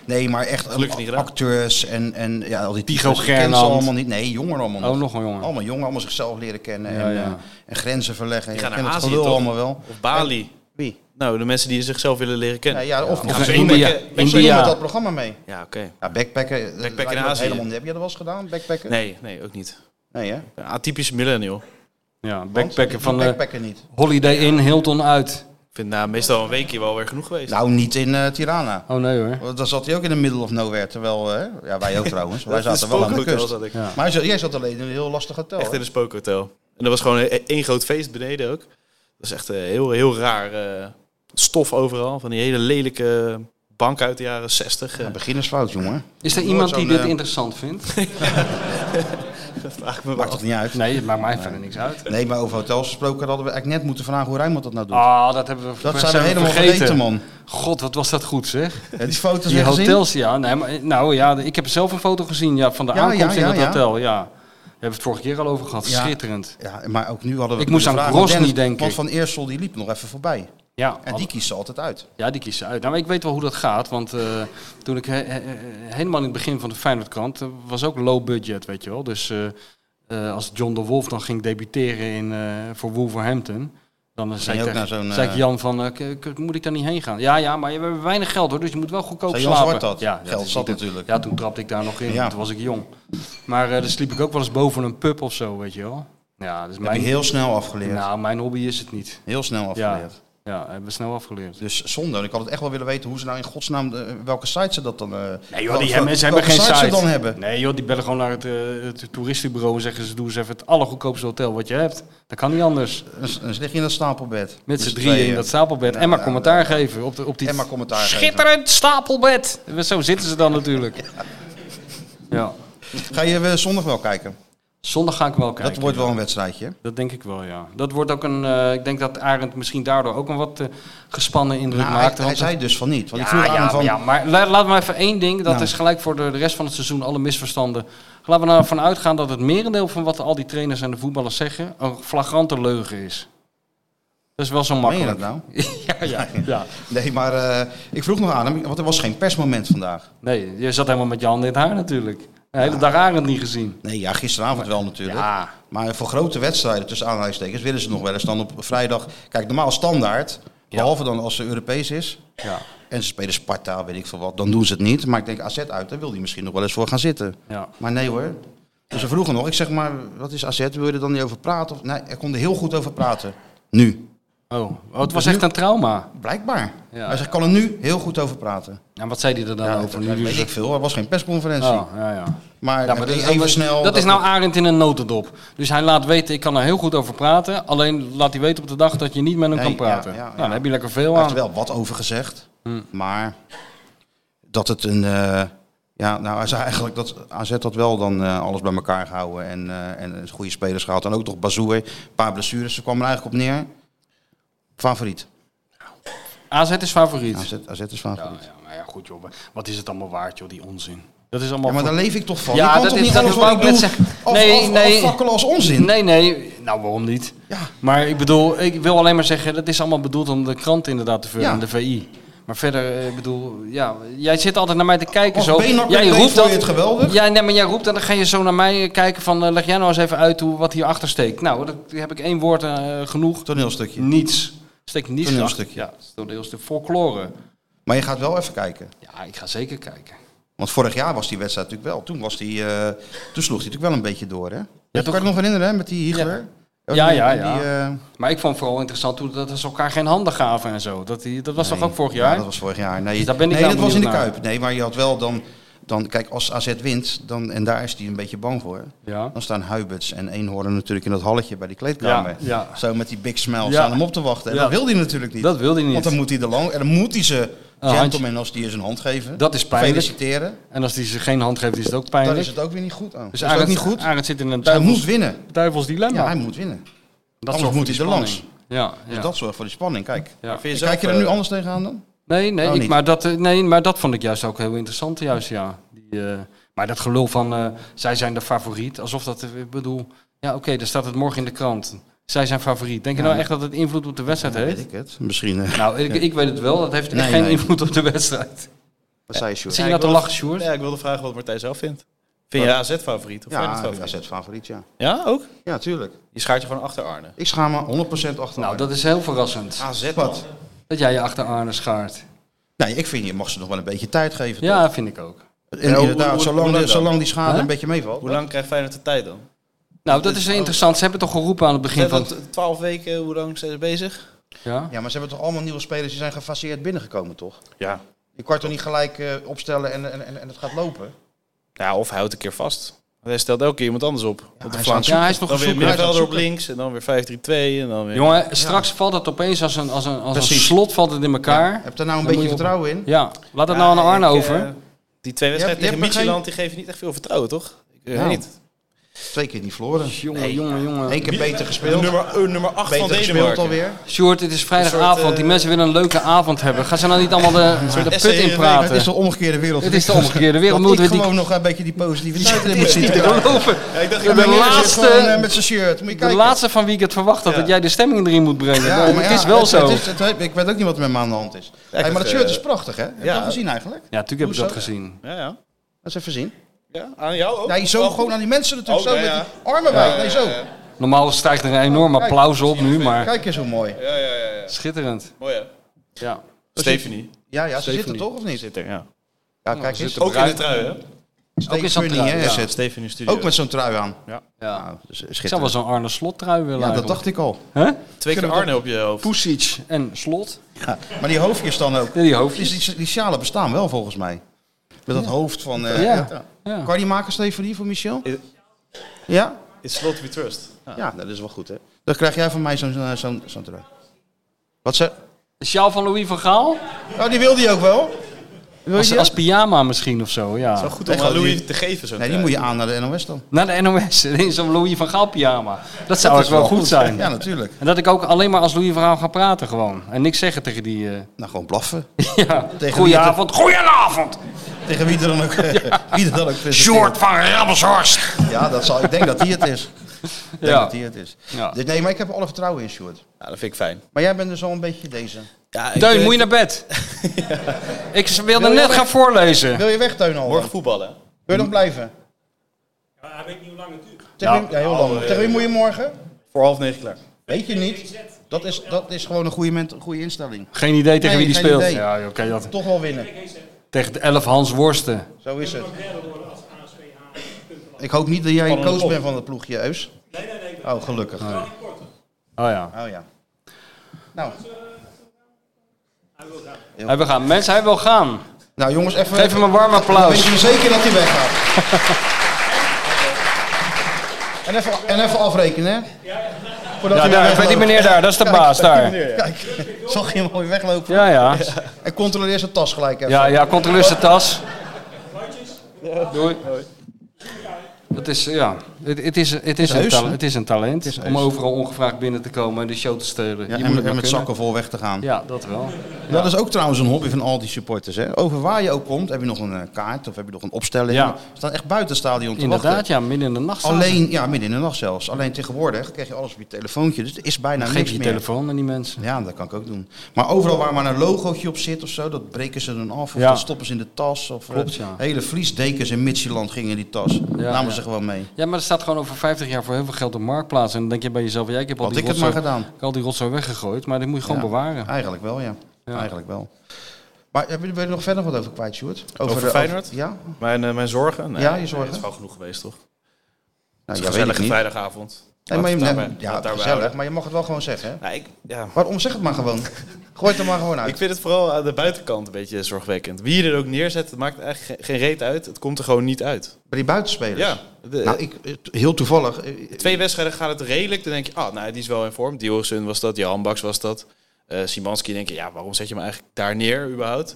[SPEAKER 2] Nee, maar echt
[SPEAKER 4] Gelukkig niet gedaan.
[SPEAKER 2] acteurs en, en ja, al die
[SPEAKER 3] Tycho
[SPEAKER 2] types, ik ken ze
[SPEAKER 3] Gernand.
[SPEAKER 2] allemaal niet. Nee, jongeren allemaal niet.
[SPEAKER 3] Oh, nog een jongen.
[SPEAKER 2] Allemaal jongen, allemaal zichzelf leren kennen
[SPEAKER 3] Ja,
[SPEAKER 2] en,
[SPEAKER 3] ja.
[SPEAKER 2] eh, en grenzen verleggen.
[SPEAKER 4] Die
[SPEAKER 2] Ja,
[SPEAKER 4] gaan
[SPEAKER 2] ik
[SPEAKER 4] naar
[SPEAKER 2] ken het
[SPEAKER 4] Azië
[SPEAKER 2] gelul
[SPEAKER 4] toch?
[SPEAKER 2] allemaal wel.
[SPEAKER 4] Of Bali.
[SPEAKER 2] Wie?
[SPEAKER 4] Nou, de mensen die zichzelf willen leren
[SPEAKER 2] Ja,
[SPEAKER 4] kennen. Ja,
[SPEAKER 2] ja, of
[SPEAKER 4] Ja,
[SPEAKER 2] of
[SPEAKER 3] Of
[SPEAKER 4] ze
[SPEAKER 2] zo
[SPEAKER 3] naar
[SPEAKER 4] doen
[SPEAKER 3] India.
[SPEAKER 4] backpacken.
[SPEAKER 2] iemand met dat
[SPEAKER 3] India.
[SPEAKER 2] programma mee.
[SPEAKER 4] oké.
[SPEAKER 2] Ja, backpacken. eh,
[SPEAKER 4] Backpacken
[SPEAKER 2] lijkt
[SPEAKER 4] in
[SPEAKER 2] me
[SPEAKER 4] Azië.
[SPEAKER 2] Helemaal, niet. heb je dat wel eens gedaan, backpacken?
[SPEAKER 4] Nee, nee, ook niet.
[SPEAKER 2] Nee, hè?
[SPEAKER 4] Een Atypische millennial.
[SPEAKER 3] Ja,
[SPEAKER 2] Want
[SPEAKER 3] backpacken
[SPEAKER 2] die
[SPEAKER 3] van eh,
[SPEAKER 2] backpacken niet.
[SPEAKER 3] Holiday in, Hilton uit.
[SPEAKER 4] Ik vind na meestal een weekje wel weer genoeg geweest.
[SPEAKER 2] Nou, niet in eh, Tirana.
[SPEAKER 3] Oh nee hoor.
[SPEAKER 2] Want Dan zat hij ook in de middle of nowhere, terwijl... eh, ja, wij
[SPEAKER 3] [laughs]
[SPEAKER 2] ook trouwens. Wij
[SPEAKER 4] Dat is
[SPEAKER 3] dus
[SPEAKER 2] zaten wel aan de
[SPEAKER 4] spookhotel
[SPEAKER 2] kust.
[SPEAKER 4] zat ik.
[SPEAKER 2] Maar hij zat- jij zat alleen in een heel lastig hotel.
[SPEAKER 4] Echt
[SPEAKER 2] Oh, hè?
[SPEAKER 4] in een spookhotel. En dat was gewoon e- één groot feest beneden ook. Dat is echt eh, heel, heel raar eh, stof overal. Van die hele lelijke bank uit de jaren 60. eh.
[SPEAKER 2] Ja, Beginnersfout,
[SPEAKER 3] [laughs]
[SPEAKER 2] jongen.
[SPEAKER 3] Is er
[SPEAKER 2] Nooit
[SPEAKER 3] iemand die
[SPEAKER 2] zo'n,
[SPEAKER 3] dit
[SPEAKER 2] eh,
[SPEAKER 3] interessant
[SPEAKER 2] [laughs]
[SPEAKER 3] vindt?
[SPEAKER 4] dat vraag ik me
[SPEAKER 2] Maakt
[SPEAKER 4] wel.
[SPEAKER 2] toch niet uit?
[SPEAKER 3] Nee, het maakt mij verder niks uit.
[SPEAKER 2] Nee, maar over hotels gesproken hadden we eigenlijk net moeten vragen hoe Rijnmond dat nou doet.
[SPEAKER 3] Ah, dat hebben we,
[SPEAKER 2] dat zijn we helemaal
[SPEAKER 3] vergeten.
[SPEAKER 2] vergeten, man.
[SPEAKER 3] God, wat was dat goed zeg.
[SPEAKER 2] Ja, die foto's
[SPEAKER 3] Die
[SPEAKER 2] weer gezien?
[SPEAKER 3] hotels, ja. Nee, maar, nou ja, ik heb zelf een foto gezien ja, van de
[SPEAKER 2] Ja,
[SPEAKER 3] aankomst
[SPEAKER 2] ja,
[SPEAKER 3] in
[SPEAKER 2] ja,
[SPEAKER 3] dat
[SPEAKER 2] ja.
[SPEAKER 3] hotel. Ja. Daar hebben we het vorige keer al over gehad.
[SPEAKER 2] Ja.
[SPEAKER 3] Schitterend.
[SPEAKER 2] Ja, maar ook nu hadden we...
[SPEAKER 3] Ik moest aan
[SPEAKER 2] vragen,
[SPEAKER 3] Bros
[SPEAKER 2] Dennis,
[SPEAKER 3] niet denken.
[SPEAKER 2] Want Van Eersel die liep nog even voorbij.
[SPEAKER 3] Ja,
[SPEAKER 2] En die kiest ze altijd uit.
[SPEAKER 3] ja, die kiezen uit. Nou, maar ik weet wel hoe dat gaat. Want eh, toen ik he- he- helemaal in het begin van de Feyenoordkrant... eh, was ook low budget, weet je wel. Dus eh, eh, als John de Wolf dan ging debuteren in, eh, voor Wolverhampton... dan eh, zei, ik
[SPEAKER 2] ook
[SPEAKER 3] tegen-
[SPEAKER 2] naar zo'n,
[SPEAKER 3] zei ik
[SPEAKER 2] eh,
[SPEAKER 3] Jan van, eh, k- k- moet ik daar niet heen gaan? Ja, ja, maar we hebben weinig geld hoor, dus je moet wel goedkoop
[SPEAKER 2] Zei Jan
[SPEAKER 3] slapen.
[SPEAKER 2] Zwart dat?
[SPEAKER 3] Ja,
[SPEAKER 2] Geld
[SPEAKER 3] is
[SPEAKER 2] zat
[SPEAKER 3] niet-
[SPEAKER 2] natuurlijk.
[SPEAKER 3] Ja, toen trapte ik daar nog in,
[SPEAKER 2] Ja.
[SPEAKER 3] want toen was ik jong. Maar eh dan sliep ik ook wel eens boven een pub of zo, weet je wel. Ja, dus
[SPEAKER 2] Dat heb
[SPEAKER 3] mijn,
[SPEAKER 2] je heel snel afgeleerd.
[SPEAKER 3] nou, mijn hobby is het niet.
[SPEAKER 2] Heel snel afgeleerd.
[SPEAKER 3] Ja, hebben we snel afgeleerd.
[SPEAKER 2] Dus zonde. En ik had het echt wel willen weten hoe ze nou in godsnaam, de- welke site ze dat dan... eh,
[SPEAKER 3] Nee joh,
[SPEAKER 2] welke-
[SPEAKER 3] die hebben, ze
[SPEAKER 2] welke
[SPEAKER 3] hebben geen
[SPEAKER 2] site
[SPEAKER 3] site.
[SPEAKER 2] ze dan hebben.
[SPEAKER 3] Nee joh, die bellen gewoon naar het, eh, het toeristenbureau en zeggen ze doen eens even het allergoedkoopste hotel wat je hebt. Dat kan niet anders.
[SPEAKER 2] Dan dan lig je in dat stapelbed. Dus
[SPEAKER 3] Met z'n drieën in dat stapelbed.
[SPEAKER 2] Nou,
[SPEAKER 3] en maar
[SPEAKER 2] nou,
[SPEAKER 3] commentaar geven op, de, op die
[SPEAKER 2] En maar commentaar geven.
[SPEAKER 3] schitterend stapelbed. Zo zitten ze dan
[SPEAKER 2] [laughs]
[SPEAKER 3] natuurlijk. Ja.
[SPEAKER 2] Ga je eh, zondag wel kijken?
[SPEAKER 3] Zondag ga ik wel kijken.
[SPEAKER 2] Dat wordt wel een wedstrijdje. hè?
[SPEAKER 3] Dat denk ik wel, ja. Dat wordt ook een. eh, ik denk dat Arend misschien daardoor ook een wat eh, gespannen indruk
[SPEAKER 2] Nou,
[SPEAKER 3] maakt.
[SPEAKER 2] hij, hij
[SPEAKER 3] want
[SPEAKER 2] zei dus van niet. Want ik
[SPEAKER 3] ja,
[SPEAKER 2] vroeg aan
[SPEAKER 3] ja,
[SPEAKER 2] hem van...
[SPEAKER 3] ja, maar la- laten we maar even één ding. Dat
[SPEAKER 2] Nou.
[SPEAKER 3] is gelijk voor de, de rest van het seizoen alle misverstanden. Laten we nou ervan uitgaan dat het merendeel van wat al die trainers en de voetballers zeggen... een flagrante leugen is. Dat is wel zo
[SPEAKER 2] meen je
[SPEAKER 3] makkelijk.
[SPEAKER 2] dat nou?
[SPEAKER 3] ja,
[SPEAKER 2] [laughs]
[SPEAKER 3] ja, ja.
[SPEAKER 2] Nee, maar eh, ik vroeg nog aan hem, want er was geen persmoment vandaag.
[SPEAKER 3] Nee, je zat helemaal met je handen in het haar natuurlijk. De hele dag Arend niet gezien.
[SPEAKER 2] Nee, ja, gisteravond wel natuurlijk.
[SPEAKER 3] Ja.
[SPEAKER 2] Maar voor grote wedstrijden, tussen aanhalingstekens, willen ze nog wel eens dan op vrijdag... Kijk, normaal standaard, behalve dan als ze Europees is...
[SPEAKER 3] Ja,
[SPEAKER 2] en ze spelen Sparta, weet ik veel wat, dan doen ze het niet. Maar ik denk, AZ uit, daar wil hij misschien nog wel eens voor gaan zitten.
[SPEAKER 3] ja.
[SPEAKER 2] Maar nee hoor. Dus ze vroegen nog, ik zeg maar, wat is AZ, wil je er dan niet over praten? Of, nee, hij kon er heel goed over praten. Nu.
[SPEAKER 3] Oh. oh, het was echt een trauma.
[SPEAKER 2] Blijkbaar.
[SPEAKER 3] Ja.
[SPEAKER 2] Hij zegt, ik kan er nu heel goed over praten. Nou,
[SPEAKER 3] En wat zei hij er dan over?
[SPEAKER 2] dat
[SPEAKER 3] Nu
[SPEAKER 2] weet ik veel, er was geen persconferentie.
[SPEAKER 3] Oh, ja, ja.
[SPEAKER 2] Maar,
[SPEAKER 3] Ja, maar dat, is-
[SPEAKER 2] even
[SPEAKER 3] dat-
[SPEAKER 2] snel...
[SPEAKER 3] dat is nou Arend in een notendop. Dus hij laat weten, ik kan er heel goed over praten. Alleen laat hij weten op de dag dat je niet met hem
[SPEAKER 2] Nee,
[SPEAKER 3] kan praten.
[SPEAKER 2] ja, ja,
[SPEAKER 3] nou,
[SPEAKER 2] ja.
[SPEAKER 3] dan heb je lekker veel
[SPEAKER 2] Hij
[SPEAKER 3] aan.
[SPEAKER 2] heeft er wel wat over gezegd.
[SPEAKER 3] Hmm.
[SPEAKER 2] Maar dat het een. eh, ja, nou, hij zei eigenlijk dat AZ dat wel dan eh, alles bij elkaar gehouden. En, eh, en goede spelers gehad. En ook toch Bazoer. Een paar blessures. Ze kwam er eigenlijk op neer. Favoriet.
[SPEAKER 3] AZ is favoriet.
[SPEAKER 2] AZ, AZ is
[SPEAKER 3] Ja,
[SPEAKER 2] favoriet. Ja,
[SPEAKER 3] ja, maar ja, goed joh. Wat is het allemaal waard joh, die onzin. Dat is allemaal...
[SPEAKER 2] maar
[SPEAKER 3] voor-
[SPEAKER 2] daar leef ik toch van.
[SPEAKER 3] Ja,
[SPEAKER 2] je kan
[SPEAKER 3] dat
[SPEAKER 2] toch
[SPEAKER 3] is-
[SPEAKER 2] niet
[SPEAKER 3] dat
[SPEAKER 2] alles
[SPEAKER 3] wou
[SPEAKER 2] wat ik
[SPEAKER 3] ik net
[SPEAKER 2] doe
[SPEAKER 3] zeggen.
[SPEAKER 2] af-
[SPEAKER 3] Nee,
[SPEAKER 2] af-
[SPEAKER 3] nee.
[SPEAKER 2] afvakkelen als onzin.
[SPEAKER 3] Nee, nee. Nou, waarom niet?
[SPEAKER 2] Ja.
[SPEAKER 3] Maar ik bedoel, ik wil alleen maar zeggen, dat is allemaal bedoeld om de krant inderdaad te vullen
[SPEAKER 2] Ja.
[SPEAKER 3] en de VI. Maar verder, eh, ik bedoel, ja, jij zit altijd naar mij te kijken
[SPEAKER 2] Als
[SPEAKER 3] zo.
[SPEAKER 2] Benak
[SPEAKER 3] jij
[SPEAKER 2] dat deed, vond je het geweldig?
[SPEAKER 3] Ja, nee, maar jij roept en dan ga je zo naar mij kijken van, eh, leg jij nou eens even uit hoe, wat hierachter steekt. Nou, dat heb ik één woord eh, genoeg.
[SPEAKER 2] Toneelstukje.
[SPEAKER 3] Niets. Steekt niets
[SPEAKER 2] Toneelstukje.
[SPEAKER 3] achter. Ja, het is toneelstuk. Folklore.
[SPEAKER 2] Maar je gaat wel even kijken.
[SPEAKER 3] Ja, ik ga zeker kijken.
[SPEAKER 2] Want vorig jaar was die wedstrijd natuurlijk wel. Toen, was die, eh, toen sloeg hij natuurlijk wel een beetje door. Hè? dat
[SPEAKER 3] toch?
[SPEAKER 2] kan ik me nog herinneren hè, met die Hiegler.
[SPEAKER 3] Ja, ja, ja.
[SPEAKER 2] Die, eh,
[SPEAKER 3] Maar ik vond vooral interessant hoe dat ze elkaar geen handen gaven en zo. Dat, die, dat was
[SPEAKER 2] Nee.
[SPEAKER 3] toch ook vorig
[SPEAKER 2] Ja,
[SPEAKER 3] jaar?
[SPEAKER 2] dat was vorig jaar. Nee,
[SPEAKER 3] Dus daar ben ik
[SPEAKER 2] nee
[SPEAKER 3] wel
[SPEAKER 2] dat was in de
[SPEAKER 3] benieuwd naar.
[SPEAKER 2] Kuip. Nee, maar je had wel dan... dan kijk, als AZ wint, dan, en daar is hij een beetje bang voor...
[SPEAKER 3] Ja.
[SPEAKER 2] dan staan Huiberts en Eenhoorn natuurlijk in dat halletje bij die kleedkamer.
[SPEAKER 3] Ja, ja.
[SPEAKER 2] Zo met die big smile
[SPEAKER 3] Ja.
[SPEAKER 2] staan hem op te wachten. En
[SPEAKER 3] Ja.
[SPEAKER 2] dat wil hij natuurlijk niet.
[SPEAKER 3] Dat wil hij niet. Oh,
[SPEAKER 2] Want dan moet hij de lang... En dan moet hij ze...
[SPEAKER 3] handje.
[SPEAKER 2] gentleman als die je zijn hand geven.
[SPEAKER 3] Dat is pijnlijk.
[SPEAKER 2] Feliciteren.
[SPEAKER 3] En als die ze geen hand geeft, is het ook
[SPEAKER 2] Dan
[SPEAKER 3] pijnlijk.
[SPEAKER 2] is het ook weer niet goed. Oh.
[SPEAKER 3] Dus
[SPEAKER 2] is dat
[SPEAKER 3] Arend,
[SPEAKER 2] niet goed?
[SPEAKER 3] Arend zit in een
[SPEAKER 2] hij
[SPEAKER 3] duivels,
[SPEAKER 2] moet winnen.
[SPEAKER 3] duivels dilemma.
[SPEAKER 2] Ja, hij moet winnen.
[SPEAKER 3] dat
[SPEAKER 2] anders
[SPEAKER 3] zorgt
[SPEAKER 2] moet
[SPEAKER 3] voor
[SPEAKER 2] hij
[SPEAKER 3] die
[SPEAKER 2] er
[SPEAKER 3] spanning. Ja,
[SPEAKER 2] Dus
[SPEAKER 3] ja.
[SPEAKER 2] dat zorgt voor die spanning. Kijk,
[SPEAKER 3] ja.
[SPEAKER 4] Vind je zelf,
[SPEAKER 2] kijk je er nu
[SPEAKER 4] eh,
[SPEAKER 2] anders tegenaan dan?
[SPEAKER 3] Nee, nee,
[SPEAKER 2] Oh,
[SPEAKER 3] ik,
[SPEAKER 2] niet.
[SPEAKER 3] maar dat, eh, nee, maar dat vond ik juist ook heel interessant. Juist, ja. Die, eh, maar dat gelul van eh, zij zijn de favoriet. Alsof dat, eh, ik bedoel, ja oké, daar staat het morgen in de krant. Zij zijn favoriet. Denk je nou echt dat het invloed op de wedstrijd
[SPEAKER 2] Weet
[SPEAKER 3] heeft?
[SPEAKER 2] ik het. Misschien. eh,
[SPEAKER 3] Nou, ik, ik weet het wel. Dat heeft echt
[SPEAKER 2] Nee,
[SPEAKER 3] geen
[SPEAKER 2] nee.
[SPEAKER 3] invloed op de wedstrijd.
[SPEAKER 2] [laughs] Wat zei je, Sjoerd?
[SPEAKER 3] Zie je
[SPEAKER 4] ik
[SPEAKER 3] dat te
[SPEAKER 4] wil-
[SPEAKER 3] lachen, Sjoerd?
[SPEAKER 4] Ja, ik wilde vragen wat Martijn zelf vindt. Vind je AZ favoriet? Of Feyenoord
[SPEAKER 2] Ja,
[SPEAKER 4] favoriet?
[SPEAKER 2] AZ favoriet, ja.
[SPEAKER 4] Ja, ook?
[SPEAKER 2] Ja, tuurlijk.
[SPEAKER 4] Je schaart je gewoon achter Arne.
[SPEAKER 2] Ik schaam me 100% achter.
[SPEAKER 3] Nou, dat is heel
[SPEAKER 2] Ah.
[SPEAKER 3] verrassend.
[SPEAKER 4] AZ,
[SPEAKER 2] Wat?
[SPEAKER 3] Dat jij je achter Arne schaart.
[SPEAKER 2] Nee, ik vind je mag ze nog wel een beetje tijd geven.
[SPEAKER 3] Ja, vind ik ook.
[SPEAKER 2] toch?
[SPEAKER 4] Ja,
[SPEAKER 2] En
[SPEAKER 4] hoe-
[SPEAKER 2] inderdaad,
[SPEAKER 4] hoe-
[SPEAKER 2] zolang,
[SPEAKER 4] hoe lang
[SPEAKER 2] de- zolang die schade
[SPEAKER 3] Huh?
[SPEAKER 2] een beetje meevalt.
[SPEAKER 4] Hoe lang krijgt Feyenoord de tijd dan?
[SPEAKER 3] Nou, dat is interessant. Ze hebben toch geroepen aan het begin van...
[SPEAKER 4] Twaalf 12 weken, hoe lang zijn ze bezig?
[SPEAKER 3] Ja?
[SPEAKER 2] Ja, maar ze hebben toch allemaal nieuwe spelers die zijn gefaseerd binnengekomen, toch?
[SPEAKER 4] Ja.
[SPEAKER 2] Je kan toch niet gelijk eh, opstellen en, en, en, en het gaat lopen?
[SPEAKER 4] Ja, of hij houdt een keer vast. Want Hij stelt elke keer iemand anders op. op de
[SPEAKER 2] hij
[SPEAKER 4] flank.
[SPEAKER 2] is aan
[SPEAKER 3] Ja, hij is nog
[SPEAKER 4] Dan weer
[SPEAKER 3] gezocht.
[SPEAKER 4] middenvelder op links en dan weer 5-3-2 en dan weer...
[SPEAKER 3] Jongen, straks valt het opeens als een, als een, als een
[SPEAKER 2] Precies.
[SPEAKER 3] slot valt het in elkaar. Ja,
[SPEAKER 2] Heb daar nou een
[SPEAKER 3] Dan
[SPEAKER 2] beetje
[SPEAKER 3] moet je op-
[SPEAKER 2] vertrouwen in?
[SPEAKER 3] laat het
[SPEAKER 4] Ja,
[SPEAKER 3] nou aan Arne
[SPEAKER 4] ik, eh,
[SPEAKER 3] over.
[SPEAKER 4] die twee
[SPEAKER 2] hebt- Nou, je
[SPEAKER 4] wedstrijden tegen
[SPEAKER 2] hebt er
[SPEAKER 4] Midtjylland, die geven niet echt veel vertrouwen, toch? Ik eh, weet
[SPEAKER 2] Ja.
[SPEAKER 4] niet.
[SPEAKER 2] Twee keer niet verloren.
[SPEAKER 3] jongen, jongen, jongen.
[SPEAKER 2] Eén keer beter gespeeld.
[SPEAKER 4] Nummer, eh, nummer 8
[SPEAKER 2] beter
[SPEAKER 4] van
[SPEAKER 2] gespeeld
[SPEAKER 4] Denemarken.
[SPEAKER 2] alweer.
[SPEAKER 3] Sjoerd, het is vrijdagavond.
[SPEAKER 4] soort, eh,
[SPEAKER 3] Die mensen willen een leuke avond hebben. Gaan ze nou niet allemaal de, de put
[SPEAKER 4] essay in
[SPEAKER 3] in
[SPEAKER 2] Het
[SPEAKER 4] de
[SPEAKER 2] is de
[SPEAKER 3] praten?
[SPEAKER 2] omgekeerde wereld.
[SPEAKER 3] Het is de omgekeerde wereld.
[SPEAKER 2] Dat
[SPEAKER 3] Moeten
[SPEAKER 2] ik
[SPEAKER 3] we die
[SPEAKER 2] gewoon nog een beetje die positiviteit in moet zien te
[SPEAKER 3] [laughs]
[SPEAKER 2] krijgen.
[SPEAKER 3] geloven?
[SPEAKER 4] Ja, ik dacht, ik
[SPEAKER 3] De
[SPEAKER 4] ben
[SPEAKER 2] Meneer zit
[SPEAKER 3] laatste-
[SPEAKER 2] gewoon, eh, met zijn shirt. Moet je
[SPEAKER 3] De
[SPEAKER 2] kijken.
[SPEAKER 3] laatste van wie ik het verwacht had,
[SPEAKER 4] Ja.
[SPEAKER 3] dat jij de stemming erin moet brengen.
[SPEAKER 2] Ja,
[SPEAKER 3] Nou,
[SPEAKER 2] maar
[SPEAKER 3] het
[SPEAKER 2] ja,
[SPEAKER 3] is wel zo.
[SPEAKER 2] het is- het heeft- ik weet ook niet wat met me aan de hand is. Hey, maar dat
[SPEAKER 4] eh,
[SPEAKER 2] shirt is prachtig, hè? Heb je
[SPEAKER 4] ja.
[SPEAKER 2] dat gezien eigenlijk?
[SPEAKER 3] Ja, natuurlijk heb ik
[SPEAKER 2] Hoezo?
[SPEAKER 3] dat gezien.
[SPEAKER 4] Ja, ja.
[SPEAKER 2] Dat is even zien.
[SPEAKER 4] ja, aan jou ook?
[SPEAKER 2] Nee, zo
[SPEAKER 4] Oh,
[SPEAKER 2] gewoon aan die mensen natuurlijk.
[SPEAKER 4] Oh,
[SPEAKER 2] zo
[SPEAKER 4] ja, ja.
[SPEAKER 2] met die armen wijd. Nee, zo.
[SPEAKER 3] Normaal stijgt er een enorm
[SPEAKER 2] Kijk.
[SPEAKER 3] applaus op nu, maar
[SPEAKER 2] Kijk eens hoe mooi.
[SPEAKER 4] Ja, ja, ja. ja.
[SPEAKER 3] schitterend.
[SPEAKER 4] Mooi, ja.
[SPEAKER 3] Ja.
[SPEAKER 4] Stephanie.
[SPEAKER 2] Ja, ja, ze
[SPEAKER 3] Stephanie.
[SPEAKER 2] zitten toch of niet?
[SPEAKER 4] Zit er, ja.
[SPEAKER 2] Ja, kijk eens.
[SPEAKER 3] zitten
[SPEAKER 4] Ook in de trui, hè?
[SPEAKER 3] Ook in zo'n
[SPEAKER 2] Funny,
[SPEAKER 3] trui,
[SPEAKER 2] hè,
[SPEAKER 3] ja.
[SPEAKER 2] is het.
[SPEAKER 4] Steven in de studio.
[SPEAKER 2] Ook met zo'n trui aan.
[SPEAKER 4] ja.
[SPEAKER 3] Ja.
[SPEAKER 2] Nou, dat is
[SPEAKER 3] Ik zou wel
[SPEAKER 2] schitterend.
[SPEAKER 3] zo'n Arne Slot trui willen
[SPEAKER 2] Ja, dat
[SPEAKER 3] eigenlijk.
[SPEAKER 2] dacht ik al.
[SPEAKER 3] Hè?
[SPEAKER 4] Twee keer
[SPEAKER 2] Kunnen we
[SPEAKER 4] Arne op je hoofd.
[SPEAKER 3] Pusic en Slot.
[SPEAKER 2] Ja, maar die hoofdjes dan ook.
[SPEAKER 3] Ja, die hoofdjes.
[SPEAKER 2] Die, die, die sjalen bestaan wel volgens mij. Met dat hoofd van... eh,
[SPEAKER 3] Ja.
[SPEAKER 2] Kan
[SPEAKER 3] Ja.
[SPEAKER 2] je die maken, Stefanie, voor Michel?
[SPEAKER 4] Is-
[SPEAKER 2] Ja?
[SPEAKER 4] It's slot we trust. Ja.
[SPEAKER 2] Ja, dat is wel goed, hè? Dan krijg jij van mij zo'n zo'n zo'n zo'n trui. Wat ze...
[SPEAKER 3] Een sjaal van Louis van Gaal?
[SPEAKER 2] Oh, die wil die ook wel. Wil je
[SPEAKER 3] Als,
[SPEAKER 2] die
[SPEAKER 3] als
[SPEAKER 2] ook? Nou,
[SPEAKER 3] pyjama misschien of zo,
[SPEAKER 4] Zo
[SPEAKER 3] ja.
[SPEAKER 4] goed
[SPEAKER 2] Nee,
[SPEAKER 4] om aan
[SPEAKER 2] gewoon
[SPEAKER 4] Louis
[SPEAKER 2] die-
[SPEAKER 4] te geven. Zo
[SPEAKER 2] Nee, die moet je aan naar de NOS dan.
[SPEAKER 3] Naar de [laughs] NOS, in zo'n Louis van Gaal pyjama. Dat zou
[SPEAKER 2] Dat
[SPEAKER 3] ook
[SPEAKER 2] is
[SPEAKER 3] Oh, wel goed zijn.
[SPEAKER 2] Ja, natuurlijk.
[SPEAKER 3] En dat ik ook alleen maar als Louis van Gaal ga praten gewoon. En niks zeggen tegen die... eh [laughs]
[SPEAKER 2] Nou, gewoon blaffen.
[SPEAKER 3] ja,
[SPEAKER 2] wie
[SPEAKER 3] goedenavond, goedenavond!
[SPEAKER 2] Tegen wie er dan ook... eh,
[SPEAKER 3] [laughs]
[SPEAKER 2] wie er dan ook presenteert.
[SPEAKER 3] Short van Rammershorst!
[SPEAKER 2] Ja, dat zal, ik denk dat die het is. Ik denk
[SPEAKER 3] Ja.
[SPEAKER 2] dat die het is.
[SPEAKER 3] Ja.
[SPEAKER 2] Dus nee, maar ik heb alle vertrouwen in, Short.
[SPEAKER 4] Ja, dat vind ik fijn.
[SPEAKER 2] Maar jij bent dus al een beetje deze.
[SPEAKER 4] Ja,
[SPEAKER 3] Deun, moet je naar
[SPEAKER 2] [laughs]
[SPEAKER 3] bed? Ik wilde
[SPEAKER 2] Wil je
[SPEAKER 3] net
[SPEAKER 2] weg?
[SPEAKER 3] gaan voorlezen.
[SPEAKER 2] Wil je weg, Teun, al?
[SPEAKER 4] Morgen
[SPEAKER 2] Wil
[SPEAKER 4] voetballen.
[SPEAKER 2] je dan blijven?
[SPEAKER 6] Ja, ik weet niet hoe lang het duurt.
[SPEAKER 2] Tegen, wie, ja, heel lang. tegen wie moet je morgen?
[SPEAKER 4] Voor half negen klaar.
[SPEAKER 2] Weet je niet. Dat is, dat is gewoon een goede, ment- goede instelling.
[SPEAKER 3] Geen idee tegen
[SPEAKER 2] Nee,
[SPEAKER 3] wie die
[SPEAKER 2] geen
[SPEAKER 3] speelt.
[SPEAKER 2] idee.
[SPEAKER 3] Ja, joh, kan je dat.
[SPEAKER 2] Toch wel winnen.
[SPEAKER 3] Tegen de 11 Hans Worsten.
[SPEAKER 2] Zo is het. Ik hoop niet dat jij een coach bent van het ploegje, Eus.
[SPEAKER 6] Nee, nee, nee.
[SPEAKER 2] Oh, gelukkig. Oh
[SPEAKER 3] Oh ja.
[SPEAKER 2] ja. Nou,
[SPEAKER 3] Hij wil gaan. Mensen, hij wil gaan.
[SPEAKER 2] nou jongens, even...
[SPEAKER 3] Geef hem een warm
[SPEAKER 2] Dan weet
[SPEAKER 3] applaus.
[SPEAKER 2] je zeker dat hij weggaat. [laughs] en, even, en even afrekenen, hè? Voordat
[SPEAKER 3] Ja,
[SPEAKER 2] hij weer
[SPEAKER 3] daar, bij
[SPEAKER 2] wegloopt.
[SPEAKER 3] die meneer daar, dat is de baas daar.
[SPEAKER 2] Kijk, [laughs] zag je hem mooi weglopen?
[SPEAKER 3] Ja, ja.
[SPEAKER 2] En controleer zijn tas gelijk even.
[SPEAKER 3] Ja, ja, controleer zijn tas. Doei. Het is, ja, het, het is, het is, een,
[SPEAKER 2] heus,
[SPEAKER 3] talent,
[SPEAKER 2] hè?
[SPEAKER 3] het is een talent
[SPEAKER 2] is heus.
[SPEAKER 3] om overal ongevraagd binnen te komen en de show te stelen.
[SPEAKER 2] Ja,
[SPEAKER 3] Je
[SPEAKER 2] en
[SPEAKER 3] moet het
[SPEAKER 2] met,
[SPEAKER 3] maar
[SPEAKER 2] en met
[SPEAKER 3] kunnen.
[SPEAKER 2] zakken vol weg te gaan.
[SPEAKER 3] Ja, dat wel.
[SPEAKER 2] Dat is ook trouwens een hobby van al die supporters. Hè? Over waar je ook komt, heb je nog een eh, kaart of heb je nog een opstelling.
[SPEAKER 3] Ja.
[SPEAKER 2] Ze staan echt buiten het stadion te
[SPEAKER 3] Inderdaad,
[SPEAKER 2] wachten.
[SPEAKER 3] ja, midden in de nacht. staan ze.
[SPEAKER 2] Alleen, ja, midden in de nacht zelfs. Alleen tegenwoordig krijg je alles op je telefoontje. Dus er is bijna
[SPEAKER 3] geef
[SPEAKER 2] niks
[SPEAKER 3] je
[SPEAKER 2] meer.
[SPEAKER 3] telefoon aan die mensen.
[SPEAKER 2] Ja, dat kan ik ook doen. Maar overal waar maar een logootje op zit of zo, dat breken ze dan af. Of
[SPEAKER 3] Ja.
[SPEAKER 2] dat stoppen ze in de tas. Of eh,
[SPEAKER 3] Klopt, ja.
[SPEAKER 2] Hele vliesdekens in Midtjylland gingen in die tas. Namen
[SPEAKER 3] ja.
[SPEAKER 2] ze gewoon mee.
[SPEAKER 3] Ja, maar er staat gewoon over 50 jaar voor heel veel geld op marktplaats. En dan denk je bij jezelf, ja, ik heb al,
[SPEAKER 2] Had
[SPEAKER 3] die
[SPEAKER 2] ik het
[SPEAKER 3] rotzooi-
[SPEAKER 2] maar gedaan.
[SPEAKER 3] ik heb al die rotzooi weggegooid, maar die moet je gewoon
[SPEAKER 2] Ja.
[SPEAKER 3] bewaren.
[SPEAKER 2] Eigenlijk wel, ja.
[SPEAKER 3] Ja.
[SPEAKER 2] Eigenlijk wel. Maar hebben jullie er nog verder wat over kwijt, Sjoerd?
[SPEAKER 4] Over
[SPEAKER 2] de-
[SPEAKER 4] Feyenoord?
[SPEAKER 2] ja?
[SPEAKER 4] Mijn, eh, mijn zorgen? Nee,
[SPEAKER 2] Ja, je zorgen.
[SPEAKER 4] Het is wel genoeg geweest, toch?
[SPEAKER 2] Nou, ja,
[SPEAKER 4] Een
[SPEAKER 2] weet ik
[SPEAKER 4] gezellige
[SPEAKER 2] niet.
[SPEAKER 4] vrijdagavond.
[SPEAKER 2] Nee, maar je,
[SPEAKER 4] Laten we
[SPEAKER 2] nee,
[SPEAKER 4] het
[SPEAKER 2] ja,
[SPEAKER 4] laten we het
[SPEAKER 2] gezellig,
[SPEAKER 4] houden.
[SPEAKER 2] maar je mag het wel gewoon zeggen, hè?
[SPEAKER 4] Nou, ik, ja.
[SPEAKER 2] Waarom zeg het maar gewoon? Gooi het er maar gewoon
[SPEAKER 4] ik
[SPEAKER 2] uit.
[SPEAKER 4] vind het vooral aan de buitenkant een beetje zorgwekkend. Wie je er ook neerzet, het maakt eigenlijk ge- geen reet uit. Het komt er gewoon niet uit.
[SPEAKER 2] Bij die buitenspelers.
[SPEAKER 4] Ja, de-
[SPEAKER 2] Nou, ik, eh, heel toevallig. eh,
[SPEAKER 4] twee wedstrijden gaat het redelijk. Dan denk je, ah, nou, die is wel in vorm. Diorsen was dat, Johan Baks was dat. Eh Simanski denk je, ja, waarom zet je hem eigenlijk daar neer überhaupt?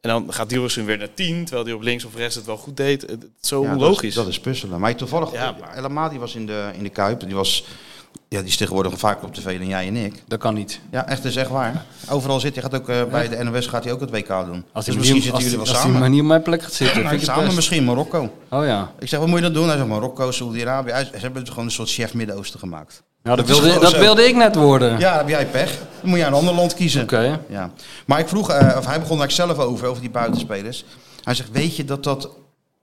[SPEAKER 4] En dan gaat Diorsen weer naar 10, terwijl hij op links of rechts het wel goed deed. Het- het is zo
[SPEAKER 2] Ja,
[SPEAKER 4] onlogisch.
[SPEAKER 2] Dat is, dat is puzzelen. Maar toevallig,
[SPEAKER 4] Ja,
[SPEAKER 2] ja,
[SPEAKER 4] maar-
[SPEAKER 2] El Amadi was in de, in de Kuip. Die, was, ja, die is tegenwoordig vaker op tv dan jij en ik.
[SPEAKER 3] Dat kan niet.
[SPEAKER 2] Ja, echt, dat is echt waar. Overal zit hij. Gaat ook, eh, bij de NOS gaat hij ook het WK doen. dus
[SPEAKER 3] Als
[SPEAKER 2] misschien
[SPEAKER 3] die manier-
[SPEAKER 2] zitten jullie
[SPEAKER 3] als die-
[SPEAKER 2] wel
[SPEAKER 3] als die
[SPEAKER 2] samen.
[SPEAKER 3] manier op mijn plek gaat zitten,
[SPEAKER 2] Nou,
[SPEAKER 3] vind ik het
[SPEAKER 2] samen
[SPEAKER 3] best.
[SPEAKER 2] misschien, Marokko.
[SPEAKER 3] Oh ja.
[SPEAKER 2] Ik zeg, wat moet je dan doen? Hij zegt, Marokko, Saudi-Arabië. Hij- Ze hebben het gewoon een soort chef Midden-Oosten gemaakt.
[SPEAKER 3] Nou, dat
[SPEAKER 2] Dat is
[SPEAKER 3] wilde,
[SPEAKER 2] gewoon
[SPEAKER 3] dat
[SPEAKER 2] zo.
[SPEAKER 3] wilde ik net worden.
[SPEAKER 2] Ja, dan heb jij pech. Dan moet je een ander land kiezen.
[SPEAKER 3] Oké.
[SPEAKER 2] Ja. Maar ik vroeg, eh, of hij begon daar zelf over, over die buitenspelers. Hij zegt, weet je dat dat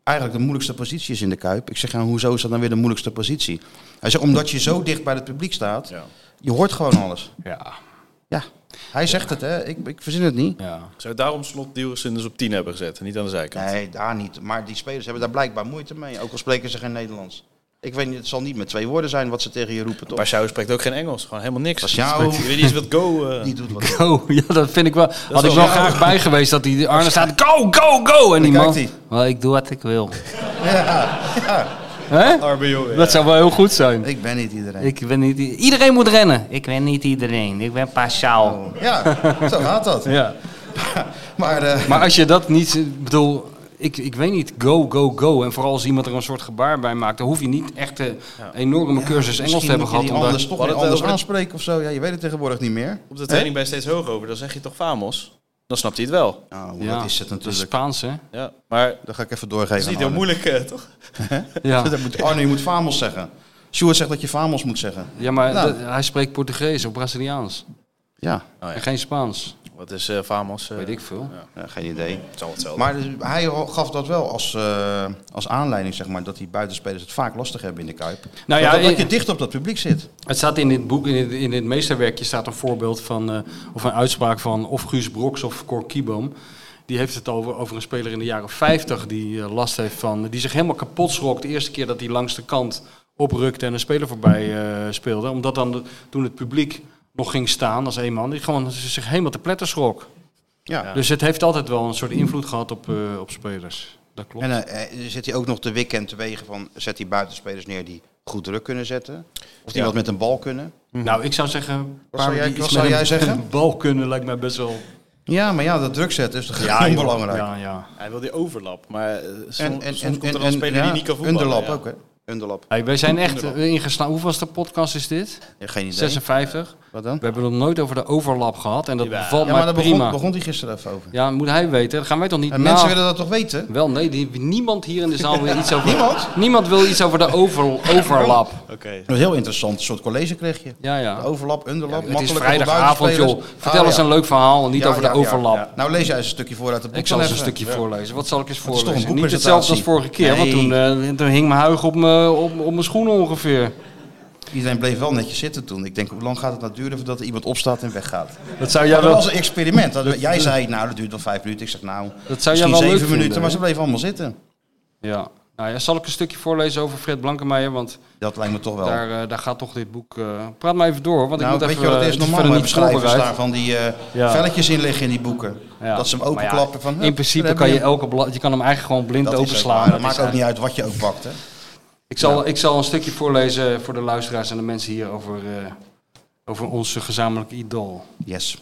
[SPEAKER 2] eigenlijk de moeilijkste positie is in de Kuip? Ik zeg, ja, hoezo is dat dan weer de moeilijkste positie? Hij zegt, omdat je zo dicht bij het publiek staat,
[SPEAKER 4] Ja.
[SPEAKER 2] je hoort gewoon alles.
[SPEAKER 3] Ja.
[SPEAKER 2] Ja, hij zegt het hè, ik, ik verzin het niet.
[SPEAKER 3] ja.
[SPEAKER 4] Zou je daarom slot Diorsen dus op 10 hebben gezet en niet aan de zijkant?
[SPEAKER 2] Nee, daar niet. Maar die spelers hebben daar blijkbaar moeite mee, ook al spreken ze geen Nederlands. Ik weet niet, het zal niet met twee woorden zijn wat ze tegen je roepen, toch?
[SPEAKER 4] Pashao spreekt ook geen Engels, gewoon helemaal niks.
[SPEAKER 2] Pashao.
[SPEAKER 4] Ik weet niet eens wat go... eh,
[SPEAKER 2] Die doet wat.
[SPEAKER 3] Oh, [laughs] ja, dat vind ik wel. Had ik
[SPEAKER 4] wel
[SPEAKER 3] wel
[SPEAKER 4] jammer.
[SPEAKER 3] graag bij geweest dat die Arne staat. Go, go, go! En die
[SPEAKER 2] kijkt
[SPEAKER 3] man.
[SPEAKER 2] hij.
[SPEAKER 3] Wel, ik doe wat ik wil.
[SPEAKER 2] Ja,
[SPEAKER 3] Hè?
[SPEAKER 4] Arme jongen,
[SPEAKER 3] Dat zou wel heel goed zijn.
[SPEAKER 2] ik ben niet iedereen.
[SPEAKER 3] Ik ben niet, i- iedereen moet rennen. Ik ben niet iedereen. Ik ben Pascal.
[SPEAKER 2] Ja, zo gaat dat.
[SPEAKER 3] Ja.
[SPEAKER 2] Maar, eh,
[SPEAKER 3] Maar als je dat niet, ik bedoel, ik, ik weet niet, go, go, go. En vooral als iemand er een soort gebaar bij maakt, dan hoef je niet echt een enorme cursus
[SPEAKER 2] Misschien
[SPEAKER 3] Dus Engels te hebben
[SPEAKER 2] moet je
[SPEAKER 3] gehad.
[SPEAKER 2] die
[SPEAKER 3] Om daar-
[SPEAKER 2] anders toch
[SPEAKER 4] We
[SPEAKER 2] weer
[SPEAKER 4] hadden het
[SPEAKER 2] anders
[SPEAKER 4] over de-
[SPEAKER 2] aanspreken of zo. Ja, je weet het tegenwoordig niet meer.
[SPEAKER 4] Op de training ben je steeds hoog over, dan zeg je toch famos? Dan snapt hij het wel.
[SPEAKER 2] Nou,
[SPEAKER 3] Ja,
[SPEAKER 2] dat is het
[SPEAKER 3] dat is
[SPEAKER 2] natuurlijk.
[SPEAKER 3] Spaans, hè?
[SPEAKER 4] Ja, maar het
[SPEAKER 2] Dat ga ik even doorgeven.
[SPEAKER 4] is niet
[SPEAKER 2] aan
[SPEAKER 4] heel
[SPEAKER 2] Arne.
[SPEAKER 4] moeilijk, eh, toch?
[SPEAKER 3] Ja,
[SPEAKER 2] [laughs] Dat moet, Arne, je moet Famos zeggen. Sjoerd zegt dat je Famos moet zeggen.
[SPEAKER 3] ja maar
[SPEAKER 2] Nou.
[SPEAKER 3] dat- hij spreekt Portugees of Braziliaans.
[SPEAKER 2] Ja,
[SPEAKER 4] ja.
[SPEAKER 3] En geen Spaans.
[SPEAKER 4] Wat is eh, famos? eh,
[SPEAKER 3] Weet ik veel.
[SPEAKER 2] ja, geen idee.
[SPEAKER 4] Het zal hetzelfde.
[SPEAKER 2] Maar dus hij gaf dat wel als, eh, als aanleiding, zeg maar, dat die buitenspelers het vaak lastig hebben in de Kuip.
[SPEAKER 3] Nou
[SPEAKER 2] Nou
[SPEAKER 3] ja,
[SPEAKER 2] ja, dat, dat
[SPEAKER 3] ik-
[SPEAKER 2] je dicht op dat publiek zit.
[SPEAKER 3] Het staat in dit boek, in dit, in dit meesterwerkje, staat een voorbeeld van, eh, of een uitspraak van of Guus Broks of Cor Kieboom. Die heeft het over, over een speler in de jaren 50 die eh, last heeft van. Die zich helemaal kapot schrok de eerste keer dat hij langs de kant oprukte en een speler voorbij eh, speelde. Omdat dan de- toen het publiek nog ging staan als één man, die gewoon zich helemaal te pletter schrok.
[SPEAKER 2] Ja.
[SPEAKER 3] Dus het heeft altijd wel een soort invloed gehad op, eh, op spelers. Dat klopt.
[SPEAKER 2] En eh, eh, zet hij ook nog de weekend te wegen van zet hij buitenspelers neer die goed druk kunnen zetten? Of die
[SPEAKER 4] Ja.
[SPEAKER 2] wat met een bal kunnen?
[SPEAKER 3] Nou, ik zou zeggen, een paar
[SPEAKER 2] zou jij-
[SPEAKER 3] die
[SPEAKER 2] wat
[SPEAKER 3] iets
[SPEAKER 2] zou
[SPEAKER 3] met
[SPEAKER 2] jij
[SPEAKER 3] een-
[SPEAKER 2] zeggen?
[SPEAKER 3] een bal kunnen lijkt mij best wel
[SPEAKER 2] Ja, maar ja, dat druk zetten is toch heel
[SPEAKER 3] joh.
[SPEAKER 2] belangrijk.
[SPEAKER 3] Ja, ja.
[SPEAKER 4] Hij wil die overlap, maar eh, soms,
[SPEAKER 2] En, en,
[SPEAKER 4] soms
[SPEAKER 2] en,
[SPEAKER 4] komt er
[SPEAKER 2] en,
[SPEAKER 4] dan een speler
[SPEAKER 2] ja,
[SPEAKER 4] die niet kan voetballen.
[SPEAKER 2] Underlap
[SPEAKER 4] ja.
[SPEAKER 2] ook, hè? Underlap.
[SPEAKER 3] Hey, wij zijn echt eh, ingeslaan. Hoeveelste podcast is dit?
[SPEAKER 2] Ja, geen idee.
[SPEAKER 3] 56.
[SPEAKER 2] Wat dan?
[SPEAKER 3] We hebben het nog nooit over de overlap gehad en dat
[SPEAKER 4] Jawel.
[SPEAKER 3] bevalt
[SPEAKER 2] Ja,
[SPEAKER 3] mij
[SPEAKER 2] maar daar
[SPEAKER 3] prima.
[SPEAKER 2] begon, begon hij gisteren even over.
[SPEAKER 3] Ja, nou- moet hij weten. Dat gaan wij toch niet
[SPEAKER 2] En
[SPEAKER 3] na-
[SPEAKER 2] mensen willen dat toch weten?
[SPEAKER 3] Wel, nee, die, niemand hier in de zaal
[SPEAKER 2] [laughs]
[SPEAKER 3] wil iets over... niemand? Niemand wil iets over de over, overlap.
[SPEAKER 4] Oké.
[SPEAKER 2] Een heel interessant soort college kreeg je.
[SPEAKER 3] Ja, ja.
[SPEAKER 2] Overlap, underlap,
[SPEAKER 3] het is
[SPEAKER 2] Oh, makkelijk. voor
[SPEAKER 3] vrijdagavond, joh.
[SPEAKER 2] buitenspelers.
[SPEAKER 3] Vertel
[SPEAKER 2] Ah,
[SPEAKER 3] eens
[SPEAKER 2] ja.
[SPEAKER 3] een leuk verhaal en niet
[SPEAKER 2] Ja,
[SPEAKER 3] over de
[SPEAKER 2] ja, ja.
[SPEAKER 3] overlap.
[SPEAKER 2] Ja. Nou, lees jij eens een stukje voor uit het boek. eh,
[SPEAKER 3] Ik zal eens
[SPEAKER 2] dan
[SPEAKER 3] een
[SPEAKER 2] even.
[SPEAKER 3] stukje voorlezen. Wat zal ik eens
[SPEAKER 2] is toch
[SPEAKER 3] voorlezen?
[SPEAKER 2] een
[SPEAKER 3] Niet
[SPEAKER 2] boekpresentatie?
[SPEAKER 3] hetzelfde als vorige keer, want
[SPEAKER 2] Nee.
[SPEAKER 3] toen, eh, toen hing mijn huig op mijn op, op mijn schoenen ongeveer.
[SPEAKER 2] Iedereen bleef wel netjes zitten toen. Ik denk, hoe lang gaat het nou duren voordat er iemand opstaat en weggaat?
[SPEAKER 3] Dat zou
[SPEAKER 2] Ja,
[SPEAKER 3] jij
[SPEAKER 2] dat
[SPEAKER 3] wel,
[SPEAKER 2] was een experiment. Dat- jij zei, nou, dat duurt wel vijf minuten. Ik zeg, nou,
[SPEAKER 3] dat zou jij
[SPEAKER 2] misschien
[SPEAKER 3] wel leuk
[SPEAKER 2] zeven
[SPEAKER 3] vinden.
[SPEAKER 2] minuten. Maar ze bleven allemaal zitten.
[SPEAKER 3] Ja. Nou ja, zal ik een stukje voorlezen over Fred Blankemeijer, want
[SPEAKER 2] Dat lijkt me toch wel.
[SPEAKER 3] daar, eh, daar gaat toch dit boek... eh, Praat maar even door, want
[SPEAKER 2] nou,
[SPEAKER 3] ik moet
[SPEAKER 2] weet
[SPEAKER 3] even...
[SPEAKER 2] je wat
[SPEAKER 3] eh,
[SPEAKER 2] het is?
[SPEAKER 3] het is
[SPEAKER 2] Normaal hebben
[SPEAKER 3] verder niet
[SPEAKER 2] schrijvers
[SPEAKER 3] voorbereid.
[SPEAKER 2] daar van die eh,
[SPEAKER 3] Ja.
[SPEAKER 2] velletjes in liggen in die boeken.
[SPEAKER 3] Ja.
[SPEAKER 2] Dat ze hem
[SPEAKER 3] Maar ja,
[SPEAKER 2] openklappen van... hup,
[SPEAKER 3] In
[SPEAKER 2] daar
[SPEAKER 3] principe
[SPEAKER 2] hebben
[SPEAKER 3] kan je
[SPEAKER 2] we hem.
[SPEAKER 3] elke blad, je kan hem eigenlijk gewoon blind
[SPEAKER 2] Dat is ook
[SPEAKER 3] openslaan.
[SPEAKER 2] waar.
[SPEAKER 3] Dat
[SPEAKER 2] Dat
[SPEAKER 3] is
[SPEAKER 2] maakt ook
[SPEAKER 3] eigenlijk-
[SPEAKER 2] niet uit wat je ook pakt, hè.
[SPEAKER 3] Ik zal, ik zal een stukje voorlezen voor de luisteraars en de mensen hier over, eh, over onze gezamenlijke idool.
[SPEAKER 2] Yes.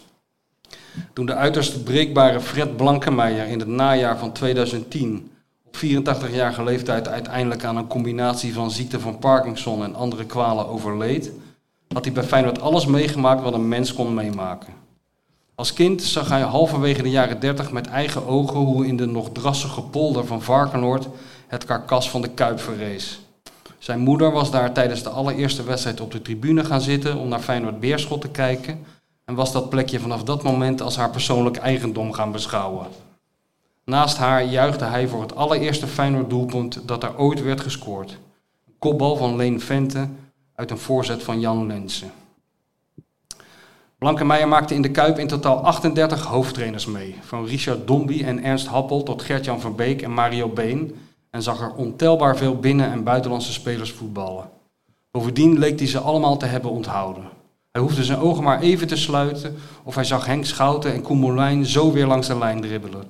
[SPEAKER 3] Toen de uiterst breekbare Fred Blankemeijer in het najaar van 2010 op 84-jarige leeftijd uiteindelijk aan een combinatie van ziekte van Parkinson en andere kwalen overleed, had hij bij Feyenoord alles meegemaakt wat een mens kon meemaken. Als kind zag hij halverwege de jaren 30 met eigen ogen hoe in de nog drassige polder van Varkenoord het karkas van de Kuip verrees. Zijn moeder was daar tijdens de allereerste wedstrijd op de tribune gaan zitten om naar Feyenoord Beerschot te kijken en was dat plekje vanaf dat moment als haar persoonlijk eigendom gaan beschouwen. Naast haar juichte hij voor het allereerste Feyenoord doelpunt dat er ooit werd gescoord. Een kopbal van Leen Vente uit een voorzet van Jan Lensen. Blankemeijer maakte in de Kuip in totaal 38 hoofdtrainers mee. Van Richard Dombie en Ernst Happel tot Gert-Jan van Beek en Mario Been. En zag er ontelbaar veel binnen- en buitenlandse spelers voetballen. Bovendien leek hij ze allemaal te hebben onthouden. Hij hoefde zijn ogen maar even te sluiten of hij zag Henk Schouten en Koen Molijn zo weer langs de lijn dribbelen.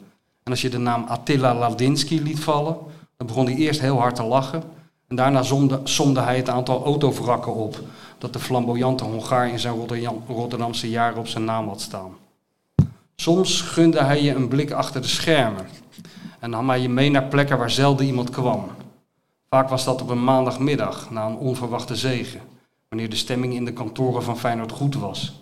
[SPEAKER 3] En als je de naam Attila Ladinsky liet vallen, dan begon hij eerst heel hard te lachen. En daarna somde, somde hij het aantal autovrakken op dat de flamboyante Hongaar in zijn Rotterdam- Rotterdamse jaren op zijn naam had staan. Soms gunde hij je een blik achter de schermen en nam hij je mee naar plekken waar zelden iemand kwam. Vaak was dat op een maandagmiddag na een onverwachte zege, wanneer de stemming in de kantoren van Feyenoord goed was.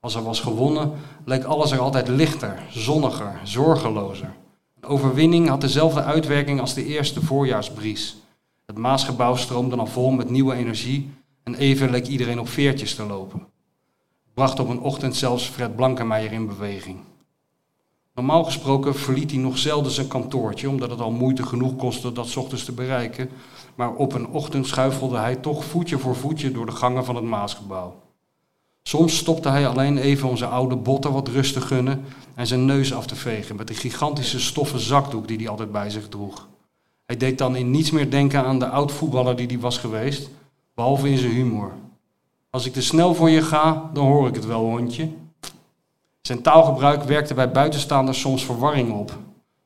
[SPEAKER 3] Als er was gewonnen, leek alles er altijd lichter, zonniger, zorgelozer. Een overwinning had dezelfde uitwerking als de eerste voorjaarsbries. Het Maasgebouw stroomde dan vol met nieuwe energie en even leek iedereen op veertjes te lopen. Het bracht op een ochtend zelfs Fred Blankemeijer in beweging. Normaal gesproken verliet hij nog zelden zijn kantoortje, omdat het al moeite genoeg kostte dat 's ochtends te bereiken. Maar op een ochtend schuifelde hij toch voetje voor voetje door de gangen van het Maasgebouw. Soms stopte hij alleen even om zijn oude botten wat rust te gunnen en zijn neus af te vegen met die gigantische stoffen zakdoek die hij altijd bij zich droeg. Hij deed dan in niets meer denken aan de oud voetballer die hij was geweest, behalve in zijn humor. Als ik te snel voor je ga, dan hoor ik het wel, hondje. Zijn taalgebruik werkte bij buitenstaanders soms verwarring op.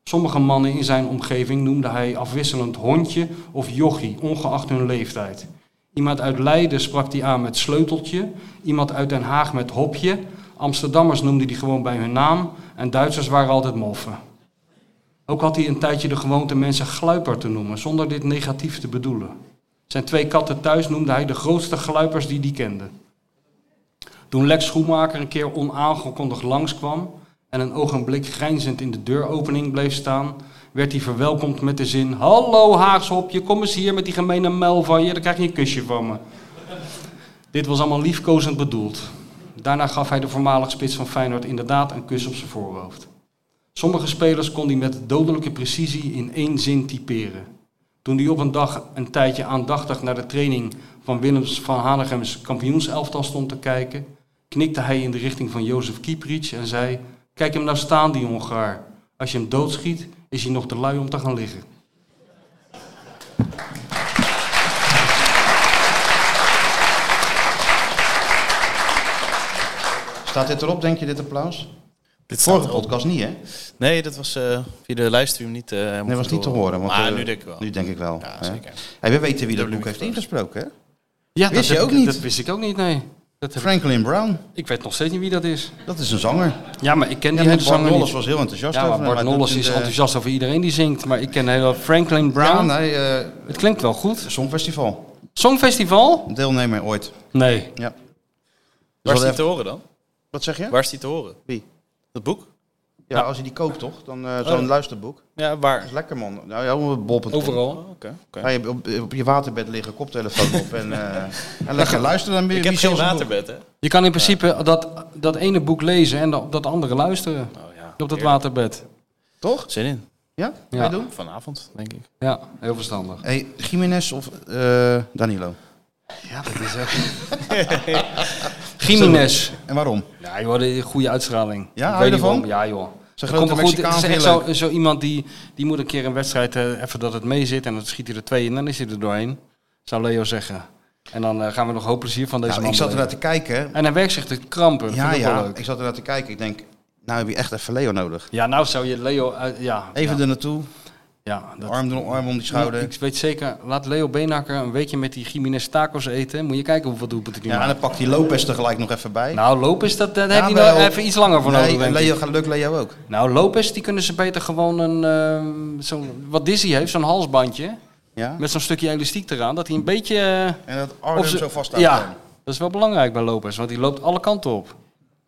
[SPEAKER 3] Sommige mannen in zijn omgeving noemde hij afwisselend hondje of jochie, ongeacht hun leeftijd. Iemand uit Leiden sprak hij aan met sleuteltje, iemand uit Den Haag met hopje. Amsterdammers noemde hij gewoon bij hun naam en Duitsers waren altijd moffen. Ook had hij een tijdje de gewoonte mensen gluiper te noemen, zonder dit negatief te bedoelen. Zijn twee katten thuis noemde hij de grootste gluipers die die kende. Toen Lex Schoenmaker een keer onaangekondigd langskwam en een ogenblik grijnzend in de deuropening bleef staan, werd hij verwelkomd met de zin: Hallo Haagshopje, kom eens hier met die gemene mel van je, dan krijg je een kusje van me. Dit was allemaal liefkozend bedoeld. Daarna gaf hij de voormalig spits van Feyenoord inderdaad een kus op zijn voorhoofd. Sommige spelers kon hij met dodelijke precisie in één zin typeren. Toen hij op een dag een tijdje aandachtig naar de training van Willems van Hanegem's kampioenselftal stond te kijken, knikte hij in de richting van Jozef Kieprits en zei: Kijk hem nou staan, die Hongaar. Als je hem doodschiet, is hij nog te lui om te gaan liggen.
[SPEAKER 2] Staat dit erop, denk je, dit applaus?
[SPEAKER 4] Dit
[SPEAKER 2] Vorige podcast niet, hè?
[SPEAKER 4] Nee, dat was eh, via de livestream niet eh helemaal
[SPEAKER 2] Nee, was
[SPEAKER 4] goed
[SPEAKER 2] niet te horen. Want,
[SPEAKER 4] maar
[SPEAKER 2] eh,
[SPEAKER 4] nu denk ik wel.
[SPEAKER 2] Nu denk ik wel.
[SPEAKER 4] Ja,
[SPEAKER 2] hè?
[SPEAKER 4] zeker.
[SPEAKER 2] Hey, we weten wie dat
[SPEAKER 4] Dubbele
[SPEAKER 2] boek heeft
[SPEAKER 4] microfoon.
[SPEAKER 2] ingesproken, hè?
[SPEAKER 3] Ja,
[SPEAKER 2] Wist
[SPEAKER 3] dat
[SPEAKER 2] je
[SPEAKER 3] heb
[SPEAKER 2] ook
[SPEAKER 3] ik-
[SPEAKER 2] niet?
[SPEAKER 3] Dat wist ik ook niet, nee. Dat heb ik,
[SPEAKER 2] Franklin Brown,
[SPEAKER 3] ik weet nog steeds niet wie dat is.
[SPEAKER 2] dat is een zanger.
[SPEAKER 3] Ja, maar ik ken
[SPEAKER 2] Ja,
[SPEAKER 3] die hele
[SPEAKER 2] Bart
[SPEAKER 3] zanger
[SPEAKER 2] Nolles
[SPEAKER 3] niet.
[SPEAKER 2] was heel enthousiast
[SPEAKER 3] Ja,
[SPEAKER 2] over
[SPEAKER 3] maar
[SPEAKER 2] hem.
[SPEAKER 3] Bart
[SPEAKER 2] Hij doet
[SPEAKER 3] Nolles
[SPEAKER 2] in
[SPEAKER 3] is eh,
[SPEAKER 2] de-
[SPEAKER 3] enthousiast over iedereen die zingt. Maar ik ken heel Franklin Brown.
[SPEAKER 2] Ja, nee, eh,
[SPEAKER 3] Het klinkt wel goed.
[SPEAKER 2] Songfestival.
[SPEAKER 3] Songfestival?
[SPEAKER 2] Deelnemer ooit.
[SPEAKER 3] Nee.
[SPEAKER 2] Ja. Dus
[SPEAKER 4] Waar
[SPEAKER 2] wat
[SPEAKER 4] is die
[SPEAKER 2] even-
[SPEAKER 4] te horen dan?
[SPEAKER 2] Wat zeg je?
[SPEAKER 4] Waar is die te horen?
[SPEAKER 2] Wie?
[SPEAKER 4] Dat boek?
[SPEAKER 2] Ja, als je die koopt toch? Dan eh, zo'n luisterboek.
[SPEAKER 4] Ja,
[SPEAKER 2] Dat
[SPEAKER 4] waar?
[SPEAKER 2] is lekker man. Nou ja, op bol.com.
[SPEAKER 3] Oh, Overal.
[SPEAKER 4] Oké. oké.
[SPEAKER 2] Ga je op, op je waterbed liggen, koptelefoon op en,
[SPEAKER 3] [laughs]
[SPEAKER 2] eh en lekker luisteren. Dan ben je
[SPEAKER 4] Ik heb
[SPEAKER 2] wie
[SPEAKER 4] geen
[SPEAKER 2] zelfs een boek.
[SPEAKER 4] waterbed, hè?
[SPEAKER 3] Je kan in principe dat, dat ene boek lezen en op dat andere luisteren.
[SPEAKER 4] Oh, ja.
[SPEAKER 3] Op dat waterbed.
[SPEAKER 2] Toch?
[SPEAKER 4] Zin in.
[SPEAKER 2] Ja? Ga
[SPEAKER 3] Ja.
[SPEAKER 2] je doen?
[SPEAKER 4] Vanavond, denk ik.
[SPEAKER 3] Ja, heel verstandig.
[SPEAKER 2] Hey, Jiménez of eh, Danilo?
[SPEAKER 3] Ja, dat is ook.
[SPEAKER 2] [laughs]
[SPEAKER 3] Jiménez.
[SPEAKER 2] En waarom?
[SPEAKER 3] Ja, joh, die goede uitstraling.
[SPEAKER 2] Ja,
[SPEAKER 3] Ik
[SPEAKER 2] hou je
[SPEAKER 3] weet niet
[SPEAKER 2] ervan?
[SPEAKER 3] waarom. Ja, joh.
[SPEAKER 2] Zijn
[SPEAKER 3] Dat
[SPEAKER 2] grote
[SPEAKER 3] komt wel goed. Het
[SPEAKER 2] Mexicaan
[SPEAKER 3] is echt
[SPEAKER 2] heel
[SPEAKER 3] zo, zo iemand die, die moet een keer een wedstrijd eh, even dat het mee zit en dan schiet hij er twee en dan is hij er doorheen. Zou Leo zeggen. En dan eh, gaan we nog hoop plezier van deze
[SPEAKER 2] Nou,
[SPEAKER 3] man
[SPEAKER 2] ik zat ernaar
[SPEAKER 3] beleven.
[SPEAKER 2] te kijken.
[SPEAKER 3] En hij werkt zich te krampen. Ja,
[SPEAKER 2] Ja,
[SPEAKER 3] vind ik ook
[SPEAKER 2] ja.
[SPEAKER 3] wel leuk.
[SPEAKER 2] Ik zat ernaar te kijken. Ik denk, nou heb je echt even Leo nodig.
[SPEAKER 3] Ja, nou zou je Leo... uit- ja,
[SPEAKER 2] Even
[SPEAKER 3] ja,
[SPEAKER 2] er naartoe.
[SPEAKER 3] ja, dat-
[SPEAKER 2] Arm, door- arm om die schouder.
[SPEAKER 3] Ik weet zeker, laat Leo Beenhakker een weekje met die Jiménez tacos eten. Moet je kijken hoeveel doelpunten die
[SPEAKER 2] Ja, en
[SPEAKER 3] maakt.
[SPEAKER 2] dan pakt die Lopez er gelijk nog even bij.
[SPEAKER 3] Nou, Lopez, dat, dat heeft hij
[SPEAKER 2] Jawel.
[SPEAKER 3] nou even iets langer voor nodig,
[SPEAKER 2] nee, en
[SPEAKER 3] denk ik.
[SPEAKER 2] Leo, gaat- lukt Leo ook.
[SPEAKER 3] Nou, Lopez, die kunnen ze beter gewoon een... ehm, zo'n- wat Dizzy heeft, zo'n halsbandje.
[SPEAKER 2] Ja?
[SPEAKER 3] Met zo'n stukje elastiek eraan. Dat hij een beetje... eh,
[SPEAKER 2] En dat arm
[SPEAKER 3] ze-
[SPEAKER 2] zo vast
[SPEAKER 3] Ja, dat is wel belangrijk bij Lopez. Want die loopt alle kanten op.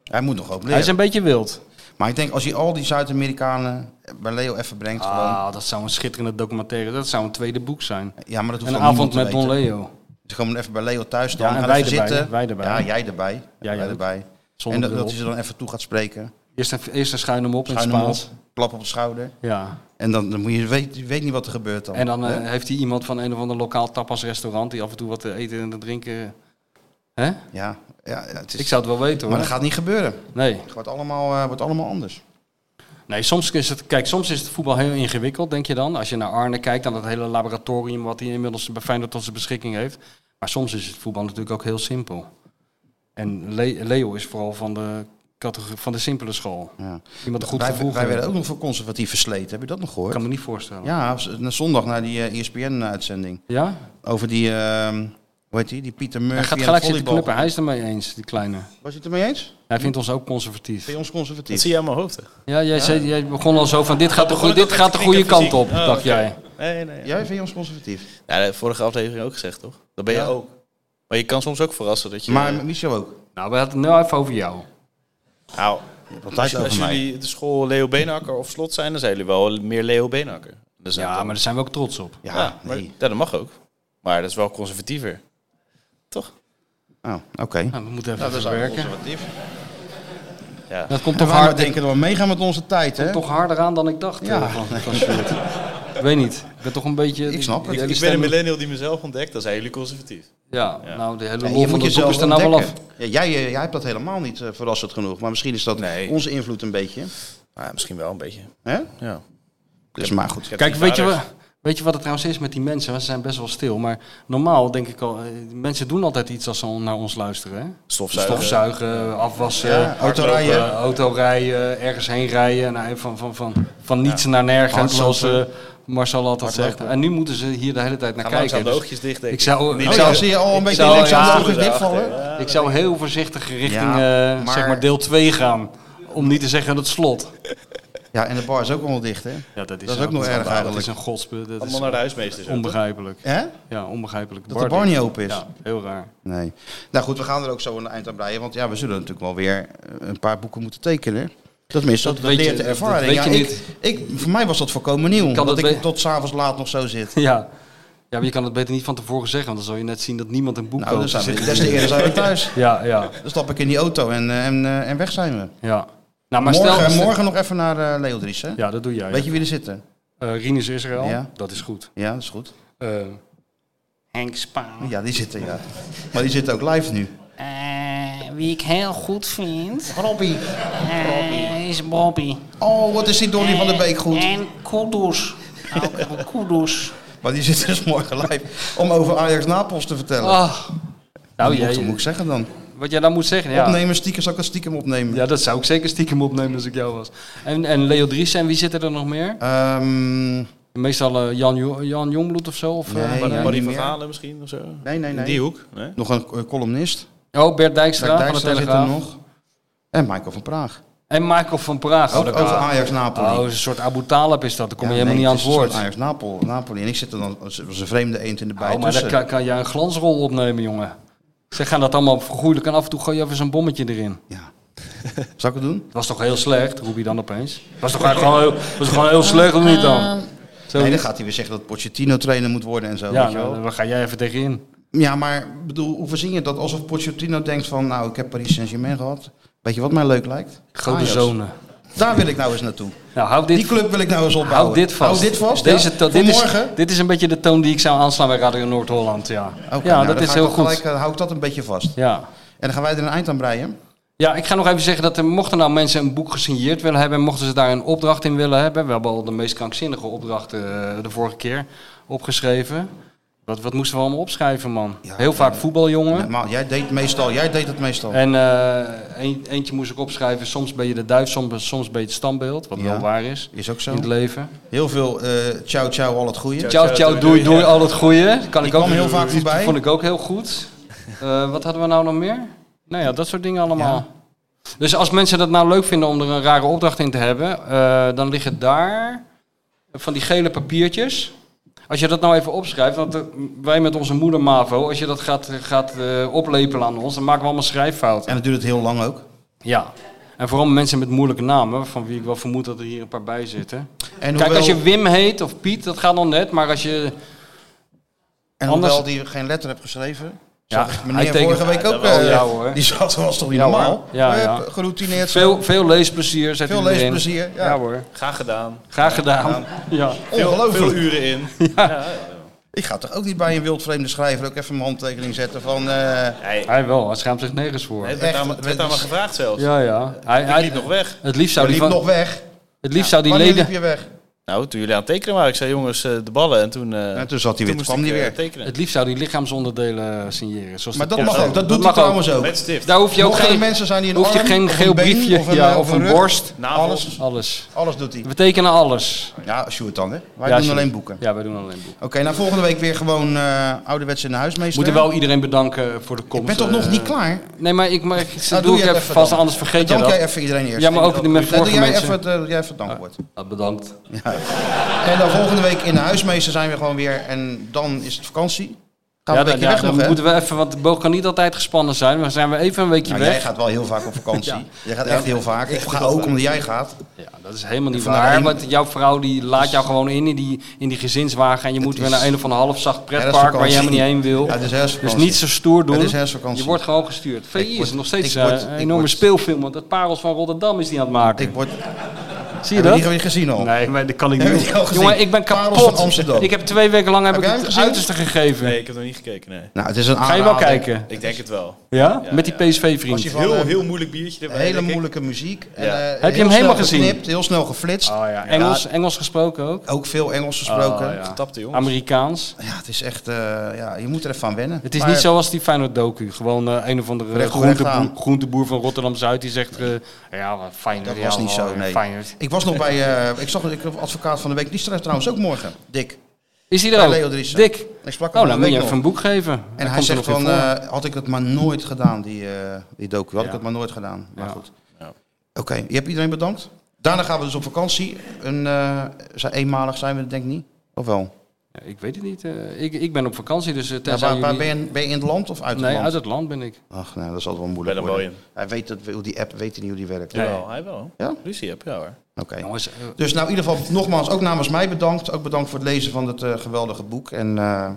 [SPEAKER 2] Hij moet nog hoop leren.
[SPEAKER 3] Hij is een beetje wild.
[SPEAKER 2] Maar ik denk, als hij al die Zuid-Amerikanen bij Leo even brengt, gewoon...
[SPEAKER 3] Ah, dat zou een schitterende documentaire. Dat zou een tweede boek zijn.
[SPEAKER 2] Ja, maar dat hoeft
[SPEAKER 3] Een
[SPEAKER 2] allemaal
[SPEAKER 3] avond met
[SPEAKER 2] niemand te
[SPEAKER 3] Don
[SPEAKER 2] weten.
[SPEAKER 3] Leo.
[SPEAKER 2] Dus gewoon even bij Leo thuis staan.
[SPEAKER 3] Ja, en
[SPEAKER 2] Ga
[SPEAKER 3] wij
[SPEAKER 2] even
[SPEAKER 3] erbij,
[SPEAKER 2] zitten.
[SPEAKER 3] hè? Wij erbij.
[SPEAKER 2] Ja, jij erbij. Ja, jij
[SPEAKER 3] ook.
[SPEAKER 2] erbij. En
[SPEAKER 3] Zonder
[SPEAKER 2] dat,
[SPEAKER 3] bril
[SPEAKER 2] dat hij er dan even toe gaat spreken.
[SPEAKER 3] Eerst een, eerst een schuin hem op
[SPEAKER 2] Schuin
[SPEAKER 3] in het
[SPEAKER 2] hem op,
[SPEAKER 3] Spaans.
[SPEAKER 2] klap op de schouder.
[SPEAKER 3] Ja.
[SPEAKER 2] En dan, dan moet je, weet, je weet niet wat er gebeurt dan.
[SPEAKER 3] En dan eh,
[SPEAKER 2] Hè?
[SPEAKER 3] heeft hij iemand van een of ander lokaal tapasrestaurant die af en toe wat te eten en te drinken. Hè?
[SPEAKER 2] ja, ja, ja, het is,
[SPEAKER 3] Ik zou het wel weten hoor.
[SPEAKER 2] maar dat gaat niet gebeuren.
[SPEAKER 3] Nee.
[SPEAKER 2] Het wordt allemaal, eh, wordt allemaal anders.
[SPEAKER 3] nee, soms is het. Kijk, soms is het voetbal heel ingewikkeld, denk je dan. Als je naar Arne kijkt, aan dat hele laboratorium wat hij inmiddels bij Feyenoord tot zijn beschikking heeft. Maar soms is het voetbal natuurlijk ook heel simpel. En Le- Leo is vooral van de categorie van de simpele school.
[SPEAKER 2] Ja.
[SPEAKER 3] Iemand een goed
[SPEAKER 2] wij,
[SPEAKER 3] gevoel.
[SPEAKER 2] wij
[SPEAKER 3] geven.
[SPEAKER 2] werden ook nog voor conservatief versleten. Heb je dat nog
[SPEAKER 3] Ik
[SPEAKER 2] gehoord?
[SPEAKER 3] kan me niet voorstellen. Ja?
[SPEAKER 2] Ja, z- na- zondag naar die eh, E ESPN-uitzending. Over die, ehm hoe heet die, die Pieter Murphy
[SPEAKER 3] Hij gaat
[SPEAKER 2] en
[SPEAKER 3] gelijk
[SPEAKER 2] het
[SPEAKER 3] zitten
[SPEAKER 2] volleybal.
[SPEAKER 3] knuppen. Hij is ermee eens, die kleine.
[SPEAKER 2] Was je het ermee eens?
[SPEAKER 3] Hij vindt ons ook
[SPEAKER 2] Bij
[SPEAKER 3] conservatief.
[SPEAKER 2] ons
[SPEAKER 4] Dat
[SPEAKER 2] conservatief.
[SPEAKER 4] zie je aan mijn hoofd. hè? Oh,
[SPEAKER 3] Ja, jij, zei, jij begon al zo van dit gaat de,
[SPEAKER 4] begon
[SPEAKER 3] goe-
[SPEAKER 4] ik
[SPEAKER 3] dit
[SPEAKER 4] al
[SPEAKER 3] gaat
[SPEAKER 4] met
[SPEAKER 3] de
[SPEAKER 4] de
[SPEAKER 3] goede
[SPEAKER 4] knikken
[SPEAKER 3] kant op,
[SPEAKER 4] fysiek. Oh,
[SPEAKER 3] dacht
[SPEAKER 4] oké.
[SPEAKER 3] jij.
[SPEAKER 4] Nee, nee.
[SPEAKER 2] Jij vindt ons conservatief.
[SPEAKER 4] Ja, de vorige aflevering ook gezegd, toch? Dat ben je
[SPEAKER 2] Ja.
[SPEAKER 4] ook. Maar je kan soms ook verrassen dat je...
[SPEAKER 2] Maar Michel ook.
[SPEAKER 3] Nou, we hadden het nou even over jou.
[SPEAKER 4] nou,
[SPEAKER 2] Altijd
[SPEAKER 4] als,
[SPEAKER 2] over
[SPEAKER 4] als
[SPEAKER 2] mij.
[SPEAKER 4] jullie de school Leo Beenhakker of Slot zijn, dan zijn jullie wel meer Leo Beenhakker. Dat is net
[SPEAKER 3] Ja,
[SPEAKER 4] dan-
[SPEAKER 3] maar daar zijn we ook trots op.
[SPEAKER 2] Ja,
[SPEAKER 4] ja, maar-
[SPEAKER 2] nee.
[SPEAKER 4] ja, dat mag ook. Maar dat is wel conservatiever. Toch?
[SPEAKER 2] Oh, oké.
[SPEAKER 3] Nou, we moeten even verwerken.
[SPEAKER 2] conservatief.
[SPEAKER 4] Ja.
[SPEAKER 3] Dat komt
[SPEAKER 2] En
[SPEAKER 3] toch,
[SPEAKER 2] wij maar
[SPEAKER 3] hard,
[SPEAKER 2] denken dat we meegaan met onze tijd, hè?
[SPEAKER 3] toch harder aan dan ik dacht.
[SPEAKER 2] Ja.
[SPEAKER 3] eh, van- van Sjoerd. Ik weet niet. Ik ben toch een beetje...
[SPEAKER 2] Ik snap het.
[SPEAKER 3] die hele
[SPEAKER 4] Ik ben een
[SPEAKER 3] stem-
[SPEAKER 4] millennial die mezelf ontdekt, dan zijn jullie conservatief.
[SPEAKER 3] Ja, nou, de hele
[SPEAKER 2] Ja,
[SPEAKER 3] lol
[SPEAKER 2] je moet
[SPEAKER 3] van de doek
[SPEAKER 2] jezelf
[SPEAKER 3] is er nou wel af.
[SPEAKER 2] ontdekken. Ja, jij, eh, jij hebt dat helemaal niet eh, verrassend genoeg. Maar misschien is dat
[SPEAKER 4] Nee.
[SPEAKER 2] onze invloed een beetje.
[SPEAKER 4] Ja, misschien wel een beetje.
[SPEAKER 2] Hè?
[SPEAKER 4] Ja.
[SPEAKER 2] Dus maar goed.
[SPEAKER 3] Kijk, weet je, wa- weet je wat het trouwens is met die mensen? Want Ze zijn best wel stil. Maar normaal denk ik al... eh, Mensen doen altijd iets als ze naar ons luisteren, hè?
[SPEAKER 4] Stofzuigen.
[SPEAKER 3] Stofzuigen, afwassen,
[SPEAKER 2] Ja, autorijden.
[SPEAKER 3] hardlopen, autorijden, ergens heen rijden. Nou, van, van, van, van niets naar nergens,
[SPEAKER 2] Hardlopen.
[SPEAKER 3] zoals eh, Marcel altijd zegt. En nu moeten ze hier de hele tijd naar
[SPEAKER 4] Ga
[SPEAKER 3] kijken.
[SPEAKER 4] langzaam de
[SPEAKER 3] Dus
[SPEAKER 4] oogjes dicht, denk
[SPEAKER 3] ik
[SPEAKER 4] ik.
[SPEAKER 3] zou, ik
[SPEAKER 2] Oh,
[SPEAKER 3] zou,
[SPEAKER 2] ja, zie je al een beetje
[SPEAKER 3] zou-
[SPEAKER 2] links
[SPEAKER 3] ja,
[SPEAKER 2] aan de ogen
[SPEAKER 4] ja,
[SPEAKER 2] dichtvallen?
[SPEAKER 4] ja.
[SPEAKER 3] Dus ik zou heel voorzichtig richting
[SPEAKER 2] Ja,
[SPEAKER 3] eh,
[SPEAKER 2] maar-
[SPEAKER 3] zeg maar deel 2 gaan. Om niet te zeggen het slot.
[SPEAKER 2] Ja, en de bar is ook allemaal dicht, hè?
[SPEAKER 3] Ja, dat is,
[SPEAKER 2] Dat is ook nog erg
[SPEAKER 3] Dat
[SPEAKER 2] eigenlijk.
[SPEAKER 3] is een godsbe. Dat
[SPEAKER 4] Allemaal naar de
[SPEAKER 3] is
[SPEAKER 4] huismeester. zo.
[SPEAKER 3] onbegrijpelijk.
[SPEAKER 2] Hè?
[SPEAKER 3] Ja, onbegrijpelijk.
[SPEAKER 2] Dat de bar niet open is.
[SPEAKER 3] Ja, heel raar.
[SPEAKER 2] Nee. Nou goed, we gaan er ook zo een eind aan breien. Want ja, we zullen natuurlijk wel weer eh, een paar boeken moeten tekenen. Dat mis, dat,
[SPEAKER 3] Dat
[SPEAKER 2] dat
[SPEAKER 3] weet
[SPEAKER 2] leert
[SPEAKER 3] je-
[SPEAKER 2] de ervaring.
[SPEAKER 3] dat weet je
[SPEAKER 2] ja, ik, ik, voor mij was dat voorkomen nieuw.
[SPEAKER 3] dat
[SPEAKER 2] Omdat ik
[SPEAKER 3] we-
[SPEAKER 2] tot s'avonds laat nog zo zit.
[SPEAKER 3] [laughs] Ja. ja, maar je kan het beter niet van tevoren zeggen. Want dan zal je net zien dat niemand een boek
[SPEAKER 2] Nou, dan
[SPEAKER 3] koopt.
[SPEAKER 2] zijn we, des te eerder zijn we thuis.
[SPEAKER 3] [laughs] Ja, ja,
[SPEAKER 2] Dan stap ik in die auto en, eh, en, eh, en weg zijn we.
[SPEAKER 3] ja. Nou, maar
[SPEAKER 2] morgen,
[SPEAKER 3] stel...
[SPEAKER 2] morgen nog even naar eh, Leo Dries, hè?
[SPEAKER 3] Ja, dat doe jij.
[SPEAKER 2] Weet je wie er zitten?
[SPEAKER 3] Eh, Rinus Israël,
[SPEAKER 2] Ja.
[SPEAKER 3] dat is goed.
[SPEAKER 2] Ja, dat is goed.
[SPEAKER 3] Eh, Henk Spaan.
[SPEAKER 2] Ja, die zitten, ja. Maar die zitten ook live nu.
[SPEAKER 7] Eh, wie ik heel goed vind, eh, is Bobby.
[SPEAKER 2] Oh, wat is die Donny van de Beek goed.
[SPEAKER 7] En
[SPEAKER 2] [laughs]
[SPEAKER 7] Kudus. Ook Kudus.
[SPEAKER 2] Maar die zit dus morgen live om over Ajax Napels te vertellen.
[SPEAKER 3] Ah. Nou,
[SPEAKER 2] Wat
[SPEAKER 3] jij-
[SPEAKER 2] moet ik zeggen dan?
[SPEAKER 3] wat jij dan moet zeggen, ja.
[SPEAKER 2] Opnemen, stiekem, zou ik dat stiekem opnemen?
[SPEAKER 3] Ja, dat zou ik zeker stiekem opnemen als ik jou was. En, en Leo Driessen, en wie zitten er nog meer?
[SPEAKER 2] Ehm,
[SPEAKER 3] Meestal eh, Jan, Jo- Jan Jongbloed of zo? Of, eh,
[SPEAKER 2] Nee,
[SPEAKER 3] wat-
[SPEAKER 2] ja.
[SPEAKER 4] Barry van
[SPEAKER 2] meer.
[SPEAKER 4] Galen misschien of zo.
[SPEAKER 2] nee, nee,
[SPEAKER 4] In
[SPEAKER 2] nee.
[SPEAKER 4] die hoek. Nee?
[SPEAKER 2] Nog een eh, columnist.
[SPEAKER 3] Oh, Bert Dijkstra,
[SPEAKER 2] Dirk Dijkstra
[SPEAKER 3] van de
[SPEAKER 2] zit er
[SPEAKER 3] Telegraaf.
[SPEAKER 2] nog. En Michael van Praag.
[SPEAKER 3] En Michael van Praag.
[SPEAKER 2] Ook
[SPEAKER 3] van Oh, de
[SPEAKER 2] over
[SPEAKER 3] Praag.
[SPEAKER 2] Oh, Ajax Napoli.
[SPEAKER 3] Oh, een soort Abu Talib is dat. Daar kom
[SPEAKER 2] Ja,
[SPEAKER 3] je helemaal
[SPEAKER 2] nee,
[SPEAKER 3] niet
[SPEAKER 2] het
[SPEAKER 3] aan
[SPEAKER 2] is een
[SPEAKER 3] het woord.
[SPEAKER 2] soort Ajax Napel, Napoli. En ik zit er dan als, als een vreemde eend in de dus, eh, bij
[SPEAKER 3] Oh, maar daar
[SPEAKER 2] tussen.
[SPEAKER 3] kan, kan jij een glansrol opnemen, jongen. Ze gaan dat allemaal vergoeilijk en af en toe gooi je even zo'n bommetje erin.
[SPEAKER 2] Ja. [laughs] Zal ik het doen?
[SPEAKER 3] Het was toch heel slecht, roep je dan opeens. Was toch eigenlijk gewoon heel, was gewoon heel slecht of niet dan? Zo
[SPEAKER 2] Nee, dan gaat hij weer zeggen dat Pochettino trainer moet worden en zo.
[SPEAKER 3] ja, nou,
[SPEAKER 2] weet je wel.
[SPEAKER 3] dan, dan ga jij even tegenin.
[SPEAKER 2] Ja, maar bedoel, hoe verzin je dat? Alsof Pochettino denkt van, nou, ik heb Paris Saint-Germain gehad. Weet je wat mij leuk lijkt?
[SPEAKER 3] Grote
[SPEAKER 2] Ajax.
[SPEAKER 3] zonen.
[SPEAKER 2] Daar wil ik nou eens naartoe.
[SPEAKER 3] Nou, hou
[SPEAKER 2] Die
[SPEAKER 3] dit,
[SPEAKER 2] club wil ik nou eens opbouwen.
[SPEAKER 3] hou dit vast. Dus
[SPEAKER 2] Hou dit vast,
[SPEAKER 3] Deze,
[SPEAKER 2] ja.
[SPEAKER 3] to-
[SPEAKER 2] Voor
[SPEAKER 3] dit, is,
[SPEAKER 2] morgen?
[SPEAKER 3] dit is een beetje de toon die ik zou aanslaan bij Radio Noord-Holland. Ja,
[SPEAKER 2] Oké,
[SPEAKER 3] ja
[SPEAKER 2] nou,
[SPEAKER 3] dat
[SPEAKER 2] dan
[SPEAKER 3] is
[SPEAKER 2] ga ik
[SPEAKER 3] heel
[SPEAKER 2] dat
[SPEAKER 3] goed.
[SPEAKER 2] gelijk, eh, hou ik dat een beetje vast. En
[SPEAKER 3] Ja.
[SPEAKER 2] dan gaan wij er een eind aan breien.
[SPEAKER 3] Ja, ik ga nog even zeggen dat er, mochten nou mensen een boek gesigneerd willen hebben, en mochten ze daar een opdracht in willen hebben, we hebben al de meest krankzinnige opdrachten eh, de vorige keer opgeschreven. Wat, wat moesten we allemaal opschrijven, man?
[SPEAKER 2] Ja, eh,
[SPEAKER 3] Heel vaak voetbaljongen.
[SPEAKER 2] Maar jij deed meestal, jij deed het meestal.
[SPEAKER 3] En eh, een- eentje moest ik opschrijven, soms ben je de duif, soms, soms ben je het standbeeld, wat
[SPEAKER 2] Ja.
[SPEAKER 3] wel waar is
[SPEAKER 2] Is ook
[SPEAKER 3] in
[SPEAKER 2] zo.
[SPEAKER 3] het leven.
[SPEAKER 2] Heel veel eh ciao ciao al het goede.
[SPEAKER 3] Ciao, ciao, doei, doei, al het goede. Kan
[SPEAKER 2] Die
[SPEAKER 3] ik ook
[SPEAKER 2] kwam heel vaak
[SPEAKER 3] die
[SPEAKER 2] voorbij.
[SPEAKER 3] vond ik ook heel goed. Eh, wat hadden we nou nog meer? Nou ja, dat soort dingen allemaal. Dus als mensen dat nou leuk vinden om er een rare opdracht in te hebben, eh, dan liggen daar van die gele papiertjes. Als je dat nou even opschrijft, want eh, wij met onze moeder Mavo, als je dat gaat, gaat eh, oplepelen aan ons, dan maken we allemaal schrijffouten.
[SPEAKER 2] En dat duurt het heel lang ook.
[SPEAKER 3] Ja. En vooral mensen met moeilijke namen, van wie ik wel vermoed dat er hier een paar bij zitten.
[SPEAKER 2] En
[SPEAKER 3] Kijk, als je
[SPEAKER 2] hoewel-
[SPEAKER 3] Wim heet of Piet, dat gaat dan net, maar als je
[SPEAKER 2] En
[SPEAKER 3] Anders-
[SPEAKER 2] hoewel die geen letter hebt geschreven,
[SPEAKER 3] Ja,
[SPEAKER 2] zag ik
[SPEAKER 3] hij
[SPEAKER 2] meneer
[SPEAKER 3] tekent-
[SPEAKER 2] vorige week
[SPEAKER 3] Ja,
[SPEAKER 2] ook.
[SPEAKER 3] wel,
[SPEAKER 2] eh,
[SPEAKER 3] ja, hoor.
[SPEAKER 2] die zat was toch niet
[SPEAKER 3] Ja, hoor.
[SPEAKER 2] normaal?
[SPEAKER 3] Ja,
[SPEAKER 2] Eh,
[SPEAKER 3] ja.
[SPEAKER 2] Geroutineerd. eh,
[SPEAKER 3] Veel, veel leesplezier zet
[SPEAKER 2] Veel
[SPEAKER 3] u erin.
[SPEAKER 2] leesplezier, ja.
[SPEAKER 3] Ja. hoor,
[SPEAKER 4] Graag gedaan.
[SPEAKER 3] graag gedaan. Ja.
[SPEAKER 4] Veel, veel
[SPEAKER 2] Ongelooflijk.
[SPEAKER 4] uren in.
[SPEAKER 2] Ik ga toch ook niet bij een wildvreemde schrijver ook even mijn handtekening zetten van...
[SPEAKER 3] Oh,
[SPEAKER 2] eh,
[SPEAKER 4] Hij
[SPEAKER 3] Hij wel, hij schaamt zich nergens voor.
[SPEAKER 4] het werd
[SPEAKER 2] Echt,
[SPEAKER 4] aan me- het werd aan me
[SPEAKER 2] het is-
[SPEAKER 4] gevraagd zelfs.
[SPEAKER 3] Ja, ja. Hij,
[SPEAKER 4] Ik liep
[SPEAKER 3] hij,
[SPEAKER 4] nog weg.
[SPEAKER 3] het liefst
[SPEAKER 2] je
[SPEAKER 3] zou die,
[SPEAKER 2] liep
[SPEAKER 3] van,
[SPEAKER 2] nog weg.
[SPEAKER 3] het liefst zou die
[SPEAKER 2] Wanneer liep
[SPEAKER 3] leden,
[SPEAKER 2] je weg?
[SPEAKER 4] Nou, toen jullie aan het tekenen waren, ik zei jongens, eh, de ballen. En toen, eh
[SPEAKER 2] En toen zat hij
[SPEAKER 4] toen
[SPEAKER 2] weer, toen
[SPEAKER 4] moest
[SPEAKER 2] kwam
[SPEAKER 4] ik,
[SPEAKER 2] hij
[SPEAKER 4] eh,
[SPEAKER 2] weer.
[SPEAKER 4] tekenen.
[SPEAKER 3] het liefst zou die lichaamsonderdelen eh, signeren. Zoals
[SPEAKER 2] Maar
[SPEAKER 3] de
[SPEAKER 2] dat mag
[SPEAKER 3] podcast.
[SPEAKER 2] ook, dat doet hij
[SPEAKER 3] mag ook.
[SPEAKER 2] trouwens ook.
[SPEAKER 4] Met stift.
[SPEAKER 3] Daar hoef je ook
[SPEAKER 2] Mochten er
[SPEAKER 3] geen,
[SPEAKER 2] mensen zijn die een
[SPEAKER 3] hoef je
[SPEAKER 2] arm,
[SPEAKER 3] geen
[SPEAKER 2] of een
[SPEAKER 3] geel
[SPEAKER 2] been,
[SPEAKER 3] briefje
[SPEAKER 2] of een,
[SPEAKER 3] ja,
[SPEAKER 2] eh,
[SPEAKER 3] of
[SPEAKER 2] of een
[SPEAKER 3] een
[SPEAKER 2] rug.
[SPEAKER 3] borst.
[SPEAKER 4] Navel.
[SPEAKER 2] Alles,
[SPEAKER 3] Alles.
[SPEAKER 2] alles doet hij.
[SPEAKER 3] We tekenen alles.
[SPEAKER 2] Ja, Sjoerd dan, hè? Wij
[SPEAKER 3] Ja,
[SPEAKER 2] doen
[SPEAKER 3] Sjoerd.
[SPEAKER 2] alleen boeken.
[SPEAKER 3] Ja, wij doen alleen boeken.
[SPEAKER 2] Oké, nou volgende week weer gewoon eh ouderwets in de
[SPEAKER 3] We
[SPEAKER 2] huismeester.
[SPEAKER 3] moeten wel iedereen bedanken voor de komst.
[SPEAKER 2] Ik ben toch nog
[SPEAKER 3] eh.
[SPEAKER 2] niet klaar?
[SPEAKER 3] Nee, maar ik, maar ik dat
[SPEAKER 2] Nou,
[SPEAKER 3] doe ik
[SPEAKER 2] jij het
[SPEAKER 3] even
[SPEAKER 2] even
[SPEAKER 3] vast,
[SPEAKER 2] dan.
[SPEAKER 3] anders vergeet je
[SPEAKER 2] Dank jij
[SPEAKER 3] dat.
[SPEAKER 2] even iedereen eerst.
[SPEAKER 3] Ja, maar ook met
[SPEAKER 2] Dan doe
[SPEAKER 3] vorige
[SPEAKER 2] jij even
[SPEAKER 3] mensen.
[SPEAKER 2] het, eh, doe jij even het dankwoord.
[SPEAKER 3] Ja, Bedankt.
[SPEAKER 2] En dan volgende week in de huismeester zijn we gewoon weer. En dan is het vakantie. Gaan we
[SPEAKER 3] ja,
[SPEAKER 2] een weekje
[SPEAKER 3] dan, ja,
[SPEAKER 2] weg
[SPEAKER 3] dan
[SPEAKER 2] nog, hè?
[SPEAKER 3] moeten we even, want de boog kan niet altijd gespannen zijn. Maar zijn we even een weekje
[SPEAKER 2] Nou, jij
[SPEAKER 3] weg.
[SPEAKER 2] gaat wel heel vaak op vakantie.
[SPEAKER 3] Ja.
[SPEAKER 2] Jij gaat echt heel vaak. Ik ga ook omdat jij gaat.
[SPEAKER 3] Ja, dat is helemaal niet
[SPEAKER 2] Vandaar-
[SPEAKER 3] waar. Want jouw vrouw die laat jou gewoon in in die, in die gezinswagen. En je moet weer
[SPEAKER 2] is
[SPEAKER 3] naar een of ander halfzacht pretpark waar je helemaal niet heen wil.
[SPEAKER 2] Ja, het is herfstvakantie.
[SPEAKER 3] dus niet zo stoer doen.
[SPEAKER 2] Het is herfstvakantie.
[SPEAKER 3] Je wordt gewoon gestuurd.
[SPEAKER 2] Ik
[SPEAKER 3] VI
[SPEAKER 2] word-
[SPEAKER 3] is nog steeds
[SPEAKER 2] ik word-
[SPEAKER 3] eh, een
[SPEAKER 2] ik
[SPEAKER 3] enorme
[SPEAKER 2] word-
[SPEAKER 3] speelfilm. Want het Parels van Rotterdam is die aan het maken.
[SPEAKER 2] Ik word...
[SPEAKER 3] Zie je
[SPEAKER 2] Heb je
[SPEAKER 3] dat?
[SPEAKER 2] die weer gezien al?
[SPEAKER 3] Nee, maar dat kan ik
[SPEAKER 2] Heb je
[SPEAKER 3] niet.
[SPEAKER 2] die al gezien?
[SPEAKER 3] Jongen, ik ben
[SPEAKER 2] Parels
[SPEAKER 3] kapot.
[SPEAKER 2] van Amsterdam.
[SPEAKER 3] Ik heb twee weken lang heb
[SPEAKER 2] Heb
[SPEAKER 3] ik
[SPEAKER 2] jij
[SPEAKER 3] het
[SPEAKER 2] hem gezien?
[SPEAKER 3] uiterste gegeven.
[SPEAKER 4] Nee, ik heb nog niet gekeken, nee.
[SPEAKER 2] Nou, het is een
[SPEAKER 3] Ga je wel
[SPEAKER 2] aanrader.
[SPEAKER 3] kijken?
[SPEAKER 4] Ik
[SPEAKER 2] dus-
[SPEAKER 4] denk het wel.
[SPEAKER 3] Ja?
[SPEAKER 4] Ja,
[SPEAKER 3] Met die
[SPEAKER 4] ja.
[SPEAKER 3] PSV-vriend.
[SPEAKER 2] Als je van,
[SPEAKER 4] Heel,
[SPEAKER 2] eh,
[SPEAKER 4] heel moeilijk biertje erbij.
[SPEAKER 2] Hele
[SPEAKER 4] denk ik.
[SPEAKER 2] moeilijke muziek. En,
[SPEAKER 4] Ja.
[SPEAKER 2] eh,
[SPEAKER 3] Heb je hem
[SPEAKER 2] heel
[SPEAKER 3] helemaal
[SPEAKER 2] snel
[SPEAKER 3] gezien?
[SPEAKER 2] Geknipt, heel snel
[SPEAKER 3] Ah,
[SPEAKER 2] geflitst.
[SPEAKER 3] Engels, Engels gesproken ook.
[SPEAKER 2] Ook veel Engels gesproken.
[SPEAKER 3] Oh, ja.
[SPEAKER 4] Getapte jongens.
[SPEAKER 3] Amerikaans.
[SPEAKER 2] Ja, het is echt... eh, ja, je moet er even aan wennen.
[SPEAKER 3] Het is
[SPEAKER 2] Maar-
[SPEAKER 3] niet zoals die Feyenoord docu. Gewoon eh, een of andere
[SPEAKER 2] Recht toe, recht
[SPEAKER 3] groenteboer,
[SPEAKER 2] aan.
[SPEAKER 3] groenteboer van Rotterdam-Zuid die zegt... eh, ja, wat Feyenoord.
[SPEAKER 2] Dat
[SPEAKER 3] ja,
[SPEAKER 2] was niet
[SPEAKER 3] wel,
[SPEAKER 2] zo,
[SPEAKER 3] eh,
[SPEAKER 2] nee.
[SPEAKER 3] Feyenoord.
[SPEAKER 2] Ik was nog bij... eh, ik zag ik, advocaat van de week. Die strijdt trouwens ook morgen. Dik.
[SPEAKER 3] Is hij
[SPEAKER 2] Bij
[SPEAKER 3] er ook?
[SPEAKER 2] Leo Driessen.
[SPEAKER 3] Dik.
[SPEAKER 2] Ik sprak hem van de
[SPEAKER 3] Oh, dan moet je
[SPEAKER 2] week
[SPEAKER 3] even
[SPEAKER 2] nog.
[SPEAKER 3] een boek geven.
[SPEAKER 2] En hij
[SPEAKER 3] komt er
[SPEAKER 2] zegt
[SPEAKER 3] nog
[SPEAKER 2] van,
[SPEAKER 3] weer voor.
[SPEAKER 2] eh, had ik dat maar nooit gedaan, die, eh, die docu. Had
[SPEAKER 3] Ja.
[SPEAKER 2] ik dat maar nooit gedaan. Maar
[SPEAKER 3] Ja.
[SPEAKER 2] goed.
[SPEAKER 4] Ja.
[SPEAKER 2] Oké, je hebt iedereen bedankt. Daarna gaan we dus op vakantie. Een, eh, zijn- eenmalig zijn we, dat denk ik niet. Of wel?
[SPEAKER 3] Ja, ik weet het niet. eh, ik, ik ben op vakantie, dus eh,
[SPEAKER 2] Ja,
[SPEAKER 3] tenzij
[SPEAKER 2] waar, waar
[SPEAKER 3] jullie-
[SPEAKER 2] ben, je, ben je in het land of uit het
[SPEAKER 3] Nee,
[SPEAKER 2] land?
[SPEAKER 3] uit het land ben ik.
[SPEAKER 2] Ach, nou, dat is altijd wel
[SPEAKER 4] Bij
[SPEAKER 2] moeilijk
[SPEAKER 4] de
[SPEAKER 2] worden.
[SPEAKER 4] Boyen.
[SPEAKER 2] Hij weet dat, hoe die app weet niet hoe die werkt.
[SPEAKER 3] Nee.
[SPEAKER 4] Jawel, hij wel.
[SPEAKER 2] Ja?
[SPEAKER 4] Ruzie heb je hoor.
[SPEAKER 2] Oké.
[SPEAKER 3] Jongens, eh,
[SPEAKER 2] Dus nou, in ieder geval nogmaals ook namens mij bedankt. Ook bedankt voor het lezen van het eh, geweldige boek. En eh,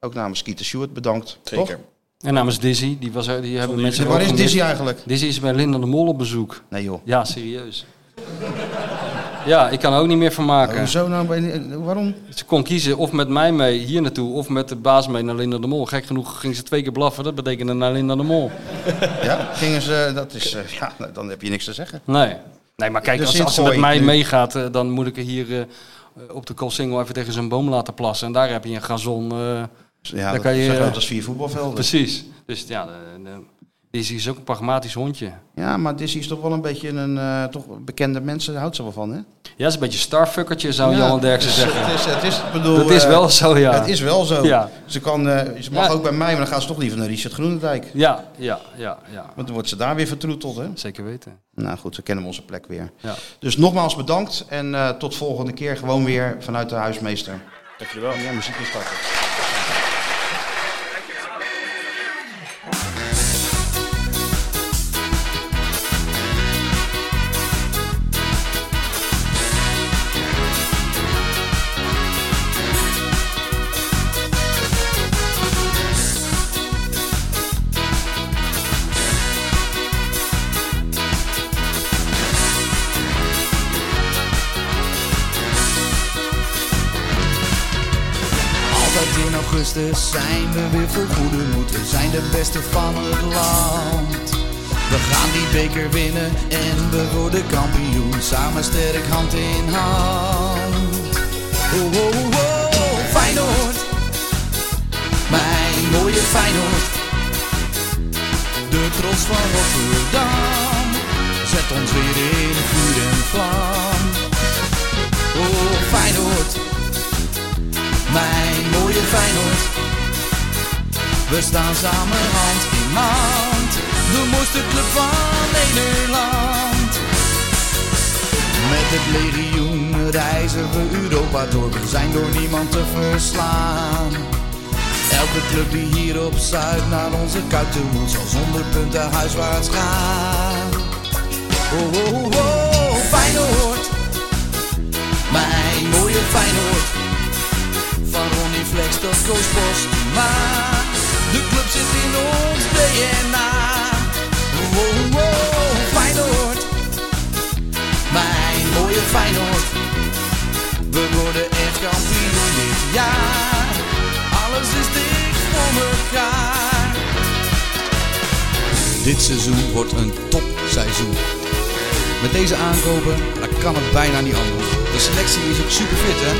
[SPEAKER 2] ook namens Kieter Stewart bedankt.
[SPEAKER 4] Zeker.
[SPEAKER 2] Toch?
[SPEAKER 3] en namens Dizzy, die, was, er- die hebben mensen...
[SPEAKER 2] Waar
[SPEAKER 3] ook
[SPEAKER 2] is
[SPEAKER 3] gemist.
[SPEAKER 2] Dizzy eigenlijk?
[SPEAKER 3] Dizzy is bij Linda de Mol op bezoek.
[SPEAKER 2] Nee joh.
[SPEAKER 3] Ja, serieus. Ja, ik kan er ook niet meer van maken.
[SPEAKER 2] Hoezo nou? ben je niet- Waarom?
[SPEAKER 3] Ze kon kiezen of met mij mee hier naartoe of met de baas mee naar Linda de Mol. Gek genoeg ging ze twee keer blaffen, dat betekende naar Linda de Mol.
[SPEAKER 2] Ja, gingen ze, dat is, eh, ja, nou, dan heb je niks te zeggen.
[SPEAKER 3] Nee. Nee, maar kijk,
[SPEAKER 2] Dus
[SPEAKER 3] als,
[SPEAKER 2] dit
[SPEAKER 3] als ze met
[SPEAKER 2] gooi
[SPEAKER 3] mij
[SPEAKER 2] ik nu.
[SPEAKER 3] meegaat, eh, dan moet ik er hier eh, op de Koolsingel even tegen zijn boom laten plassen. En daar heb je een gazon. eh,
[SPEAKER 2] Ja,
[SPEAKER 3] Dan
[SPEAKER 2] dat
[SPEAKER 3] kan je-
[SPEAKER 2] is zo groot als vier voetbalvelden.
[SPEAKER 3] precies. Dus ja, de, de- deze is ook een pragmatisch hondje.
[SPEAKER 2] Ja, maar Dizzy is toch wel een beetje een, eh, toch bekende mensen, daar houdt ze wel van, hè?
[SPEAKER 3] Ja, is een beetje starfuckertje, zou
[SPEAKER 2] Ja,
[SPEAKER 3] Johan Nou, Derksen
[SPEAKER 2] dus
[SPEAKER 3] zeggen.
[SPEAKER 2] Het is, het is, ik bedoel,
[SPEAKER 3] dat is
[SPEAKER 2] eh,
[SPEAKER 3] wel zo, ja.
[SPEAKER 2] Het is wel zo.
[SPEAKER 3] Ja.
[SPEAKER 2] Ze, kan, eh, ze mag
[SPEAKER 3] Ja.
[SPEAKER 2] ook bij mij, maar dan gaat ze toch liever naar Richard Groenendijk.
[SPEAKER 3] Ja, ja, ja, ja.
[SPEAKER 2] Want dan wordt ze daar weer vertroeteld, hè?
[SPEAKER 3] Zeker weten.
[SPEAKER 2] Nou goed, ze kennen onze plek weer.
[SPEAKER 3] Ja.
[SPEAKER 2] Dus nogmaals bedankt en eh, tot volgende keer gewoon weer vanuit de huismeester. Oh,
[SPEAKER 4] Dank jullie wel.
[SPEAKER 2] Ja, muziek is starten.
[SPEAKER 1] Altijd in augustus zijn we weer vol goede moed. We zijn de beste van het land. We gaan die beker winnen en we worden kampioen. Samen sterk hand in hand. Oh, oh, oh, oh, Feyenoord. Mijn mooie Feyenoord. De trots van Rotterdam. Zet ons weer in vuur en vlam. Oh, Feyenoord mijn mooie Feyenoord. We staan samen hand in hand, de mooiste club van Nederland. Met het legioen reizen we Europa door, we zijn door niemand te verslaan. Elke club die hier op Zuid naar onze kuiten moet, zal zonder punten huiswaarts gaan. Oh, oh, oh, oh, Feyenoord, mijn mooie Feyenoord. Van Ronnie Flex tot Koos Postma De club zit in ons DNA Wow, wow, Feyenoord Mijn mooie Feyenoord We worden echt kampioen dit jaar Alles is dik voor elkaar Dit seizoen wordt een topseizoen met deze aankopen, dan kan het bijna niet anders. De selectie is ook super fit, hè?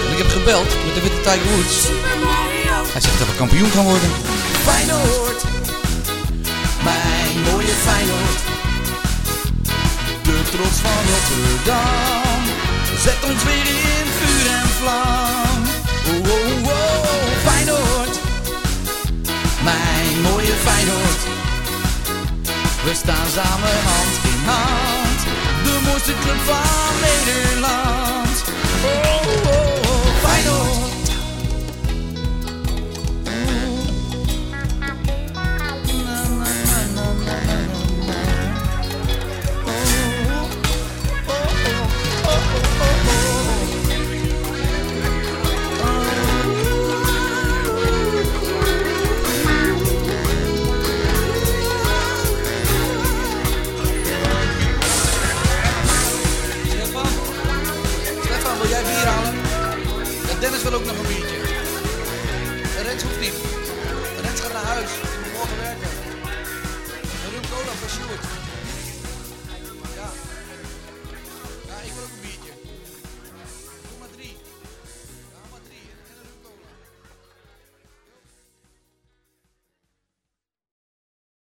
[SPEAKER 1] Want ik heb gebeld met de witte Tiger Woods. Hij zegt dat we kampioen gaan worden. Feyenoord, mijn mooie Feyenoord. De trots van Rotterdam, zet ons weer in vuur en vlam. Oh, oh, oh, Feyenoord, mijn mooie Feyenoord. We staan samen hand in hand. De mooiste club van Nederland. Oh, oh. Oh,